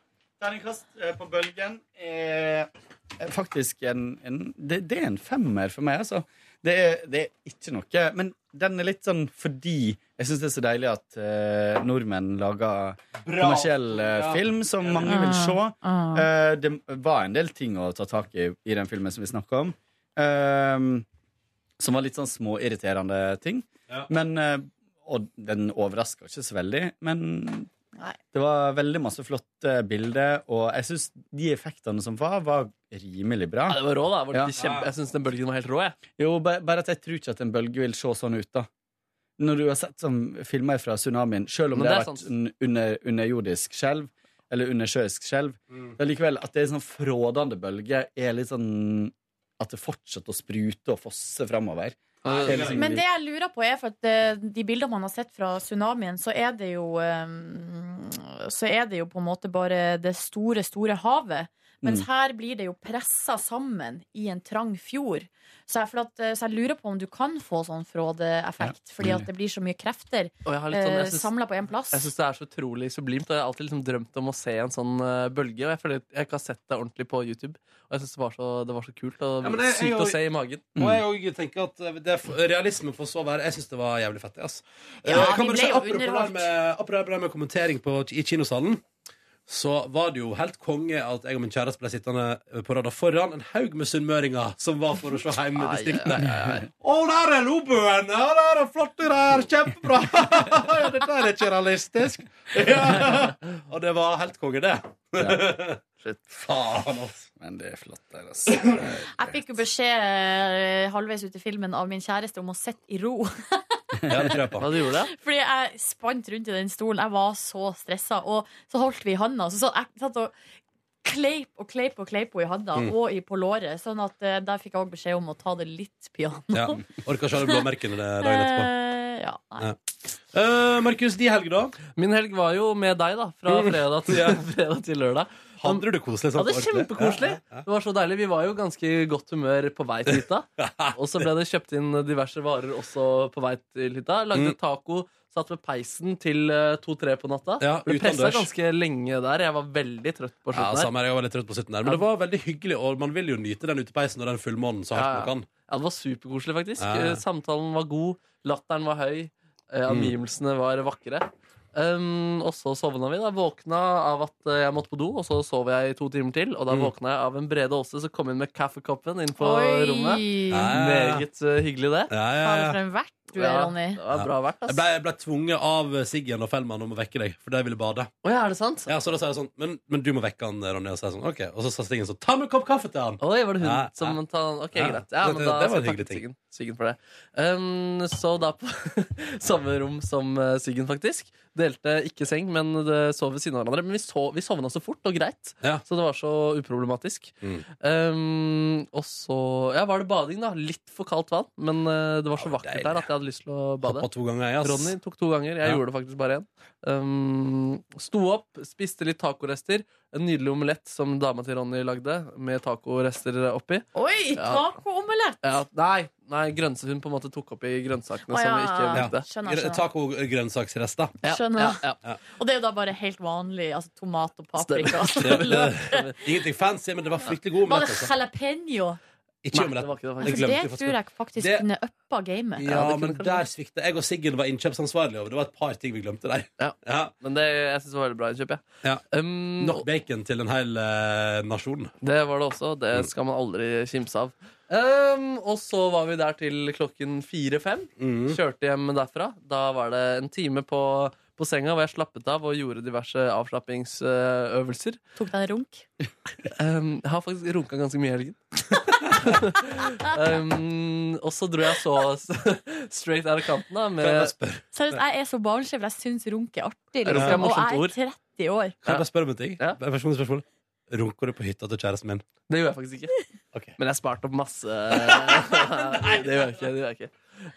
[SPEAKER 11] Terningkast eh, på bølgen er faktisk en, en det, det er en femmer for meg, altså. Det er, det er ikke noe Men den er litt sånn fordi jeg syns det er så deilig at eh, nordmenn lager
[SPEAKER 5] Bra.
[SPEAKER 11] kommersiell eh,
[SPEAKER 5] Ja.
[SPEAKER 11] film som mange vil se. Eh, det var en del ting å ta tak i i den filmen som vi snakka om, eh, som var litt sånn småirriterende ting.
[SPEAKER 5] Ja.
[SPEAKER 11] Men eh, Og den overraska ikke så veldig, men det var veldig masse flotte bilder, og jeg syns de effektene som var, var rimelig bra.
[SPEAKER 4] Ja, det var rå, da. Var det
[SPEAKER 11] Ja.
[SPEAKER 4] ikke kjempe... Jeg syns den bølgen var helt rå. Jeg.
[SPEAKER 11] Jo, bare, bare at jeg tror ikke at en bølge vil se sånn ut, da. Når du har sett sånn filmer fra tsunamien, selv om
[SPEAKER 4] Men
[SPEAKER 11] det
[SPEAKER 4] det
[SPEAKER 11] har
[SPEAKER 4] er
[SPEAKER 11] vært
[SPEAKER 4] sant.
[SPEAKER 11] en under, underjordisk skjelv, eller undersjøisk skjelv, det er likevel at det er en sånn frådende bølge, er litt sånn at det fortsetter å sprute og fosse framover. liksom
[SPEAKER 3] Men det jeg lurer på er for at eh, de bildene man har sett fra tsunamien, så er det jo eh, Så er det jo på en måte bare det store, store havet. Mens
[SPEAKER 12] Mm.
[SPEAKER 3] her blir det jo pressa sammen i en trang fjord. Så jeg, for at, eh, så jeg lurer på om du kan få sånn frådeeffekt, fordi at det blir så mye krefter
[SPEAKER 4] Og jeg har litt sånn- jeg synes-
[SPEAKER 3] samla Eh, på én plass.
[SPEAKER 4] Jeg syns det er så utrolig sublimt. Og jeg har alltid liksom drømt om å se en sånn eh, bølge. Og jeg føler at jeg ikke har sett det ordentlig på YouTube. Og jeg syns det, var så- det var så kult og
[SPEAKER 2] Ja, men jeg-
[SPEAKER 4] sykt
[SPEAKER 2] jeg- Mm.
[SPEAKER 4] å se i magen. Mm.
[SPEAKER 2] Og jeg òg tenker at eh, det, realismen får så være. Jeg syns det var jævlig fett. ass. Eh,
[SPEAKER 5] Ja,
[SPEAKER 2] jeg
[SPEAKER 5] vi
[SPEAKER 2] kan bare
[SPEAKER 5] ble
[SPEAKER 2] si,
[SPEAKER 5] jo
[SPEAKER 2] apropos det her
[SPEAKER 5] underholdt.
[SPEAKER 2] med- Apropos det her med kommentering på, i kinosalen, så var det jo helt konge at jeg og min kjæreste ble sittende på rada foran en haug med sunnmøringer som var for å se
[SPEAKER 5] Ai, ai,
[SPEAKER 2] heimedistriktene.
[SPEAKER 5] ai.
[SPEAKER 2] Å, der er Lobuen! Ja, der er flotte der! Kjempebra! ja, det der er ikke realistisk. ja. Og det var helt konge, det. Faen, altså.
[SPEAKER 11] Men det er flott der, altså.
[SPEAKER 3] Jeg fikk jo beskjed eh, halvveis ut i filmen av min kjæreste om å sitte i ro.
[SPEAKER 2] Ja, det tror jeg på.
[SPEAKER 4] Hva du gjorde det?
[SPEAKER 3] Fordi jeg spant rundt i den stolen. Jeg var så stressa. Og så holdt vi i handa. Så satt jeg satt og kleip og kleip og kleip henne i handa
[SPEAKER 2] Mm.
[SPEAKER 3] og i, på låret. Sånn at eh, der fikk jeg òg beskjed om å ta det litt piano.
[SPEAKER 2] Ja. Orka ikke alle blåmerkene det dagen etterpå.
[SPEAKER 3] Eh, Ja, nei.
[SPEAKER 2] Nei. Markus, de helg, da?
[SPEAKER 4] Min helg var jo med deg, da. Fra
[SPEAKER 2] Mm.
[SPEAKER 4] fredag til,
[SPEAKER 2] Ja.
[SPEAKER 4] fredag til lørdag.
[SPEAKER 2] Hadde du det koselig?
[SPEAKER 4] Ja,
[SPEAKER 2] sånn
[SPEAKER 4] det er
[SPEAKER 2] på ordentlig?
[SPEAKER 4] kjempekoselig.
[SPEAKER 2] Ja, ja, ja.
[SPEAKER 4] Det var så deilig. Vi var jo ganske i godt humør på vei til hytta. Og så ble det kjøpt inn diverse varer også på vei til hytta. Lagde
[SPEAKER 2] Mm.
[SPEAKER 4] taco, satt ved peisen til eh, to-tre på natta.
[SPEAKER 2] Ja,
[SPEAKER 4] ble pressa
[SPEAKER 2] utendørs.
[SPEAKER 4] ganske lenge der. Jeg var veldig trøtt på
[SPEAKER 2] Ja,
[SPEAKER 4] slutten.
[SPEAKER 2] samme her, jeg var litt trøtt på slutten her Men det var veldig hyggelig, og man vil jo nyte den utepeisen og den fullmånen så hardt
[SPEAKER 4] Ja, ja.
[SPEAKER 2] man kan.
[SPEAKER 4] Ja, det var superkoselig, faktisk.
[SPEAKER 2] Ja, ja.
[SPEAKER 4] Eh,
[SPEAKER 2] Mm.
[SPEAKER 4] Samtalen var god, latteren var høy, eh, omgivelsene var vakre. Um, og så sovna vi. da Våkna av at eh, jeg måtte på do, og så sov jeg i to timer til. Og da
[SPEAKER 2] Mm.
[SPEAKER 4] våkna jeg av en Brede Aase som kom inn med kaffekoppen inn på
[SPEAKER 3] Oi.
[SPEAKER 4] rommet.
[SPEAKER 3] Ja, ja, ja.
[SPEAKER 4] Meget eh, hyggelig, det.
[SPEAKER 3] Faen, for en vert du er,
[SPEAKER 4] Ja,
[SPEAKER 3] Ronny.
[SPEAKER 4] det var bra vert, ass.
[SPEAKER 2] Jeg ble, jeg ble tvunget av Siggen og Fellmann om å vekke deg, for de ville bade.
[SPEAKER 4] Å ja, er det sant?
[SPEAKER 2] Ja, så da sa jeg sånn Men, men du må vekke han, Ronny. Og så sa jeg sånn, ok Og så sa Siggen sånn Ta med en kopp kaffe til han!
[SPEAKER 4] Oi, var det hun
[SPEAKER 2] Ja,
[SPEAKER 4] som
[SPEAKER 2] ja.
[SPEAKER 4] ta, Ok,
[SPEAKER 2] Ja,
[SPEAKER 4] greit. Ja,
[SPEAKER 2] det-
[SPEAKER 4] men
[SPEAKER 2] det-
[SPEAKER 4] da
[SPEAKER 2] det var en
[SPEAKER 4] skal jeg
[SPEAKER 2] hyggelig
[SPEAKER 4] takke Siggen, Siggen for det. Um, så da på samme rom som eh, Siggen, faktisk. Delte ikke seng, men det sov ved siden av hverandre. Men vi, sov, vi sovna så fort og greit, så det var så uproblematisk.
[SPEAKER 2] Mm.
[SPEAKER 4] Um, og så ja, var det bading, da. Litt for kaldt vann, men eh, det var så vakkert der at jeg hadde lyst til å bade.
[SPEAKER 2] Hoppa to ganger, jeg, ass.
[SPEAKER 4] Ronny tok to ganger. Jeg
[SPEAKER 2] Ja.
[SPEAKER 4] gjorde det faktisk bare én. Um, sto opp, spiste litt tacorester. En nydelig omelett som dama til Ronny lagde, med tacorester oppi.
[SPEAKER 3] Oi,
[SPEAKER 4] Ja.
[SPEAKER 3] tacoomelett!
[SPEAKER 4] Ja, nei, nei grønse, hun på en måte tok opp i grønnsakene
[SPEAKER 3] Å,
[SPEAKER 4] som vi
[SPEAKER 3] ja.
[SPEAKER 4] ikke brukte.
[SPEAKER 3] Skjønner, skjønner.
[SPEAKER 2] Taco-grønnsaksrester.
[SPEAKER 3] Skjønner.
[SPEAKER 4] Ja,
[SPEAKER 3] Og det er jo da bare helt vanlig. Altså tomat og paprika.
[SPEAKER 2] Det- det- Ingenting fancy, men det var fryktelig god
[SPEAKER 3] Var
[SPEAKER 2] omelett.
[SPEAKER 3] det
[SPEAKER 2] Altså.
[SPEAKER 3] jalapeño?
[SPEAKER 2] Ikke omelett.
[SPEAKER 3] For
[SPEAKER 2] Jeg glemte
[SPEAKER 3] det
[SPEAKER 2] faktisk.
[SPEAKER 3] tror jeg faktisk
[SPEAKER 2] Det-
[SPEAKER 3] kunne uppa gamet.
[SPEAKER 2] Ja, men der svikta jeg og Siggen var innkjøpsansvarlige. over. Det var et par ting vi glemte der.
[SPEAKER 4] Ja. Men det, jeg syns det var veldig bra innkjøp. jeg.
[SPEAKER 2] Ja.
[SPEAKER 4] Um,
[SPEAKER 2] Nok bacon til en hel eh, nasjon. Mm.
[SPEAKER 4] Det var det også. Det skal man aldri kimse av. Um, og så var vi der til klokken fire-fem.
[SPEAKER 2] Mm.
[SPEAKER 4] Kjørte hjem derfra. Da var det en time på, på senga hvor jeg slappet av og gjorde diverse avslappingsøvelser.
[SPEAKER 3] Tok deg en runk?
[SPEAKER 4] Um, jeg har faktisk runka ganske mye i helgen. um, og så dro jeg så straight out of kanten da, med
[SPEAKER 2] Kan jeg bare spørre?
[SPEAKER 3] Seriøst, jeg er så barnslig, for jeg syns runk er artig.
[SPEAKER 2] Runk er
[SPEAKER 3] Liksom. Og
[SPEAKER 2] morsomt
[SPEAKER 3] jeg
[SPEAKER 2] ord.
[SPEAKER 3] er 30 år.
[SPEAKER 2] Kan jeg bare spørre om en ting? Personlig spørsmål. Runker du på hytta til kjæresten min?
[SPEAKER 4] Det gjorde jeg faktisk ikke. Men jeg sparte opp masse. Nei, det gjør jeg ikke. Det gjør jeg ikke.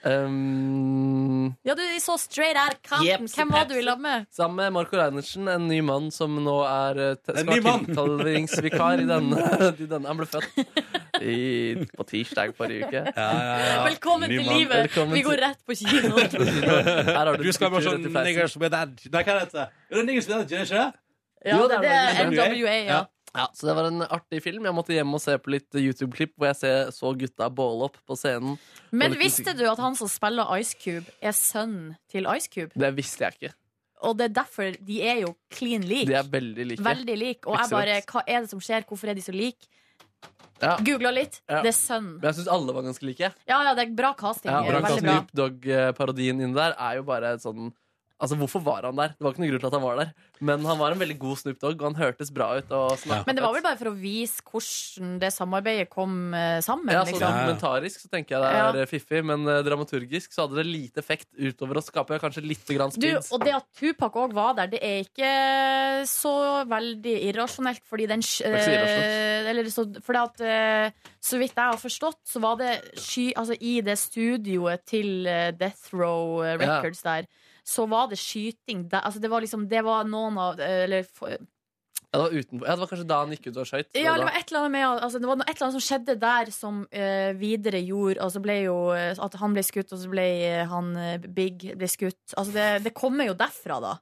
[SPEAKER 4] Um,
[SPEAKER 3] Ja, du så straight out of kanten.
[SPEAKER 4] Jepsi,
[SPEAKER 3] Hvem var du i
[SPEAKER 4] pepsi.
[SPEAKER 3] lag med?
[SPEAKER 4] Sammen med Marco Reinertsen, en ny mann som nå er eh, te-
[SPEAKER 2] En
[SPEAKER 4] skal
[SPEAKER 2] ny
[SPEAKER 4] være
[SPEAKER 2] mann!
[SPEAKER 4] tilkallingsvikar i denne, i denne. Han ble født i, på tirsdag forrige uke.
[SPEAKER 3] Velkommen til livet! Vi går rett på kino.
[SPEAKER 4] Her har du,
[SPEAKER 2] Du skal
[SPEAKER 4] strukturet
[SPEAKER 2] bare sånn
[SPEAKER 4] til fleisen.
[SPEAKER 2] niggers with that Nei, hva heter det? Jo, det er niggers with that, ikke det?
[SPEAKER 3] Ja,
[SPEAKER 4] Jo,
[SPEAKER 3] det,
[SPEAKER 4] er
[SPEAKER 3] det er
[SPEAKER 4] vel-
[SPEAKER 3] NWA, ja.
[SPEAKER 4] ja. Så det var en artig film. Jeg måtte hjem og se på litt YouTube-klipp hvor jeg se- så gutta båle opp på scenen.
[SPEAKER 3] Men
[SPEAKER 4] Og litt
[SPEAKER 3] visste
[SPEAKER 4] musikk.
[SPEAKER 3] du at han som spiller Ice Cube, er sønnen til Ice Cube?
[SPEAKER 4] Det visste jeg ikke.
[SPEAKER 3] Og det er derfor de er jo clean
[SPEAKER 4] De
[SPEAKER 3] like.
[SPEAKER 4] er veldig like.
[SPEAKER 3] Veldig like. Og jeg bare
[SPEAKER 4] Ikke sant?
[SPEAKER 3] Hva er det som skjer? Hvorfor er de så like?
[SPEAKER 4] Ja.
[SPEAKER 3] Googla litt.
[SPEAKER 4] Ja.
[SPEAKER 3] Det er sønnen.
[SPEAKER 4] Men jeg syns alle var ganske like.
[SPEAKER 3] Ja, ja, det er bra casting.
[SPEAKER 4] Ja,
[SPEAKER 3] Veldig
[SPEAKER 4] Brankas
[SPEAKER 3] bra.
[SPEAKER 4] Snoop Dogg-parodien inni der er jo bare et sånn Altså, Hvorfor var han der? Det var ikke noen grunn til at han var der. Men han var en veldig god Snoop Dogg, og han hørtes bra ut. Og snakket
[SPEAKER 3] Men det var
[SPEAKER 4] fett.
[SPEAKER 3] vel bare for å vise hvordan det samarbeidet kom eh, sammen.
[SPEAKER 4] ja, sånn
[SPEAKER 3] liksom.
[SPEAKER 4] Dokumentarisk så tenker jeg det
[SPEAKER 3] Ja.
[SPEAKER 4] er eh, fiffig, men eh, dramaturgisk så hadde det lite effekt utover å skape kanskje litt grann
[SPEAKER 3] Du,
[SPEAKER 4] splid.
[SPEAKER 3] og det at Tupac òg var der, det er ikke så veldig irrasjonelt, fordi den sj-
[SPEAKER 4] Det er ikke så
[SPEAKER 3] eh, eller så, Fordi at eh, så vidt jeg har forstått, så var det sky Altså i det studioet til eh, Death Row eh,
[SPEAKER 4] Ja.
[SPEAKER 3] Records der, så var det skyting der. Altså det var liksom Det var noen av eh, Eller for-
[SPEAKER 4] Ja, det, var utenfor. Ja, det var kanskje da han gikk ut og skøyt.
[SPEAKER 3] Ja, det var et eller annet med altså, Det var noe- et eller annet som skjedde der som eh, videre gjorde altså, ble jo, eh, At han ble skutt, og så ble eh, han eh, Big ble skutt. Altså, det, det kommer jo derfra, da.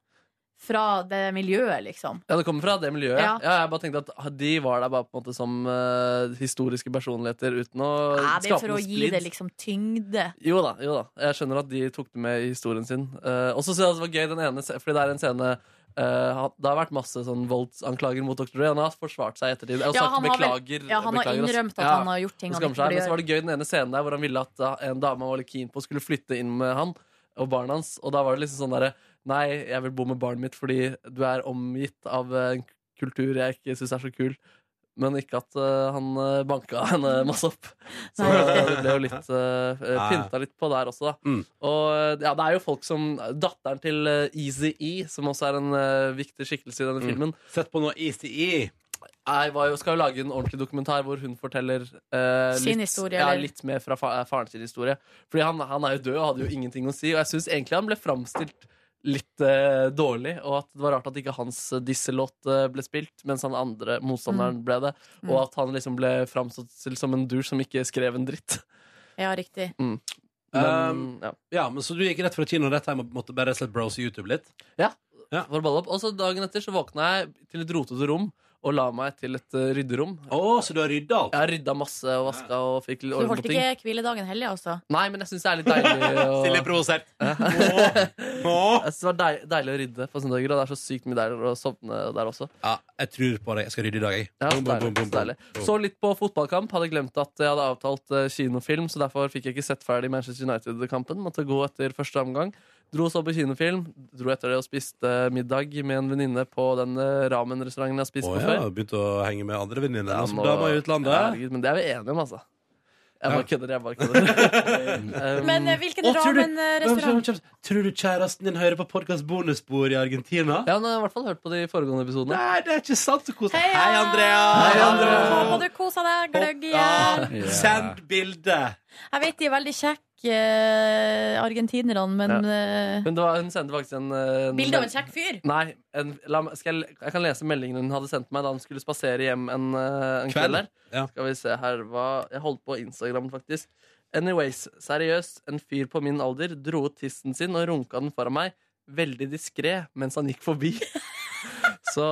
[SPEAKER 3] Fra det miljøet, liksom.
[SPEAKER 4] Ja, det kommer fra det miljøet. Ja.
[SPEAKER 3] Ja.
[SPEAKER 4] jeg bare tenkte at De var der bare på en måte som eh, historiske personligheter uten å
[SPEAKER 3] Nei, det er
[SPEAKER 4] skape
[SPEAKER 3] for å
[SPEAKER 4] noe
[SPEAKER 3] gi
[SPEAKER 4] splid.
[SPEAKER 3] det liksom tyngde.
[SPEAKER 4] Jo da, jo da. Jeg skjønner at de tok det med i historien sin. Eh, og så synes jeg det var gøy den ene, se- fordi det er en scene eh, han- Det har vært masse sånn voldsanklager mot Dr. Dre. Han har forsvart seg i ettertid. Og
[SPEAKER 3] Ja,
[SPEAKER 4] sagt
[SPEAKER 3] han har vel-
[SPEAKER 4] beklager.
[SPEAKER 3] ja, han har
[SPEAKER 4] beklager, ass.
[SPEAKER 3] innrømt at han har gjort ting
[SPEAKER 4] og
[SPEAKER 3] han
[SPEAKER 4] skammer
[SPEAKER 3] ikke burde
[SPEAKER 4] seg. Men så
[SPEAKER 3] gjøre.
[SPEAKER 4] var det gøy den ene scenen der hvor han ville at da, en dame han var litt keen på, skulle flytte inn med han og barna hans. Og da var det liksom sånn derre Nei, jeg vil bo med barnet mitt fordi du er omgitt av eh, en kultur jeg ikke syns er så kul. Men ikke at eh, han eh, banka henne masse opp. Så det ble jo litt eh,
[SPEAKER 2] Ja.
[SPEAKER 4] pynta litt på der også, da.
[SPEAKER 2] Mm.
[SPEAKER 4] Og eh, ja, det er jo folk som Datteren
[SPEAKER 2] Mm.
[SPEAKER 4] til eh, Eazy-E, som også er en eh, viktig skikkelse i denne filmen
[SPEAKER 2] Sett på noe Eazy-E.
[SPEAKER 4] Jeg var jo, skal jo lage en ordentlig dokumentar hvor hun forteller eh,
[SPEAKER 3] Sin
[SPEAKER 4] litt,
[SPEAKER 3] historie,
[SPEAKER 4] ja,
[SPEAKER 3] eller?
[SPEAKER 4] litt mer fra fa eh, faren sin historie. Fordi han, han er jo død og hadde jo ingenting å si. Og jeg syns egentlig han ble framstilt litt eh, dårlig, og at det var rart at ikke hans eh, disselåt eh, ble spilt, mens han andre motstanderen
[SPEAKER 3] Mm.
[SPEAKER 4] ble det. Og
[SPEAKER 3] Mm.
[SPEAKER 4] at han liksom ble framstilt som en douche som ikke skrev en dritt.
[SPEAKER 3] Ja, riktig.
[SPEAKER 4] Mm.
[SPEAKER 2] Um, ja. men Så du gikk rett fra kino rett hjem og måtte bare rett og slett browse YouTube litt?
[SPEAKER 4] Ja. for å balle opp. Og så dagen etter så våkna jeg til et rotete rom og la meg til et eh, rydderom.
[SPEAKER 2] Oh, så du har rydda alt?
[SPEAKER 4] Jeg har rydda masse og vaska og fikk litt
[SPEAKER 3] Du
[SPEAKER 4] orden
[SPEAKER 3] holdt
[SPEAKER 4] på ting.
[SPEAKER 3] ikke hviledagen hellig, altså?
[SPEAKER 4] Nei, men jeg syns det er litt deilig å
[SPEAKER 12] Stille provosert.
[SPEAKER 4] Jeg synes det var deil, deilig å rydde på søndager, og det er så sykt mye deiligere å sovne der også.
[SPEAKER 2] Ja, jeg tror på deg. Jeg skal rydde i dag, jeg.
[SPEAKER 4] Ja,
[SPEAKER 2] Bom, bom,
[SPEAKER 4] deilig,
[SPEAKER 2] bom, bom,
[SPEAKER 4] så deilig.
[SPEAKER 2] bom.
[SPEAKER 4] Så litt på fotballkamp. Hadde glemt at jeg hadde avtalt eh, kinofilm, så derfor fikk jeg ikke sett ferdig Manchester United-kampen. Måtte gå etter første omgang. Dro så på kinofilm, dro etter det og spiste eh, middag med en venninne på den eh, ramen-restauranten jeg har spist
[SPEAKER 2] Å
[SPEAKER 4] på
[SPEAKER 2] ja,
[SPEAKER 4] før.
[SPEAKER 2] begynte å henge med andre venninner
[SPEAKER 4] Ja,
[SPEAKER 2] som
[SPEAKER 4] nå-
[SPEAKER 2] damer i utlandet.
[SPEAKER 4] Herregud, men det er vi enige om, altså. Jeg bare kødder, jeg bare kødder. Um,
[SPEAKER 3] Men eh, hvilken
[SPEAKER 2] Å, tror du- Vent,
[SPEAKER 3] ramen-restaurant?
[SPEAKER 2] vent, vent. Tror du kjæresten din hører på podkast bonusbord i Argentina?
[SPEAKER 4] Ja, han har i hvert fall hørt på de foregående episodene.
[SPEAKER 2] Nei, det er ikke sant! Så koselig.
[SPEAKER 3] Hei,
[SPEAKER 2] Hei, Andrea!
[SPEAKER 3] Hei,
[SPEAKER 2] Andrea!
[SPEAKER 3] Håper du koser deg, gløgg i hjel.
[SPEAKER 2] Ja. Send bilde!
[SPEAKER 3] Jeg vet de er veldig kjekke, eh, argentinerne, men eh,
[SPEAKER 4] Men det var, hun sendte faktisk en, eh, en
[SPEAKER 3] Bilde av en kjekk fyr?
[SPEAKER 4] Nei, en, la, meg- skal jeg, jeg kan lese meldingen hun hadde sendt meg da hun skulle spasere hjem en, eh, en kveld.
[SPEAKER 2] Kveld.
[SPEAKER 4] der. Skal vi se her hva Jeg holdt på Instagram, faktisk. Anyways, seriøst, en fyr på min alder dro ut tissen sin og runka den foran meg. Veldig diskré mens han gikk forbi. Så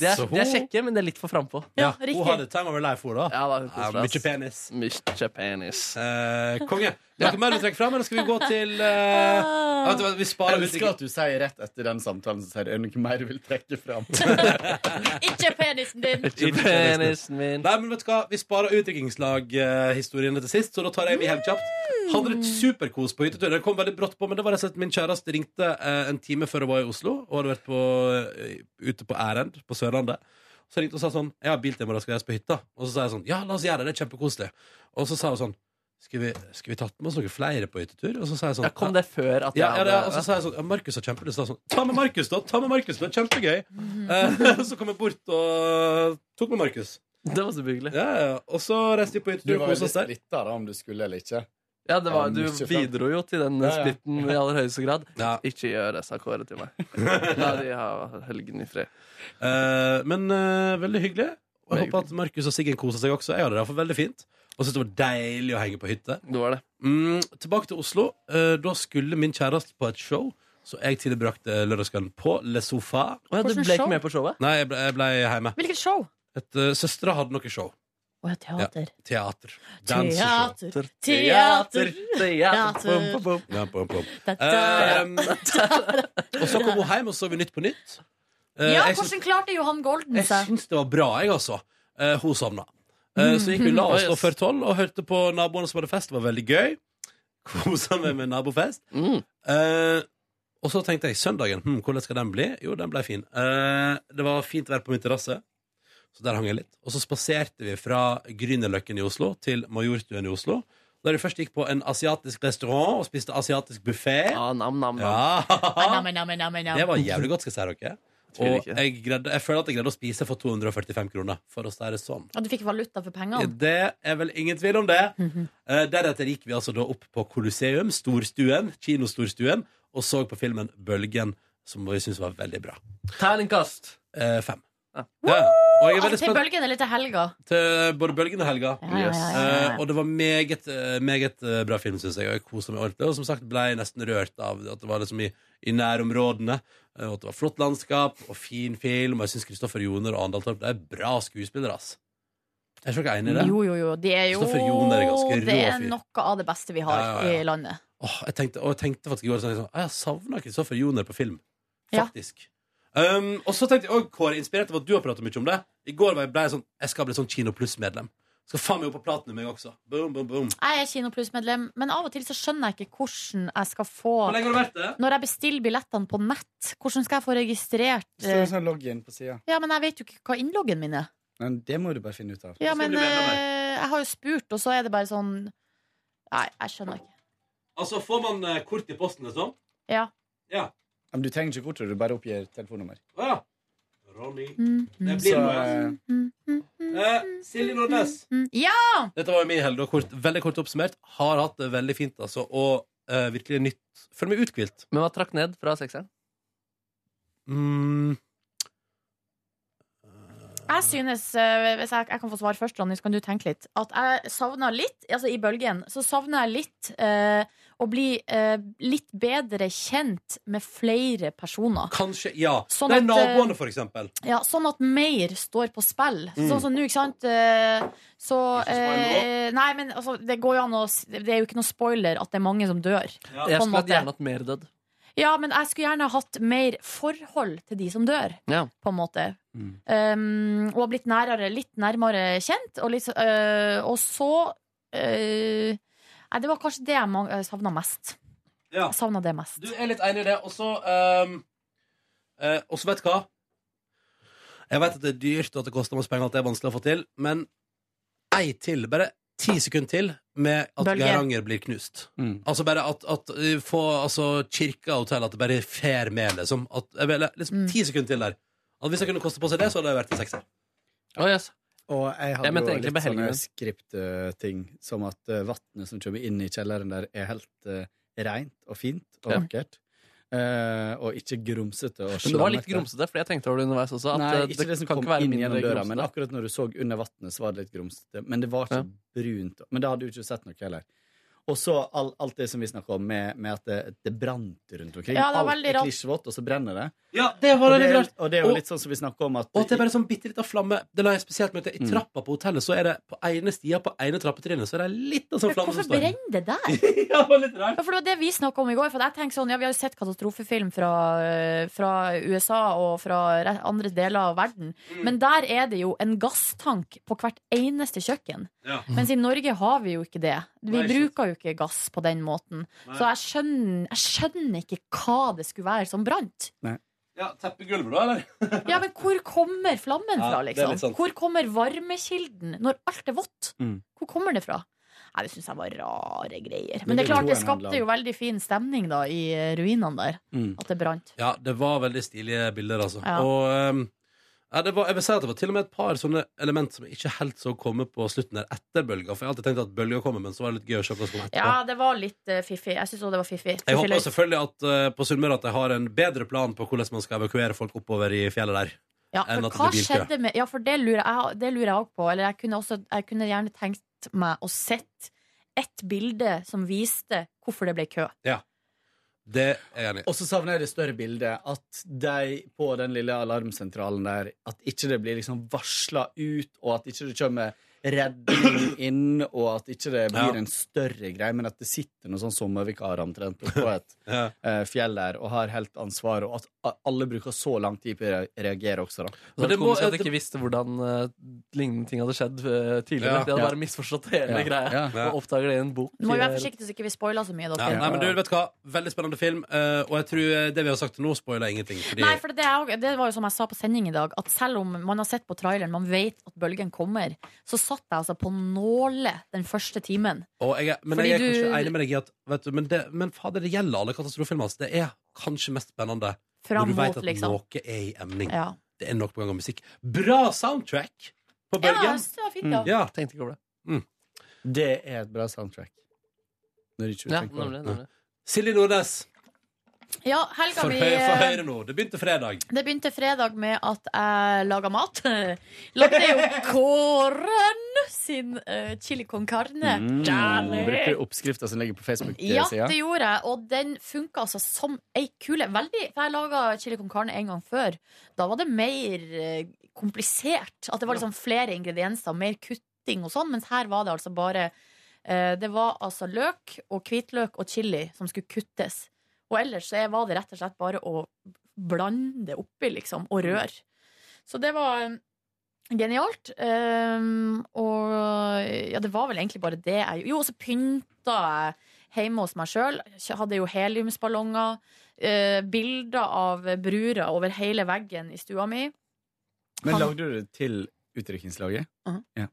[SPEAKER 4] de er,
[SPEAKER 2] Så hun-
[SPEAKER 4] de er kjekke, men de er litt for frampå.
[SPEAKER 2] Ja, hun hadde time over life, hun, da.
[SPEAKER 4] Ja, da, hun koser
[SPEAKER 2] Ja,
[SPEAKER 4] oss.
[SPEAKER 2] mye penis. Eh,
[SPEAKER 4] Mykje penis.
[SPEAKER 2] konge. Noe mer du trekker fram, eller skal vi gå til
[SPEAKER 4] Ah.
[SPEAKER 3] Ah.
[SPEAKER 2] eh, vet du hva, Vi sparer
[SPEAKER 11] Jeg
[SPEAKER 2] ut
[SPEAKER 11] elsker at du sier rett etter den samtalen Så sier du, er det noe mer du vil trekke fram.
[SPEAKER 3] eh, Ikke penisen din!
[SPEAKER 2] Nei, men vet du hva? Vi sparer utdrikningslag-historiene til sist, så da tar jeg vi helt kjapt. Hadde det superkos på hyttetur. Det kom veldig brått på, men det var rett og slett min kjæreste ringte eh, en time før hun var i Oslo, og hadde vært på, eh, ute på ærend på Sørlandet. Så ringte hun og sa sånn Jeg har bil til i morgen, skal jeg reise på hytta? Og så sa jeg sånn Ja, la oss gjøre det, det er kjempekoselig. Og så sa hun sånn Skulle vi, skulle vi tatt med oss noen flere på hyttetur? Og så sa jeg sånn
[SPEAKER 4] Ja, kom det før at jeg
[SPEAKER 2] ja, ja, det,
[SPEAKER 4] hadde-
[SPEAKER 2] og så sa jeg sånn ja, Markus har kjempelyst. Da, sånn, ta med Markus, da! ta med Markus, det er Kjempegøy! Eh, så kom jeg bort og tok med Markus.
[SPEAKER 4] Det var så hyggelig.
[SPEAKER 2] Ja, ja. Og så reiste vi på hyttetur
[SPEAKER 11] Du
[SPEAKER 2] og
[SPEAKER 11] var jo
[SPEAKER 2] koste oss der.
[SPEAKER 11] splitta da, om du skulle eller ikke.
[SPEAKER 4] Ja, det
[SPEAKER 11] Ja,
[SPEAKER 4] var, du
[SPEAKER 11] mye fram.
[SPEAKER 4] bidro jo til den
[SPEAKER 11] Ja, ja.
[SPEAKER 4] splitten i aller høyeste grad.
[SPEAKER 2] Ja.
[SPEAKER 4] Ikke gjør det, sa Kåre til meg. La de ha helgen i fred.
[SPEAKER 2] Eh, men eh, veldig hyggelig. Og jeg håper at Markus og Siggen koser seg også. Jeg hadde det iallfall veldig fint. Og syntes det var deilig å henge på hytte. Mm, tilbake til Oslo. Eh, da skulle min kjæreste på et show, så jeg tilbrakte lørdagskvelden på Le Sofa.
[SPEAKER 4] ja, du Hvordan ble ikke show? med på showet?
[SPEAKER 2] Nei, jeg ble, jeg ble hjemme.
[SPEAKER 3] Hvilket show?
[SPEAKER 2] Et, eh, Søstera hadde noe show.
[SPEAKER 3] Å ja, teater.
[SPEAKER 2] Ja, teater.
[SPEAKER 3] Teater,
[SPEAKER 2] Danseshow.
[SPEAKER 3] teater, teater.
[SPEAKER 2] Bum, bum, bum. Ja, bum, bum.
[SPEAKER 3] da,
[SPEAKER 2] Ehm, og så kom hun hjem, og så vi Nytt på nytt. Eh,
[SPEAKER 3] Ja,
[SPEAKER 2] jeg syns-
[SPEAKER 3] hvordan klarte Johan Golden
[SPEAKER 2] Jeg
[SPEAKER 3] seg?
[SPEAKER 2] syns det var bra, jeg, altså. Eh, hun sovna. Eh, så gikk vi og la oss da
[SPEAKER 4] Mm.
[SPEAKER 2] før tolv og hørte på naboene som hadde fest. Det var veldig gøy. Kosa meg med nabofest.
[SPEAKER 4] Mm.
[SPEAKER 2] Eh, og så tenkte jeg søndagen, hm, hvordan skal den bli? Jo, den ble fin. Eh, det var fint vær på min terrasse, så der hang jeg litt. Og så spaserte vi fra Grünerløkken i Oslo til Majorstuen i Oslo. Der vi først gikk på en asiatisk restaurant og spiste asiatisk buffé.
[SPEAKER 4] Ja, Ah, nam, nam, nam.
[SPEAKER 2] Ja.
[SPEAKER 3] Nei, nei, nei, nei, nei.
[SPEAKER 2] Det var jævlig godt, skal jeg si dere.
[SPEAKER 4] Tviler
[SPEAKER 2] Og jeg, greide, jeg føler at jeg greide å spise for 245 kroner, for å si det sånn.
[SPEAKER 3] Og du fikk valuta for pengene?
[SPEAKER 2] Det er vel ingen tvil om det. Eh, Deretter gikk vi altså da opp på Colosseum, storstuen, kinostorstuen, og så på filmen Bølgen, som vi syntes var veldig bra.
[SPEAKER 4] Terningkast
[SPEAKER 2] Eh, fem. Ja. Og jeg er veldig
[SPEAKER 3] Altså, til
[SPEAKER 2] spent
[SPEAKER 3] bølgen eller til helga?
[SPEAKER 2] til både Bølgen og Helga.
[SPEAKER 3] ja, ja, ja, ja.
[SPEAKER 2] Eh, og det var meget, eh, meget eh, bra film, syns jeg. Og jeg kosa meg ordentlig. Og som sagt ble jeg nesten rørt av at det var liksom i, i nærområdene. eh, Og at det var flott landskap og fin film. Og jeg syns Kristoffer Joner og Arendal Torp de er bra skuespillere, ass. Er ikke dere enig i det?
[SPEAKER 3] Jo, jo, jo. Det er jo
[SPEAKER 2] Kristoffer Joner er ganske rå
[SPEAKER 3] Det er
[SPEAKER 2] fyr.
[SPEAKER 3] noe av det beste vi har
[SPEAKER 2] Ja, ja, ja.
[SPEAKER 3] i landet.
[SPEAKER 2] Åh, jeg tenkte, og jeg tenkte faktisk i går sånn, sånn, «Ah, Jeg savna Kristoffer Joner på film.
[SPEAKER 3] Ja.
[SPEAKER 2] Faktisk. Um, og så tenkte jeg òg, Kåre, inspirert av at du har pratet mye om det I går var jeg ble jeg sånn Jeg skal bli sånn Kino Pluss-medlem. Skal faen meg opp på platinum, jeg også. Boom, boom, boom.
[SPEAKER 3] Jeg er Kinopluss-medlem, men av og til så skjønner jeg ikke hvordan jeg skal få
[SPEAKER 2] Hvor lenge har du vært det?
[SPEAKER 3] Når jeg bestiller billettene på nett, hvordan skal jeg få registrert
[SPEAKER 11] Så er det
[SPEAKER 3] eh,
[SPEAKER 11] sånn login på sida.
[SPEAKER 3] Ja, men jeg vet jo ikke hva innloggen min er.
[SPEAKER 11] Men det må du bare finne ut av.
[SPEAKER 3] Ja, men eh, jeg har jo spurt, og så er det bare sånn Nei, jeg skjønner ikke.
[SPEAKER 2] Altså, får man eh, kort i posten, liksom?
[SPEAKER 3] Ja.
[SPEAKER 2] Ja.
[SPEAKER 11] Men du trenger ikke kortet, du bare oppgir telefonnummer.
[SPEAKER 2] Å ja.
[SPEAKER 12] Ronny.
[SPEAKER 3] Mm,
[SPEAKER 12] Det
[SPEAKER 2] mm,
[SPEAKER 12] blir
[SPEAKER 2] så,
[SPEAKER 12] noe. Eh, Silje Nordnes.
[SPEAKER 3] mm, Ja!
[SPEAKER 2] Dette var jo min helg, og kort, veldig kort oppsummert. Har hatt det veldig fint, altså. Og eh, virkelig nytt. Føler meg uthvilt.
[SPEAKER 4] Men hva trakk ned fra sekseren?
[SPEAKER 2] Mm.
[SPEAKER 3] Jeg synes, eh, hvis jeg, jeg kan få svare først, Ronny, så kan du tenke litt. At jeg savner litt, altså i bølgen, så savner jeg litt eh, å bli eh, litt bedre kjent med flere personer.
[SPEAKER 2] Kanskje, ja.
[SPEAKER 3] Sånn
[SPEAKER 2] Nei,
[SPEAKER 3] at, eh,
[SPEAKER 2] naboene, for eksempel.
[SPEAKER 3] Ja, sånn at mer står på spill.
[SPEAKER 2] Mm.
[SPEAKER 3] Sånn som nå, ikke sant? Eh, Så eh,
[SPEAKER 4] spoil
[SPEAKER 3] Nei, men altså, det går jo an å s- Det er jo ikke noe spoiler at det er mange som dør. på en
[SPEAKER 4] Jeg skulle hatt
[SPEAKER 3] måte.
[SPEAKER 4] gjerne hatt mer død.
[SPEAKER 3] Ja, men jeg skulle gjerne hatt mer forhold til de som dør,
[SPEAKER 4] Ja.
[SPEAKER 3] på en måte.
[SPEAKER 11] Mm.
[SPEAKER 3] Um, og blitt nærere, litt nærmere kjent. Og, litt, så- øh, og så øh, Nei, det var kanskje det jeg mang- øh, savna mest.
[SPEAKER 2] Ja.
[SPEAKER 3] Jeg savna det mest.
[SPEAKER 2] Du jeg er litt enig i det. Og så ehm, eh, Og så vet du hva? Jeg vet at det er dyrt, og at det koster masse penger, og at det er vanskelig å få til, men ei til. Bare ti sekunder til med at
[SPEAKER 5] Bølge.
[SPEAKER 2] Geiranger blir knust.
[SPEAKER 11] Mm.
[SPEAKER 2] Altså bare at, at eh, få altså, kirka og hotell at det bare fer med, liksom. At, jeg vil-
[SPEAKER 11] Mm.
[SPEAKER 2] liksom Ti sekunder til der. At hvis jeg kunne koste på seg det, så hadde jeg vært en sekser.
[SPEAKER 11] Og jeg hadde
[SPEAKER 2] Jeg mente
[SPEAKER 11] jo
[SPEAKER 2] egentlig
[SPEAKER 11] litt sånne
[SPEAKER 2] behelgen.
[SPEAKER 11] skriptting, som at uh, vannet som kommer inn i kjelleren der, er helt uh, rent og fint og
[SPEAKER 4] Ja.
[SPEAKER 11] vakkert. Eh, og ikke grumsete og
[SPEAKER 4] Men det var litt
[SPEAKER 11] slammete.
[SPEAKER 4] grumsete, for jeg tenkte over det underveis også. At
[SPEAKER 11] Nei,
[SPEAKER 4] eh,
[SPEAKER 11] ikke det, som
[SPEAKER 4] kan
[SPEAKER 11] kom
[SPEAKER 4] ikke være
[SPEAKER 11] inn
[SPEAKER 4] mindre
[SPEAKER 11] gjennom døra, men
[SPEAKER 4] grumsete.
[SPEAKER 11] akkurat når du så under vannet, så var det litt grumsete. Men det var ikke
[SPEAKER 4] Ja.
[SPEAKER 11] brunt. Men det hadde du ikke sett noe heller. Og så all, alt det som vi snakka om, med, med at det, det brant rundt omkring.
[SPEAKER 3] Ja, det var
[SPEAKER 11] alt
[SPEAKER 3] veldig
[SPEAKER 11] er
[SPEAKER 3] rart.
[SPEAKER 11] klisjvått, og så brenner det.
[SPEAKER 2] Ja, det var
[SPEAKER 11] og,
[SPEAKER 2] veldig
[SPEAKER 11] det er,
[SPEAKER 2] rart.
[SPEAKER 11] og det er jo
[SPEAKER 2] Og-
[SPEAKER 11] litt sånn som vi snakka om at
[SPEAKER 2] Og at det er bare sånn bitte lita flamme. Det la jeg spesielt merke til. I
[SPEAKER 11] Mm.
[SPEAKER 2] trappa på hotellet så er det på ene stia på ene trappetrinnet så er det litt av sånn flamme som
[SPEAKER 3] Hvorfor
[SPEAKER 2] står.
[SPEAKER 3] brenner det der?
[SPEAKER 2] ja, det var litt rart.
[SPEAKER 3] Ja, for det var det vi snakka om i går. For jeg tenker sånn, ja, Vi har jo sett katastrofefilm fra, eh, fra USA og fra re- andre deler av verden.
[SPEAKER 2] Mm.
[SPEAKER 3] Men der er det jo en gasstank på hvert eneste kjøkken.
[SPEAKER 2] Ja.
[SPEAKER 3] Mens i Norge har vi jo ikke det. Vi
[SPEAKER 2] Nei, ikke
[SPEAKER 3] bruker jo ikke gass på den måten.
[SPEAKER 2] Nei.
[SPEAKER 3] Så jeg skjønner, jeg skjønner ikke hva det skulle være som brant.
[SPEAKER 2] Ja, Teppe gulvet, da, eller?
[SPEAKER 3] Ja, men hvor kommer flammen
[SPEAKER 2] Ja,
[SPEAKER 3] fra,
[SPEAKER 2] det er litt
[SPEAKER 3] liksom?
[SPEAKER 2] sant.
[SPEAKER 3] Hvor kommer varmekilden når alt er vått?
[SPEAKER 2] Mm.
[SPEAKER 3] Hvor kommer det fra? Nei, det syns jeg var rare greier. Men det
[SPEAKER 2] Men det
[SPEAKER 3] er klart,
[SPEAKER 2] tror
[SPEAKER 3] det
[SPEAKER 2] jeg handler om- Mm.
[SPEAKER 3] skapte jo veldig fin stemning da i eh, ruinene der. At det brant.
[SPEAKER 2] Ja, det var veldig stilige bilder, altså.
[SPEAKER 3] Ja.
[SPEAKER 2] Og ehm, ja, det var, jeg vil si at det var til og med et par sånne element som jeg ikke helt så komme på slutten der etter bølga. For jeg har alltid tenkt at bølga kommer, men så var det litt gøy å se hva som kom etterpå.
[SPEAKER 3] Ja, det var litt eh, fiffig. Jeg syns òg det var fiffig.
[SPEAKER 2] Jeg
[SPEAKER 3] Fiffig
[SPEAKER 2] håper
[SPEAKER 3] løs.
[SPEAKER 2] selvfølgelig at eh, på Sunnmøre at de har en bedre plan på hvordan man skal evakuere folk oppover i fjellet der.
[SPEAKER 3] Ja,
[SPEAKER 2] enn
[SPEAKER 3] for
[SPEAKER 2] at det
[SPEAKER 3] hva
[SPEAKER 2] blir bilkø.
[SPEAKER 3] skjedde med Ja, for det lurer jeg det lurer jeg òg på. Eller jeg kunne, også, jeg kunne gjerne tenkt meg å sett ett bilde som viste hvorfor det ble kø.
[SPEAKER 2] Ja. Det er jeg enig i.
[SPEAKER 11] Og så savner jeg det større bildet. At de på den lille alarmsentralen der At ikke det blir liksom varsla ut, og at ikke det kommer redning inn, og at ikke det blir
[SPEAKER 2] Ja.
[SPEAKER 11] en større greie, men at det sitter noen sånn sommervikarer omtrent oppå et
[SPEAKER 2] Ja.
[SPEAKER 11] eh, fjell der og har helt ansvar, og at a- alle bruker så lang tid på å re- reagere også, da. Sånn
[SPEAKER 4] Og Det var komisk at jeg ikke visste hvordan eh, lignende ting hadde skjedd eh, tidligere.
[SPEAKER 11] Ja.
[SPEAKER 4] De hadde
[SPEAKER 11] Ja.
[SPEAKER 4] bare misforstått hele
[SPEAKER 11] Ja.
[SPEAKER 4] greia
[SPEAKER 11] Ja.
[SPEAKER 4] og oppdager det i en bok.
[SPEAKER 3] Nå må vi være
[SPEAKER 4] eh,
[SPEAKER 3] forsiktige så ikke vi spoiler så mye.
[SPEAKER 2] Ja,
[SPEAKER 3] Dere.
[SPEAKER 2] nei, men du, vet du hva? Veldig spennende film, eh, og jeg tror eh, det vi har sagt til nå, spoiler ingenting. Fordi
[SPEAKER 3] Nei, for det, er, jo- det var jo som jeg sa på sending i dag, at selv om man har sett på traileren, man vet at bølgen kommer, så satt jeg altså på nåle den første timen.
[SPEAKER 2] Og jeg, er- men
[SPEAKER 3] Fordi
[SPEAKER 2] jeg er
[SPEAKER 3] du-
[SPEAKER 2] kanskje enig med deg i at vet du, Men, det, men fader, det gjelder alle katastrofefilmer. altså. Det er kanskje mest spennende
[SPEAKER 3] Fram
[SPEAKER 2] når du
[SPEAKER 3] mot,
[SPEAKER 2] vet at
[SPEAKER 3] liksom.
[SPEAKER 2] noe er i emning.
[SPEAKER 3] Ja.
[SPEAKER 2] Det er nok på gang av musikk. Bra soundtrack på Bølgen!
[SPEAKER 3] jeg synes det var fint, da.
[SPEAKER 2] ja.
[SPEAKER 4] Tenkte ikke over det.
[SPEAKER 2] Mm.
[SPEAKER 11] Det er et bra soundtrack. Når ikke du
[SPEAKER 2] Ja,
[SPEAKER 11] tenker på det.
[SPEAKER 2] nemlig, nemlig. Silje Nordnes,
[SPEAKER 3] Ja, helga
[SPEAKER 2] for,
[SPEAKER 3] mi
[SPEAKER 2] høy, for
[SPEAKER 3] eh,
[SPEAKER 2] høyre nå. Det begynte fredag.
[SPEAKER 3] Det begynte fredag med at jeg laga mat. Lagde jo Kåren sin eh, chili con carne. Deilig.
[SPEAKER 11] Mm. Brukte du oppskrifta som ligger på
[SPEAKER 3] Mm. Ja,
[SPEAKER 11] Facebook-sida?
[SPEAKER 3] det gjorde jeg, og den funka altså som ei kule. Veldig, for Jeg laga chili con carne en gang før. Da var det mer eh, komplisert. At det var liksom flere ingredienser, mer kutting og sånn. Mens her var det altså bare eh, Det var altså løk og hvitløk og chili som skulle kuttes. Og ellers så var det rett og slett bare å blande det oppi, liksom, og
[SPEAKER 7] Mm.
[SPEAKER 3] røre. Så det var eh, Genialt. Ehm, og ja, det var vel egentlig bare det jeg Jo, og så pynta jeg hjemme hos meg sjøl. Hadde jo heliumsballonger. eh, bilder av bruder over hele veggen i stua mi.
[SPEAKER 11] Men
[SPEAKER 3] Han-
[SPEAKER 11] lagde du det til utdrikningslaget?
[SPEAKER 3] Mhm.
[SPEAKER 11] Ja.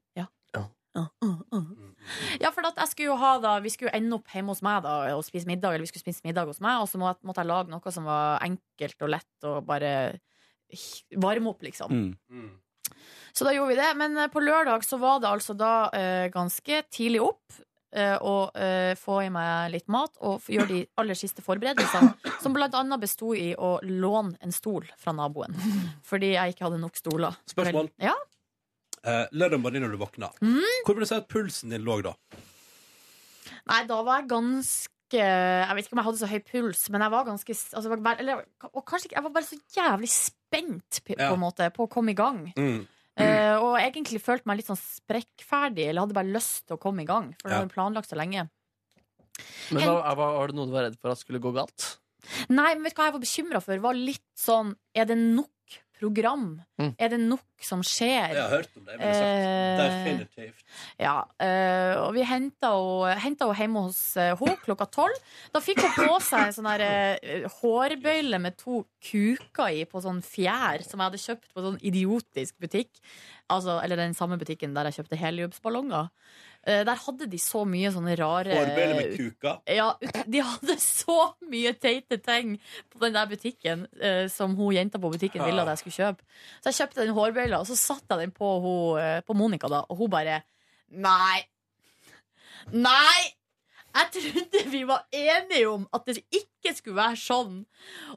[SPEAKER 3] Ja, for at jeg skulle jo ha da Vi skulle jo ende opp hjemme hos meg da og spise middag, eller vi skulle spise middag hos meg, og så må- måtte jeg lage noe som var enkelt og lett og bare eh, varme opp, liksom.
[SPEAKER 11] Mm.
[SPEAKER 3] Så da gjorde vi det. Men eh, på lørdag så var det altså da eh, ganske tidlig opp. eh, Og eh, få i meg litt mat og f- gjøre de aller siste forberedelsene. Som blant annet besto i å låne en stol fra naboen. Fordi jeg ikke hadde nok stoler.
[SPEAKER 2] Spørsmål?
[SPEAKER 3] Ja.
[SPEAKER 2] Eh, Lørdag morgen når du våkna,
[SPEAKER 3] Mm.
[SPEAKER 2] hvor vil du si at pulsen din lå da?
[SPEAKER 3] Nei, da var jeg ganske Jeg vet ikke om jeg hadde så høy puls, men jeg var ganske altså, jeg var, bare- eller, Og kanskje ikke Jeg var bare så jævlig spent p- på,
[SPEAKER 2] Ja. Mm.
[SPEAKER 3] en måte, på å komme i gang.
[SPEAKER 12] Mm.
[SPEAKER 3] Eh, og egentlig følte meg litt sånn sprekkferdig, eller hadde bare lyst til å komme i gang. For det
[SPEAKER 4] Ja.
[SPEAKER 3] hadde jeg planlagt så lenge.
[SPEAKER 4] Men hva, hva, var det noe du var redd for at skulle gå galt?
[SPEAKER 3] Nei, men vet du hva jeg var bekymra for? Var litt sånn Er det nok program?
[SPEAKER 4] Mm.
[SPEAKER 3] Er det nok som skjer?
[SPEAKER 2] Jeg har hørt om det, men det er sagt
[SPEAKER 3] Eh,
[SPEAKER 2] definitivt.
[SPEAKER 3] Ja, eh, og vi henta henne hjemme hos eh, henne klokka tolv. Da fikk hun på seg en sånn der, eh, hårbøyle med to kuker i på sånn fjær som jeg hadde kjøpt på sånn idiotisk butikk. Altså, eller den samme butikken der jeg kjøpte heliumsballonger. Eh, der hadde de så mye sånne rare
[SPEAKER 2] Hårbøyle med kuka.
[SPEAKER 3] Ja, ut- de hadde så mye teite ting på den der butikken eh, som hun jenta på butikken ville at jeg skulle kjøpe. Så jeg kjøpte den hårbøyla, og så satte jeg den på, hun, eh, på Monica, da, og hun bare Nei. Nei! Jeg trodde vi var enige om at det ikke skulle være sånn.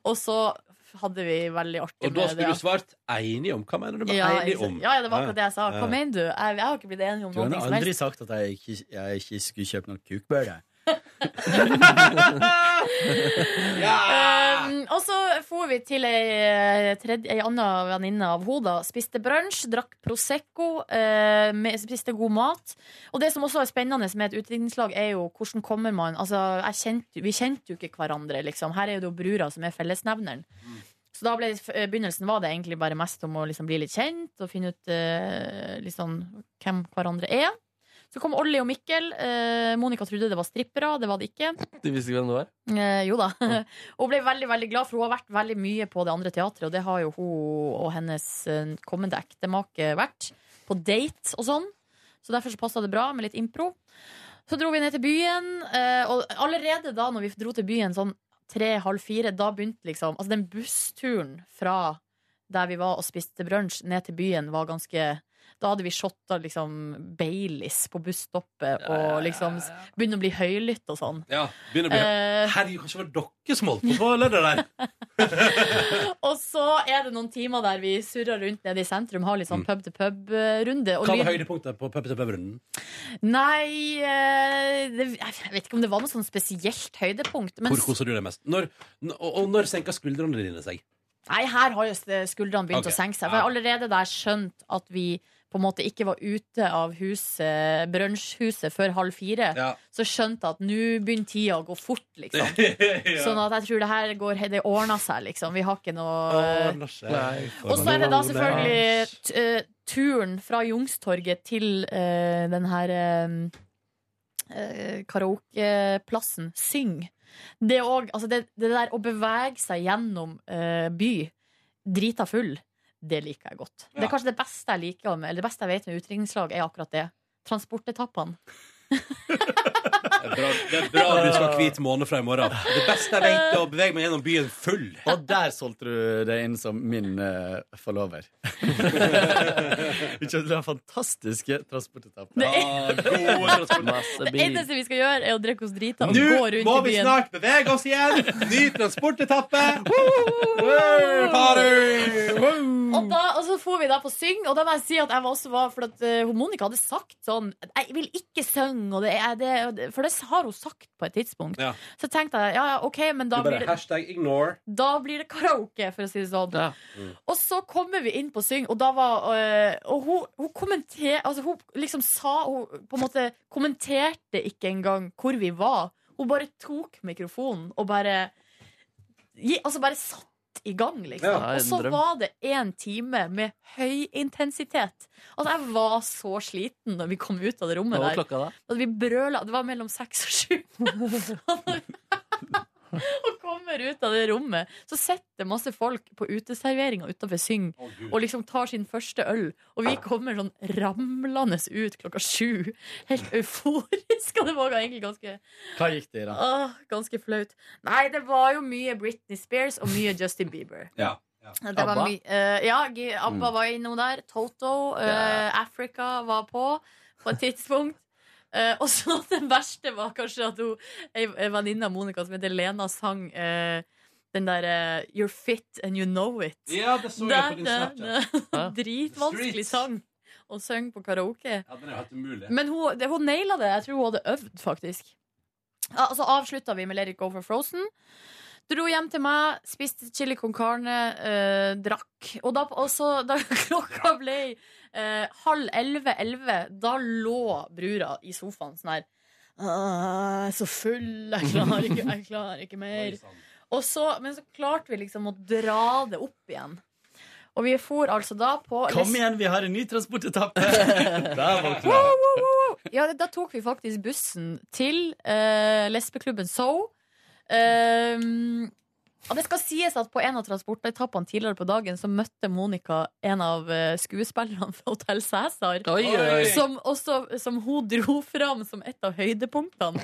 [SPEAKER 3] Og så hadde vi veldig artig
[SPEAKER 2] Og
[SPEAKER 3] med
[SPEAKER 2] da
[SPEAKER 3] det.
[SPEAKER 2] skulle du svart enig om. Hva mener du med
[SPEAKER 3] ja,
[SPEAKER 2] enig
[SPEAKER 3] ikke sant.
[SPEAKER 2] om?
[SPEAKER 3] ja, ja, det var akkurat det jeg sa.
[SPEAKER 11] Ja.
[SPEAKER 3] Hva mener du? Jeg, jeg har ikke blitt enig om
[SPEAKER 11] Du har
[SPEAKER 3] noe som
[SPEAKER 11] aldri
[SPEAKER 3] helst.
[SPEAKER 11] sagt at jeg ikke, jeg ikke skulle kjøpe noen kukbølle.
[SPEAKER 3] Um, og så for vi til ei, eh, tredje- ei anna venninne av hoda. Spiste brunsj, drakk Prosecco, eh, med, spiste god mat. Og det som også er spennende med et utdrikningslag, er jo hvordan kommer man altså, jeg kjente, Vi kjente jo ikke hverandre, liksom. Her er det jo brura som er fellesnevneren. Så da ble f- eh, begynnelsen var det egentlig bare mest om å liksom bli litt kjent og finne ut eh, liksom, hvem hverandre er. Så kom Olli og Mikkel. Eh, Monica trodde det var strippere, det var det ikke.
[SPEAKER 4] Du visste ikke hvem det var?
[SPEAKER 3] Eh, jo da. Hun ble veldig veldig glad, for hun har vært veldig mye på det andre teatret. Og det har jo hun og hennes eh, kommende ektemake vært. På date og sånn. Så derfor så passa det bra med litt impro. Så dro vi ned til byen, eh, og allerede da når vi dro til byen sånn tre-halv fire, da begynte liksom Altså den bussturen fra der vi var og spiste brunsj, ned til byen var ganske da hadde vi shotta liksom Baileys på busstoppet og liksom begynte å bli høylytt og sånn.
[SPEAKER 2] Ja, begynner å bli
[SPEAKER 3] Eh.
[SPEAKER 2] Herregud, kanskje det var dere som holdt på på lørdag der?
[SPEAKER 3] Og så er det noen timer der vi surrer rundt nede i sentrum, har litt sånn pub til pub-runde. og
[SPEAKER 2] Mm. Hva var
[SPEAKER 3] lyd-
[SPEAKER 2] høydepunktet på Pep til Pep-runden?
[SPEAKER 3] Nei, eh, det, jeg vet ikke om det var noe sånn spesielt høydepunkt. Men
[SPEAKER 2] Hvor koser du deg mest? Når, n- og, og når senka skuldrene dine seg?
[SPEAKER 3] nei, her har jo skuldrene begynt
[SPEAKER 2] Ok.
[SPEAKER 3] å senke seg. For jeg har allerede der skjønt at vi på en måte ikke var ute av huset, brunsjhuset før halv fire.
[SPEAKER 2] Ja.
[SPEAKER 3] Så skjønte jeg at nå begynner tida å gå fort, liksom.
[SPEAKER 2] Ja.
[SPEAKER 3] Sånn at jeg tror det her går, det ordner seg, liksom. Vi har ikke noe eh,
[SPEAKER 2] Ordner seg. Nei,
[SPEAKER 3] Og så er det da
[SPEAKER 2] ordner
[SPEAKER 3] selvfølgelig t- eh, turen fra Jungstorget til eh, den her eh, eh, karaokeplassen. Syng. Det, er også, altså det, det der å bevege seg gjennom eh, by drita full, det liker jeg godt. Det er kanskje det beste jeg liker med, eller det beste jeg vet med utdrikningslag, er akkurat det. Transportetappene.
[SPEAKER 2] Det er bra, det er bra du skal ha hvit måne fra i morgen. Det beste jeg vet, er å bevege meg gjennom byen full.
[SPEAKER 11] Og der solgte du deg inn som min eh, forlover. Vi kjøpte den fantastiske Ah, transportetappen.
[SPEAKER 3] Det er- Det eneste vi skal gjøre, er å drikke oss drita og gå rundt i byen.
[SPEAKER 11] må vi snart
[SPEAKER 2] bevege oss igjen! Ny transportetappe! Mm.
[SPEAKER 3] Og, da, og så får vi da på syng, og da må jeg si at jeg var også var For at eh, hun Monica hadde sagt sånn Jeg vil ikke synge, og det er det, og det For det har hun sagt på et tidspunkt.
[SPEAKER 2] Ja.
[SPEAKER 3] Så tenkte jeg ja, ja, OK, men
[SPEAKER 2] Du
[SPEAKER 3] da
[SPEAKER 2] bare
[SPEAKER 3] blir, det,
[SPEAKER 2] hashtag ignore. Mm.
[SPEAKER 3] da blir det karaoke, for å si det sånn. Og så kommer vi inn på syng, og da var eh, Og hun, hun kommenterte Altså, hun liksom sa Hun på en måte kommenterte ikke engang hvor vi var. Hun bare tok mikrofonen og bare gi, Altså bare satt i gang, liksom.
[SPEAKER 4] Ja,
[SPEAKER 3] og
[SPEAKER 4] en
[SPEAKER 3] så
[SPEAKER 4] drøm.
[SPEAKER 3] var det én time med høy intensitet. Altså, jeg var så sliten når vi kom ut av det rommet
[SPEAKER 4] Hva var
[SPEAKER 3] der.
[SPEAKER 4] klokka da?
[SPEAKER 3] At vi brøla Det var mellom seks og sju. og kommer ut av det rommet, så sitter masse folk på uteserveringa utafor Syng og liksom tar sin første øl. Og vi kommer sånn ramlende ut klokka sju. Helt euforisk. Og det var egentlig ganske
[SPEAKER 11] Hva gikk det i, da?
[SPEAKER 3] Åh, ganske flaut. Nei, det var jo mye Britney Spears og mye Justin Bieber.
[SPEAKER 11] Ja.
[SPEAKER 3] Det var
[SPEAKER 12] ABBA?
[SPEAKER 3] mye- eh, ja, G- ABBA
[SPEAKER 12] Mm.
[SPEAKER 3] var innom der. Toto, eh,
[SPEAKER 12] Ja.
[SPEAKER 3] Africa var på på et tidspunkt. Eh, og så det verste var kanskje at hun, ei ei venninne av Monica som heter Lena, sang eh, den derre You're fit and you know it.
[SPEAKER 12] Ja, det så jeg på din
[SPEAKER 3] Den-
[SPEAKER 12] Snapchat.
[SPEAKER 3] den-
[SPEAKER 12] Hæ?
[SPEAKER 3] Dritvanskelig sang å synge på karaoke.
[SPEAKER 12] Ja, den er jo helt umulig.
[SPEAKER 3] Men hun, det, hun naila det. Jeg tror hun hadde øvd, faktisk. Ja, og så avslutta vi med Let it go for Frozen. Dro hjem til meg, spiste chili con carne, eh, drakk. Og da, og så, da klokka ble eh, halv elleve-elleve, da lå brura i sofaen sånn her. «Ah, Jeg er så full, jeg klarer ikke, jeg klarer ikke mer. Og så, men så klarte vi liksom å dra det opp igjen. Og vi for altså da på
[SPEAKER 11] Kom igjen, vi har en ny transportetappe! Der våkna
[SPEAKER 3] Wow,
[SPEAKER 11] jeg.
[SPEAKER 3] wow, wow, wow. Ja, da tok vi faktisk bussen til eh, lesbeklubben So. Ehm, og det skal sies at på en av transportetappene tidligere på dagen så møtte Monica en av eh, skuespillerne fra Hotell Cæsar.
[SPEAKER 12] Oi, oi.
[SPEAKER 3] eh, Som, også- som hun dro fram som et av høydepunktene.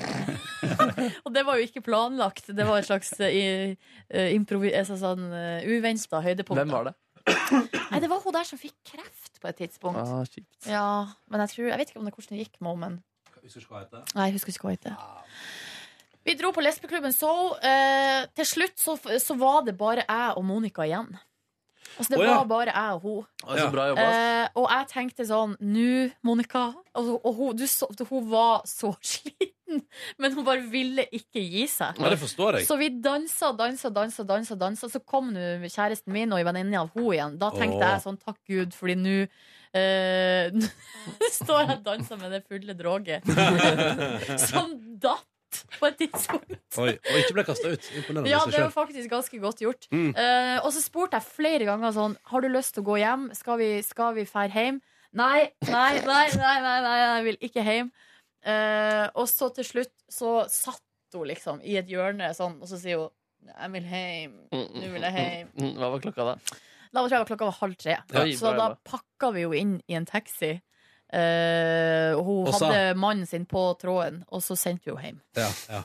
[SPEAKER 3] og det var jo ikke planlagt. Det var et slags uh, improvi... Altså sånn uh, uventa høydepunkt.
[SPEAKER 4] Hvem var det?
[SPEAKER 3] Nei, det var hun der som fikk kreft på et tidspunkt.
[SPEAKER 4] Ah, shit.
[SPEAKER 3] Ja, men jeg, tror, jeg vet ikke om det, hvordan det gikk med henne. men-
[SPEAKER 12] Husker ikke hva det heter.
[SPEAKER 3] Nei, jeg husker ikke hva det heter. Vi dro på lesbeklubben Soul. Eh, til slutt så, så var det bare jeg og Monica igjen. Altså, det
[SPEAKER 12] Å, ja.
[SPEAKER 3] var bare jeg og hun.
[SPEAKER 4] Å, så bra jobba,
[SPEAKER 3] eh, og jeg tenkte sånn Nå, Monica altså, Og hun, du, så, hun var så sliten, men hun bare ville ikke gi seg.
[SPEAKER 2] Ja, det forstår jeg.
[SPEAKER 3] Så vi dansa, dansa, dansa, dansa, dansa. Så kom nå kjæresten min og venninna av henne igjen. Da tenkte
[SPEAKER 12] Åh.
[SPEAKER 3] jeg sånn Takk Gud, fordi nå eh, står jeg og danser med det fulle droget. Som datt på et tidspunkt.
[SPEAKER 2] Oi, og ikke ble kasta ut. Imponerende
[SPEAKER 3] Ja,
[SPEAKER 2] i
[SPEAKER 3] det
[SPEAKER 2] seg
[SPEAKER 3] var
[SPEAKER 2] selv.
[SPEAKER 3] faktisk ganske godt gjort.
[SPEAKER 2] Mm.
[SPEAKER 3] Eh, og så spurte jeg flere ganger sånn Har du lyst til å gå hjem? Skal vi, skal vi fære hjem? Nei, nei, nei, nei, nei, nei, jeg vil ikke hjem. Eh, og så til slutt så satt hun liksom i et hjørne sånn, og så sier hun Jeg vil hjem. Nå vil jeg hjem.
[SPEAKER 4] Mm, Hva var klokka da?
[SPEAKER 3] Da tror jeg det var klokka var halv tre.
[SPEAKER 4] Ja.
[SPEAKER 3] Så da pakka vi jo inn i en taxi. Eh, og hun
[SPEAKER 4] Og sa-
[SPEAKER 3] hadde mannen sin på tråden, og så sendte vi henne hjem.
[SPEAKER 2] Ja, ja.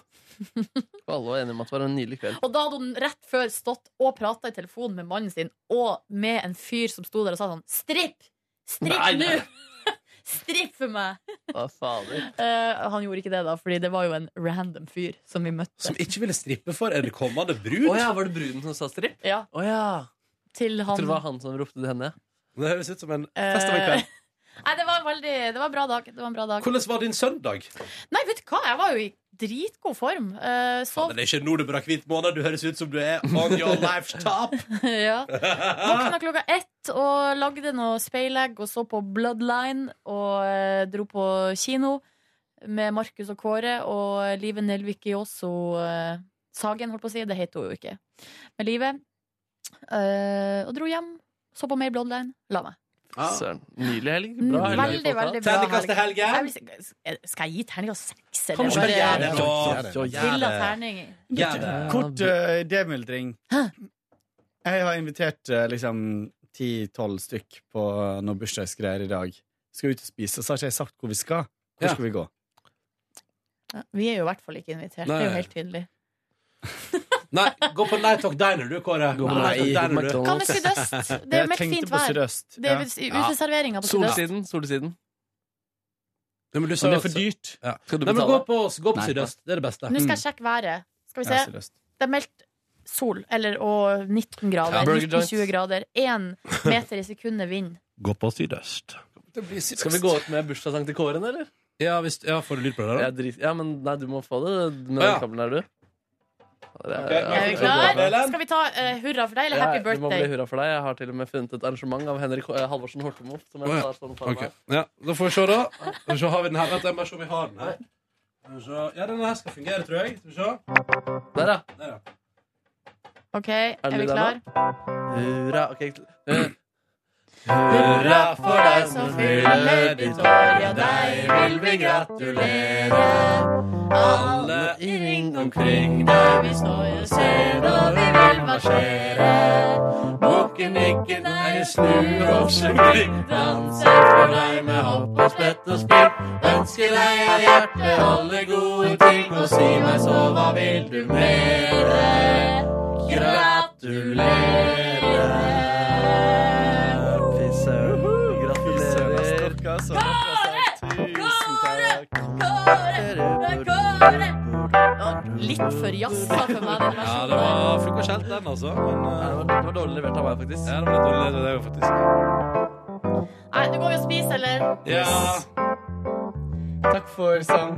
[SPEAKER 4] Og alle var enige om at det var en nydelig kveld.
[SPEAKER 3] Og da hadde hun rett før stått og prata i telefonen med mannen sin og med en fyr som sto der og sa sånn Stripp!
[SPEAKER 4] Nei,
[SPEAKER 3] Stripp nå!
[SPEAKER 4] nei.
[SPEAKER 3] Stripp for meg!
[SPEAKER 4] Hva fader?
[SPEAKER 3] Eh, han gjorde ikke det, da, Fordi det var jo en random fyr som vi møtte.
[SPEAKER 2] Som ikke ville strippe for en kommende brud.
[SPEAKER 4] Å ja, var det bruden som sa stripp?
[SPEAKER 3] Ja.
[SPEAKER 4] Å ja.
[SPEAKER 3] Til
[SPEAKER 4] Jeg tror
[SPEAKER 3] han
[SPEAKER 4] det var han som ropte til henne.
[SPEAKER 2] Det høres ut som en
[SPEAKER 3] Eh,
[SPEAKER 4] fest av en kveld.
[SPEAKER 3] Nei, det var, en veldig, det var en bra dag. Det var en bra dag.
[SPEAKER 2] Hvordan var din søndag?
[SPEAKER 3] Nei, vet du hva? Jeg var jo i dritgod form. Eh, sov
[SPEAKER 2] Det er ikke nå det brakk hvit måned. Du høres ut som du er on your life's top.
[SPEAKER 3] ja. Våkna klokka ett og lagde noe speilegg og så på Bloodline og eh, dro på kino med Markus og Kåre og Live Nelvik Jåso eh, Sagen, holdt på å si. Det heter hun jo ikke. Med Live. Eh, og dro hjem. Så på mer Bloodline. La meg.
[SPEAKER 4] Søren. Nydelig helg.
[SPEAKER 2] Mm.
[SPEAKER 4] Bra helg.
[SPEAKER 3] Veldig,
[SPEAKER 4] vi har fått,
[SPEAKER 3] veldig
[SPEAKER 4] da.
[SPEAKER 3] bra. helg. Jeg vil si- Skal jeg gi terningkast seks, eller?
[SPEAKER 12] Kanskje
[SPEAKER 3] Bare-
[SPEAKER 12] gjør det, da.
[SPEAKER 3] Gjør det. Fyll av terning.
[SPEAKER 12] Gjør det.
[SPEAKER 11] Kort eh, demuldring. Jeg har invitert eh, liksom ti-tolv stykk på noen bursdagsgreier i dag. Skal ut og spise, så har ikke jeg sagt hvor vi skal. Hvor skal vi gå?
[SPEAKER 3] Ja, Vi er jo i hvert fall ikke invitert. Det er
[SPEAKER 2] Nei.
[SPEAKER 3] jo helt tydelig.
[SPEAKER 2] Nei, gå på Night Talk Diner, du, Kåre. Gå på
[SPEAKER 4] Nei,
[SPEAKER 2] Night Talk Diner, du.
[SPEAKER 4] McDonald's.
[SPEAKER 3] Hva med sydøst? Det er jo meldt fint vær. Det er
[SPEAKER 4] Ja.
[SPEAKER 3] uteserveringa på sydøst.
[SPEAKER 4] Solsiden. Solsiden.
[SPEAKER 2] Nei, men du sa
[SPEAKER 4] Men det
[SPEAKER 2] jo
[SPEAKER 4] er for
[SPEAKER 2] også-
[SPEAKER 4] dyrt.
[SPEAKER 2] Ja.
[SPEAKER 4] Skal du
[SPEAKER 2] Nei, men
[SPEAKER 4] betale?
[SPEAKER 2] gå på, gå på
[SPEAKER 4] Nei.
[SPEAKER 2] Sydøst. Det er det beste.
[SPEAKER 3] Nå
[SPEAKER 4] Mm.
[SPEAKER 3] skal jeg sjekke været. Skal vi
[SPEAKER 2] Ja,
[SPEAKER 3] se.
[SPEAKER 2] seriøst.
[SPEAKER 3] Det er meldt sol, eller og 19 grader.
[SPEAKER 2] Ja, burger joints.
[SPEAKER 3] 19-20 grader. Én meter i sekundet vind.
[SPEAKER 2] Gå på Sydøst.
[SPEAKER 4] Skal vi gå ut med bursdagssang til Kåren, eller?
[SPEAKER 2] Ja, hvis, ja får du lyd på det, da?
[SPEAKER 4] Jeg drit, ja, men nei, du må få det med
[SPEAKER 2] Ja.
[SPEAKER 4] den kabelen her, du. Det er-
[SPEAKER 3] Er vi klare? Skal vi ta eh, hurra for deg, eller happy
[SPEAKER 4] Ja, det må bli
[SPEAKER 3] birthday?
[SPEAKER 4] hurra for deg. Jeg har til og med funnet et arrangement av Henrik eh, Halvorsen Hortemo. Som
[SPEAKER 2] Å,
[SPEAKER 4] jeg
[SPEAKER 2] ja.
[SPEAKER 4] tar sånn for
[SPEAKER 2] Ok.
[SPEAKER 4] meg.
[SPEAKER 2] Ja, da får vi se, da. Skal vi se, har vi den her? Vent, jeg må se om vi har den her. Skal vi se. Ja, den her skal fungere, tror jeg. Skal vi se.
[SPEAKER 4] Der, ja.
[SPEAKER 2] Der, ja.
[SPEAKER 3] OK, er
[SPEAKER 4] lyd
[SPEAKER 3] vi
[SPEAKER 4] der
[SPEAKER 3] klar?
[SPEAKER 4] Hurra. ok.
[SPEAKER 12] Hurra
[SPEAKER 3] for deg som fyller ditt år, ja, deg vil vi gratulere. Alle i ring omkring der vi står, ja, se da vi vil marsjere. Bukken nikken ei snu oppslutning, danser for deg med hopp og spett og spill. Ønsker deg av hjertet alle gode ting, og si meg så hva vil du mere? Gratulere.
[SPEAKER 4] Eh,
[SPEAKER 3] litt for jazza for meg, den
[SPEAKER 2] Ja,
[SPEAKER 3] versjonen
[SPEAKER 2] det
[SPEAKER 3] der.
[SPEAKER 2] var funka ikke helt, den, altså. Men, det, var,
[SPEAKER 4] dårlig levert av meg, faktisk.
[SPEAKER 2] Ja, det var litt dårlig levert av deg, faktisk.
[SPEAKER 3] Nei, nå går vi og spiser, eller?
[SPEAKER 2] Ja.
[SPEAKER 11] Takk for sang.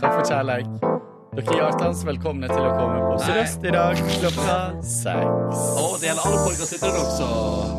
[SPEAKER 11] Takk for kjærleik. Dere er hjertens velkomne til å komme på Sør-Øst i dag klokka seks.
[SPEAKER 2] Og det gjelder alle folka sitter der også.